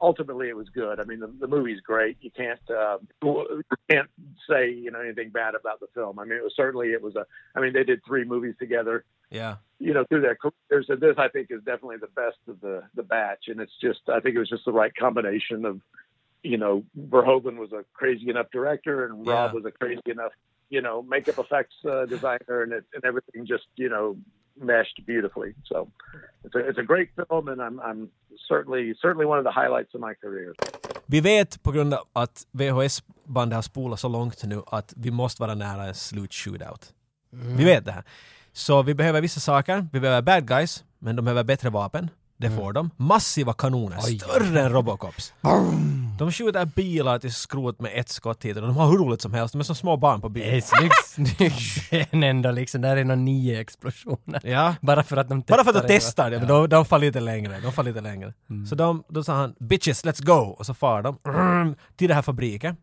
Speaker 6: ultimately it was good. I mean, the, the movie's great. You can't uh, you can't say you know anything bad about the film. I mean, it was certainly it was a. I mean, they did three movies together.
Speaker 2: Yeah.
Speaker 6: You know, through their careers, and this I think is definitely the best of the the batch. And it's just I think it was just the right combination of, you know, Verhoeven was a crazy enough director, and Rob
Speaker 2: Yeah.
Speaker 6: was a crazy enough you know makeup effects uh, designer, and it, and everything just you know meshed beautifully. So it's a it's a great film, and I'm I'm certainly certainly one of the highlights of my career.
Speaker 2: Vi vet på grund av att VHS-bandet har spolat så långt nu att vi måste vara nära en slutshootout. Vi vet det här. Så vi behöver vissa saker. Vi behöver bad guys, men de behöver bättre vapen. Det får de. Massiva kanoner, större än Robocops. De skjuter bilar till skrot med ett skott hit och de har hur roligt som helst. De är som små barn på
Speaker 1: Det är
Speaker 2: bil.
Speaker 1: snyggt, snygg scen ändå liksom. Där är nog nio explosioner.
Speaker 2: Ja.
Speaker 1: Bara för att de testar.
Speaker 2: Bara för att de
Speaker 1: det, va?
Speaker 2: testar det, men de, de far lite längre. De far lite längre. Så de, då sa han “Bitches, let's go!” och så far de till den här fabriken.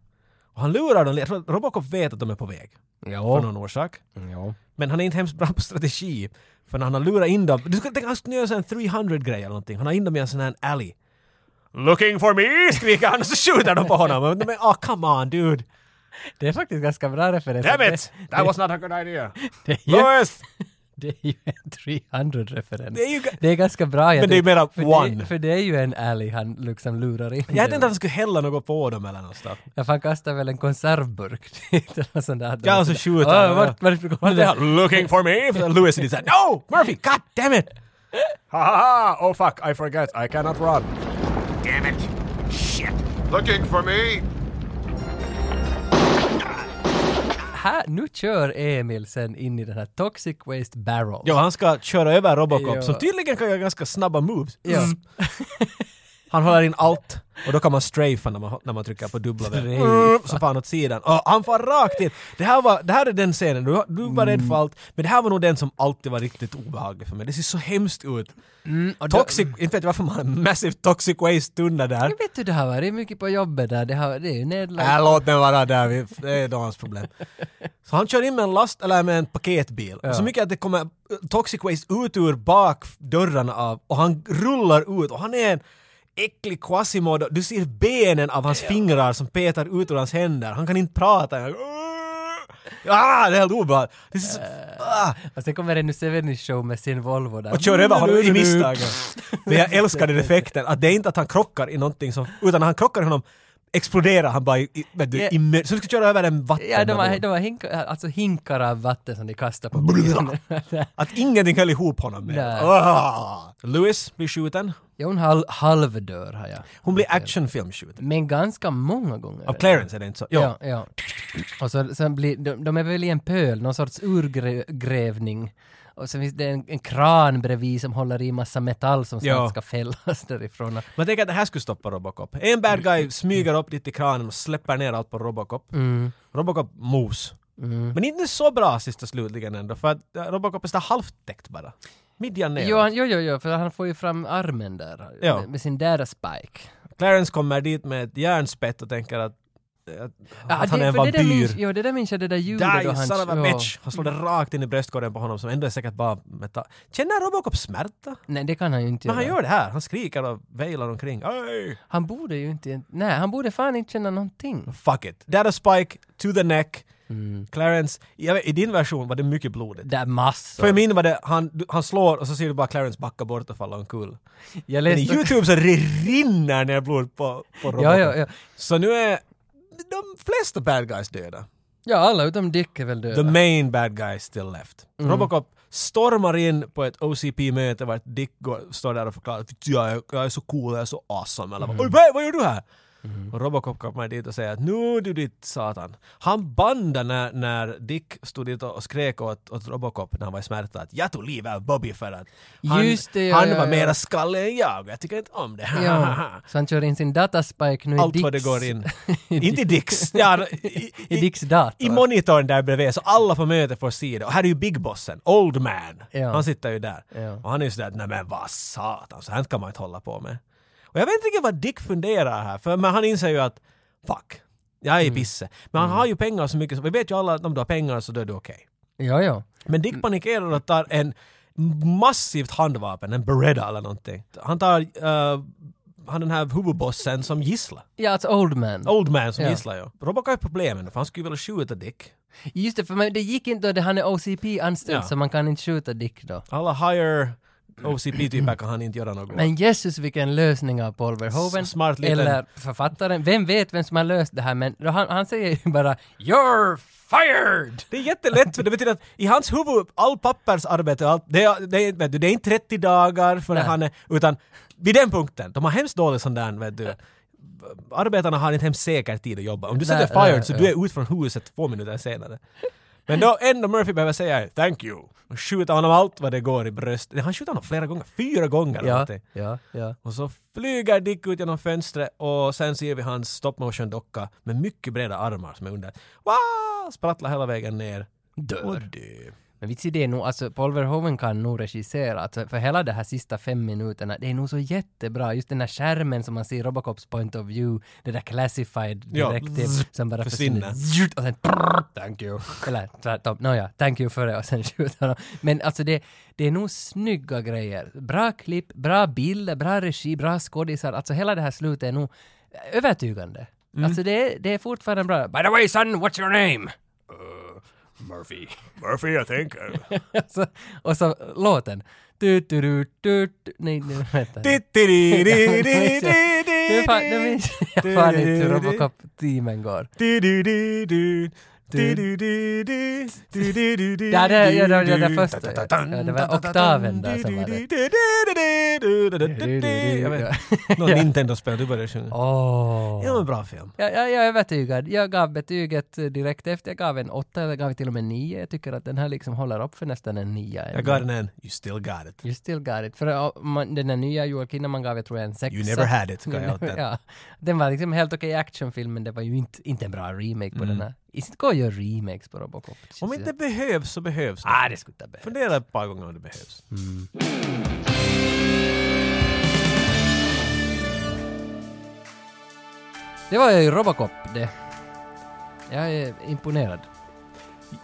Speaker 2: Och han lurar dem, jag tror att Robocop vet att de är på väg. Av
Speaker 1: Ja.
Speaker 2: någon orsak.
Speaker 1: ja.
Speaker 2: Men han är inte hemskt bra på strategi. För när han har lurat in dem, du skulle tänka han skulle göra en sån här 300-grej eller någonting. Han har in dem i en sån här alley. “Looking for me!” skriker han och så skjuter de på honom. Men de är “Ah, come on dude!
Speaker 1: Det är faktiskt ganska bra referens.
Speaker 2: Damn it!
Speaker 1: Det,
Speaker 2: That was not a good idea!
Speaker 1: det, är ju,
Speaker 2: Lois!
Speaker 1: det är ju en 300-referens.
Speaker 2: Det är ju ga-
Speaker 1: det är ganska bra. jag
Speaker 2: Men det är
Speaker 1: tycker.
Speaker 2: mera
Speaker 1: för
Speaker 2: one.
Speaker 1: Det, för det är ju en alley han liksom lurar in.
Speaker 2: Jag hade
Speaker 1: dem.
Speaker 2: inte att han skulle hälla något på dem eller något sånt.
Speaker 1: Ja, för han kastar väl en konservburk dit eller sånt där.
Speaker 2: Ja, och så skjuter han.
Speaker 1: han. Vart, vart, vart,
Speaker 2: What the hell? Looking for me? Lewis is like, no! Murphy, god damn it! Ha ha ha! Oh fuck, I forgot. I cannot run.
Speaker 7: Damn it. Shit.
Speaker 8: Looking for me?
Speaker 1: Här, nu kör Emil sen in i den här Toxic Waste Barrel.
Speaker 2: Jo, han ska köra över Robocop
Speaker 1: Ja.
Speaker 2: som tydligen kan göra ganska snabba moves. Mm.
Speaker 1: Ja.
Speaker 2: Han håller in allt och då kan man strafa när man, när man trycker på W. Så far han åt sidan. Och han far rakt in! Det här, var, det här är den scenen, du, du var rädd för allt, men det här var nog den som alltid var riktigt obehaglig för mig. Det ser så hemskt ut. Mm, toxic, inte vet jag varför man har en massive toxic waste-tunna där.
Speaker 1: Jag vet du, det har varit mycket på jobbet där. Det, har, det är ju nedlagt.
Speaker 2: Nej, låt den vara där, vi- det är dagens problem. Så han kör in med en last, eller med en paketbil. Så mycket att det kommer uh, toxic waste ut ur bakdörrarna av och han rullar ut och han är en äcklig Quasimodo. Du ser benen av hans fingrar som petar ut ur hans händer. Han kan inte prata. Han- Ah, det är helt obehagligt. Det är så- ah.
Speaker 1: Och sen kommer Alltså, det nu Sevenis show med sin Volvo där. Mm.
Speaker 2: Och kör över honom i misstag. Men jag älskar den effekten, att det är inte att han krockar i någonting som, utan när han krockar i honom exploderar han bara i, i, vet du, i mö- Så du ska köra över en vatten.
Speaker 1: Ja, de var, de var hinkar, alltså hinkar av vatten som de kastar på bilen.
Speaker 2: Att ingenting höll ihop honom med.
Speaker 1: Nej.
Speaker 2: Ah! Lewis blir skjuten.
Speaker 1: ja, hon halv, halvdör har jag.
Speaker 2: Hon blir actionfilmskjuten.
Speaker 1: Men ganska många gånger.
Speaker 2: Av Clarence är det inte så? Ja.
Speaker 1: Ja, ja. Och så, sen blir, de, de är väl i en pöl, någon sorts urgrävning. Och sen finns det en, en kran bredvid som håller i massa metall som snart
Speaker 2: Ja.
Speaker 1: ska fällas därifrån.
Speaker 2: Man tänker att det här skulle stoppa Robocop. En bad guy smyger upp dit till kranen och släpper ner allt på Robocop. Robocop mos. Men inte så bra sist och slutligen ändå, för att eh, Robocop är så där halvt täckt bara. Midjan ner.
Speaker 1: Jo, han, jo, jo, jo, för han får ju fram armen där
Speaker 2: Ja.
Speaker 1: med, med sin där spike.
Speaker 2: Clarence kommer dit med ett järnspett och tänker att, att, att han
Speaker 1: det,
Speaker 2: är en
Speaker 1: för Det där minns,
Speaker 2: vampyr.
Speaker 1: jo, det där minns jag, det där ljudet då
Speaker 2: Die,
Speaker 1: han...
Speaker 2: son of a
Speaker 1: ja.
Speaker 2: bitch! Han slår det rakt in i bröstkorgen på honom som ändå är säkert bara metall. Känner Robocop smärta?
Speaker 1: Nej, det kan han ju inte
Speaker 2: Men han
Speaker 1: göra.
Speaker 2: gör det här. Han skriker och vejlar omkring. Oj!
Speaker 1: Han borde ju inte... Nej, han borde fan inte känna någonting.
Speaker 2: Fuck it. Där är Spike, to the neck. Clarence, jag vet, i din version var det mycket blodigt.
Speaker 1: Mm. Det är massor.
Speaker 2: För i min var det, han, du- han slår och så ser du bara Clarence backa bort och falla omkull.
Speaker 1: jag
Speaker 2: Men i
Speaker 1: läste...
Speaker 2: YouTube så det rinner ner blod på, på roboten.
Speaker 1: Ja, ja, ja.
Speaker 2: Så nu är de flesta bad guys döda.
Speaker 1: Ja, alla utom Dick är väl
Speaker 2: The
Speaker 1: döda.
Speaker 2: main bad guy is still left.
Speaker 1: Mm.
Speaker 2: Robocop stormar in på ett OCP-möte vart Dick går, står där och förklarar att jag, är- jag är så cool, jag är så awesome. Eller mm. vad, vad gör du här?
Speaker 1: Mm.
Speaker 2: Och Robocop kommer dit och säger att nu du ditt satan. Han bandade när, när Dick stod dit och skrek åt, åt Robocop när han var i smärta att jag tog livet av Bobby för att han,
Speaker 1: Just det, ja,
Speaker 2: han
Speaker 1: ja,
Speaker 2: var
Speaker 1: ja.
Speaker 2: mera skallig än jag. Jag tycker inte om det.
Speaker 1: Ja, så han kör in sin dataspike nu i
Speaker 2: Allt
Speaker 1: Dicks...
Speaker 2: vad det går in.
Speaker 1: I
Speaker 2: inte i Dicks. Ja, i,
Speaker 1: I Dicks dator.
Speaker 2: i monitorn där bredvid så alla på mötet får se det. Och här är ju Big Bossen, Old Man.
Speaker 1: Ja.
Speaker 2: Han sitter ju där.
Speaker 1: Ja.
Speaker 2: Och han är ju sådär, nej men vad satan, så här kan man inte hålla på med. Och jag vet inte riktigt vad Dick funderar här, för men han inser ju att fuck, jag
Speaker 1: Mm.
Speaker 2: är i pisse. Men han har ju pengar så mycket, så vi vet ju alla att om du har pengar så då är du okej.
Speaker 1: Ja, ja.
Speaker 2: Men Dick panikerar och tar en massivt handvapen, en Beretta eller någonting. Han tar eh, han den här huvudbossen som gissla.
Speaker 1: Ja, alltså Old Man.
Speaker 2: Old man som
Speaker 1: Ja.
Speaker 2: gissla ja. Robocop har ju problemen för han skulle ju vilja skjuta Dick.
Speaker 1: Just det, för men det gick inte då det, han är OCP-anställd
Speaker 2: Ja.
Speaker 1: så man kan inte skjuta Dick då.
Speaker 2: Alla higher OCP-typer kan han inte göra något åt.
Speaker 1: Men Jesus vilken lösning av Paul Verhoeven.
Speaker 2: S- smart liten-
Speaker 1: Eller författaren. Vem vet vem som har löst det här men då han, han säger ju bara “You're fired!”
Speaker 2: Det är jättelätt, för det betyder att i hans huvud, all pappersarbete och allt, det är, det är, vet du, det är inte 30 dagar för
Speaker 1: Nej.
Speaker 2: han är, utan vid den punkten, de har hemskt dålig sån där, vet du, arbetarna har inte hemskt säker tid att jobba. Om du
Speaker 1: Nej,
Speaker 2: sätter fired
Speaker 1: nej,
Speaker 2: så
Speaker 1: ja.
Speaker 2: du är ut från huset två minuter senare. Men då ändå Murphy behöver säga “Thank you” och skjuta honom allt vad det går i bröst. Han skjuter honom flera gånger, fyra gånger eller
Speaker 1: Ja,
Speaker 2: någonting.
Speaker 1: ja, ja.
Speaker 2: Och så flyger Dick ut genom fönstret och sen ser vi hans stop motion docka med mycket breda armar som är under. Wow! Sprattlar hela vägen ner. Och
Speaker 1: Dör.
Speaker 2: dö.
Speaker 1: Men vits i det är nog, alltså Paul Verhoeven kan nog regissera, alltså, för hela de här sista fem minuterna, det är nog så jättebra, just den här skärmen som man ser i Robocops point of view, det där classified
Speaker 2: Ja,
Speaker 1: direktiv
Speaker 2: zzz,
Speaker 1: som bara
Speaker 2: försvinner.
Speaker 1: försvinner. Zzzzt, Och sen prrr, thank you. Eller tvärtom, nåja, thank you för det och sen skjuter honom. Men alltså det, det är nog snygga grejer. Bra klipp, bra bilder, bra regi, bra skådisar, alltså hela det här slutet är nog övertygande. Alltså det, är- det är fortfarande bra. By the way son, what's your name? Murphy.
Speaker 2: Murphy, jag tänker.
Speaker 1: Så, Alltså, och så låten. Du, du, du, du, du. Nej, nu vänta. Nu fan, nu minns jag fan inte hur Robocop-teamen går. Ja, det- ja, det- ja, det första, ja. Ja, det var oktaven där som var det.
Speaker 2: Jag vet. Någon Nintendo-spel, du började sjunga.
Speaker 1: Åh.
Speaker 2: Ja, men bra film.
Speaker 1: Jag, jag, jag är övertygad. Jag gav betyget eh, direkt efter. Jag gav en åtta, eller gav till och med en nio. Jag tycker att den här liksom håller upp för nästan en nia.
Speaker 2: Jag gav den en You still got it.
Speaker 1: You still got it. För eh, man, den där nya Joel Kinnaman gav jag tror jag en sexa.
Speaker 2: You never had it, gav jag åt den.
Speaker 1: ja. Den var liksom helt okej actionfilm, men det var ju inte, inte en bra remake på den här. Inte går att göra remakes på Robocop.
Speaker 2: Mm. Om inte behövs så behövs det.
Speaker 1: Ah, det skulle inte behövas.
Speaker 2: Fundera ett par gånger om det behövs.
Speaker 1: Mm. Det var ju Robocop det. Jag är imponerad.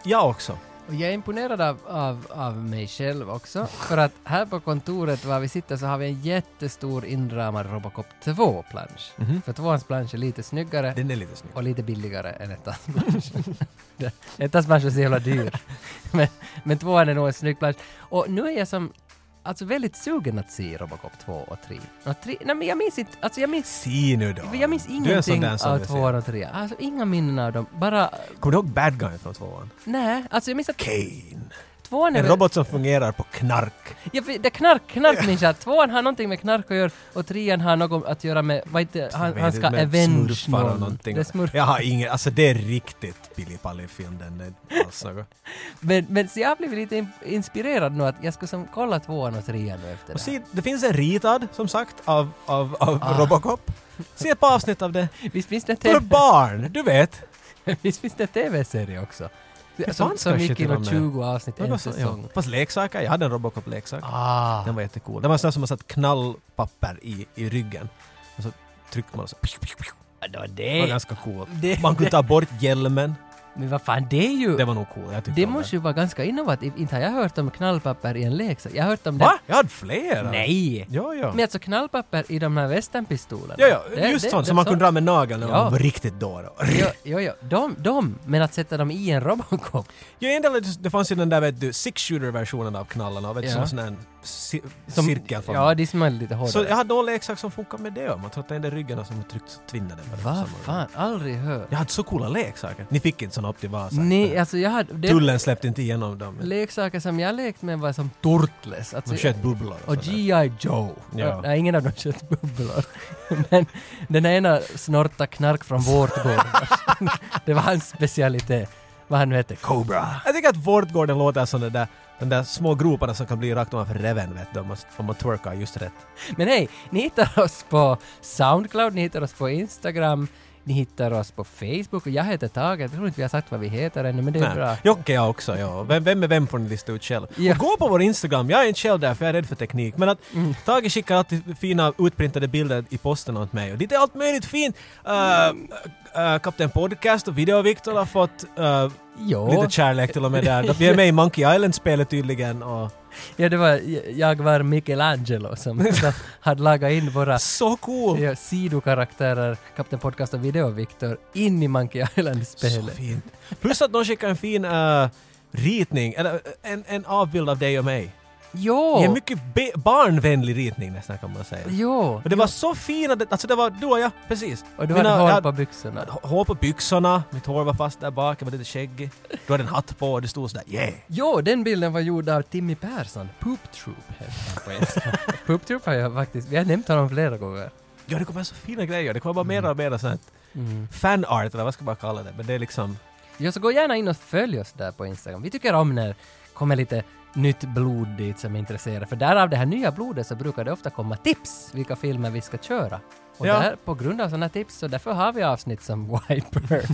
Speaker 2: Jag också.
Speaker 1: Och jag är imponerad av, av, av mig själv också. För att här på kontoret var vi sitter så har vi en jättestor inramad Robocop 2-plansch. För tvåans plansch är lite snyggare
Speaker 2: Den är lite snygg.
Speaker 1: och lite billigare än ettans plansch. Det- ettans plansch är så jävla dyr. Men, men tvåan är nog en snygg plansch. Och nu är jag som Alltså väldigt sugen att se Robocop 2 och 3. Och 3 nej men jag minns inte, alltså jag minns
Speaker 2: Se nu då.
Speaker 1: För jag minns
Speaker 2: Du är en sån
Speaker 1: ingenting
Speaker 2: där som
Speaker 1: av
Speaker 2: vill se.
Speaker 1: tvåan och trean. Alltså inga minnen av dem. Bara,
Speaker 2: Kommer du ihåg Bad Guy från tvåan?
Speaker 1: nej, alltså jag minns att
Speaker 2: Kane.
Speaker 1: tvåan är
Speaker 2: En
Speaker 1: väl...
Speaker 2: robot som fungerar på knark.
Speaker 1: Ja, för det är knark, knark ninja. Tvåan har någonting med knark att göra och trean har något att göra med, vad heter han, han ska
Speaker 2: Med
Speaker 1: avenge
Speaker 2: smurfar och
Speaker 1: någon.
Speaker 2: någonting.
Speaker 1: Det är smurf.
Speaker 2: Jag har ingen, alltså det är riktigt Billy Pally-film den. Det är alls något.
Speaker 1: Men, men så jag har blivit lite in- inspirerad nu att jag ska som kolla tvåan och trean nu efter
Speaker 2: Och
Speaker 1: det här.
Speaker 2: se, det finns en ritad, som sagt, av, av, av Robocop. Se ett par avsnitt av det.
Speaker 1: Visst finns Ah. det
Speaker 2: För
Speaker 1: TV,
Speaker 2: barn, du vet.
Speaker 1: visst finns det tv-serie också? Som,
Speaker 2: fan ska
Speaker 1: som
Speaker 2: shit
Speaker 1: gick i
Speaker 2: vara
Speaker 1: något
Speaker 2: med?
Speaker 1: 20 avsnitt, en
Speaker 2: Något så-
Speaker 1: säsong.
Speaker 2: Fast leksaker, jag hade en Robocop-leksak.
Speaker 1: Ah.
Speaker 2: Den var jättecool. Den var en sån där som man satt knallpapper i, i ryggen. Och så tryckte man och så...
Speaker 1: Det var
Speaker 2: Det
Speaker 1: det.
Speaker 2: var ganska coolt.
Speaker 1: det-
Speaker 2: Man kunde ta bort hjälmen.
Speaker 1: Men vad fan, det är ju...
Speaker 2: Det var nog coolt. Jag tyckte
Speaker 1: Det
Speaker 2: om
Speaker 1: måste ju vara ganska innovativt. Inte har jag hört om knallpapper i en leksak. Jag har hört om
Speaker 2: Va?
Speaker 1: det.
Speaker 2: Jag hade flera!
Speaker 1: Nej!
Speaker 2: Ja, ja.
Speaker 1: Men alltså knallpapper i de här västernpistolerna.
Speaker 2: Ja, ja. Just sånt som man kunde dra med nageln när
Speaker 1: Ja.
Speaker 2: man var riktigt dåre.
Speaker 1: Jo, jo, jo. De, de, men att sätta dem i en Robocop.
Speaker 2: Ja, en del, av det- det fanns ju den där vet du, six-shooter-versionen av knallarna, vet du,
Speaker 1: Ja.
Speaker 2: som en sån här ci-
Speaker 1: Som,
Speaker 2: cirkel. Från.
Speaker 1: Ja, de smällde lite hårdare.
Speaker 2: så jag hade någon leksak som funkade med det. Man tröttade in det i ryggen och så tryckte så tvinnade den.
Speaker 1: Vad fan, aldrig hört.
Speaker 2: Jag hade så coola leksaker. Ni fick inte såna upp till Vasa.
Speaker 1: Nej, alltså jag hade... Det,
Speaker 2: Tullen släppte inte igenom dem.
Speaker 1: leksaker som jag lekt med var som Turtles. Alltså,
Speaker 2: De sköt bubblor
Speaker 1: och
Speaker 2: sådär.
Speaker 1: G.I. Joe.
Speaker 2: Ja.
Speaker 1: Nej, ingen av dem sköt bubblor. Men den ena snorta knark från vårtgården. det var hans specialitet. Vad han nu hette, Cobra.
Speaker 2: Jag tycker att Vårtgården låter som den där, den där små groparna som kan bli rakt ovanför reven vet du, om man, om man twerkar just rätt.
Speaker 1: Men hej, ni hittar oss på Soundcloud, ni hittar oss på Instagram, ni hittar oss på Facebook och jag heter Tage. Jag tror inte vi har sagt vad vi heter ännu, men det är bra.
Speaker 2: Nej. Jocke jag också, ja. Vem, vem är vem får ni lista ut själv.
Speaker 1: Ja.
Speaker 2: Och gå på vår Instagram, jag är inte själv där för jag är rädd för teknik. Men att
Speaker 1: Mm.
Speaker 2: Tage skickar alltid fina utprintade bilder i posten åt mig och det är Eh,
Speaker 1: Mm.
Speaker 2: allt möjligt fint. Uh, uh, Kapten Podcast och Video-Viktor har fått uh,
Speaker 1: Jo.
Speaker 2: Lite kärlek till och med där. Vi är med i Monkey Island-spelet tydligen och
Speaker 1: Ja, det var, jag var Michelangelo som, som hade lagat in våra
Speaker 2: så cool!
Speaker 1: ja, sidokaraktärer, Kapten Podcast och Video-Viktor, in i Monkey
Speaker 2: Så
Speaker 1: Island-spelet.
Speaker 2: fint. Plus att någon skickade en fin eh, ritning, eller eh, en, en avbild av dig och mig. Det är en
Speaker 1: Jo!
Speaker 2: mycket be- barnvänlig ritning nästan kan man säga.
Speaker 1: Jo!
Speaker 2: Och det var så fina, det- alltså det var du och jag, precis.
Speaker 1: Och du
Speaker 2: Mina-
Speaker 1: hade
Speaker 2: jag
Speaker 1: hår på byxorna.
Speaker 2: hade Hår på byxorna, mitt hår var fast där bak, jag var lite skäggig. Du hade en hatt på och det stod sådär yeah!
Speaker 1: Jo, den bilden var gjord av Timmy Persson. Poop Troop heter han på engelska. Poop Troop har jag faktiskt, vi har nämnt honom flera gånger.
Speaker 2: Ja, det kommer så fina grejer. Det kommer bara
Speaker 1: Mm.
Speaker 2: mer och mer sånt fanart, eller vad ska man kalla det? Men det är liksom...
Speaker 1: Ja, så gå gärna in och följ oss där på Instagram. Vi tycker om när kommer lite nytt blod dit som är intresserade. För därav det här nya blodet så brukar det ofta komma tips vilka filmer vi ska köra. Och
Speaker 2: Ja.
Speaker 1: där, på grund av sådana tips så därför har vi avsnitt som White Bird.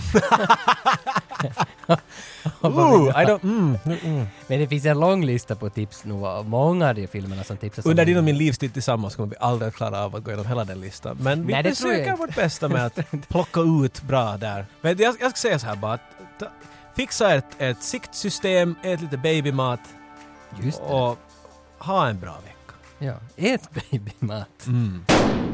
Speaker 2: Ooh, I don't... Mm.
Speaker 1: Men det finns en lång lista på tips nu och många av de filmerna som tipsas om.
Speaker 2: Under din och min livstid tillsammans kommer vi aldrig att klara av att gå igenom hela den listan. Men vi
Speaker 1: Nej, det tror jag
Speaker 2: försöker
Speaker 1: inte.
Speaker 2: vårt bästa med att plocka ut bra där. Men jag, jag ska säga så här bara. att Ta, fixa ett, ett siktsystem, ät lite babymat
Speaker 1: Just det.
Speaker 2: och ha en bra vecka.
Speaker 1: Ja. Ät babymat.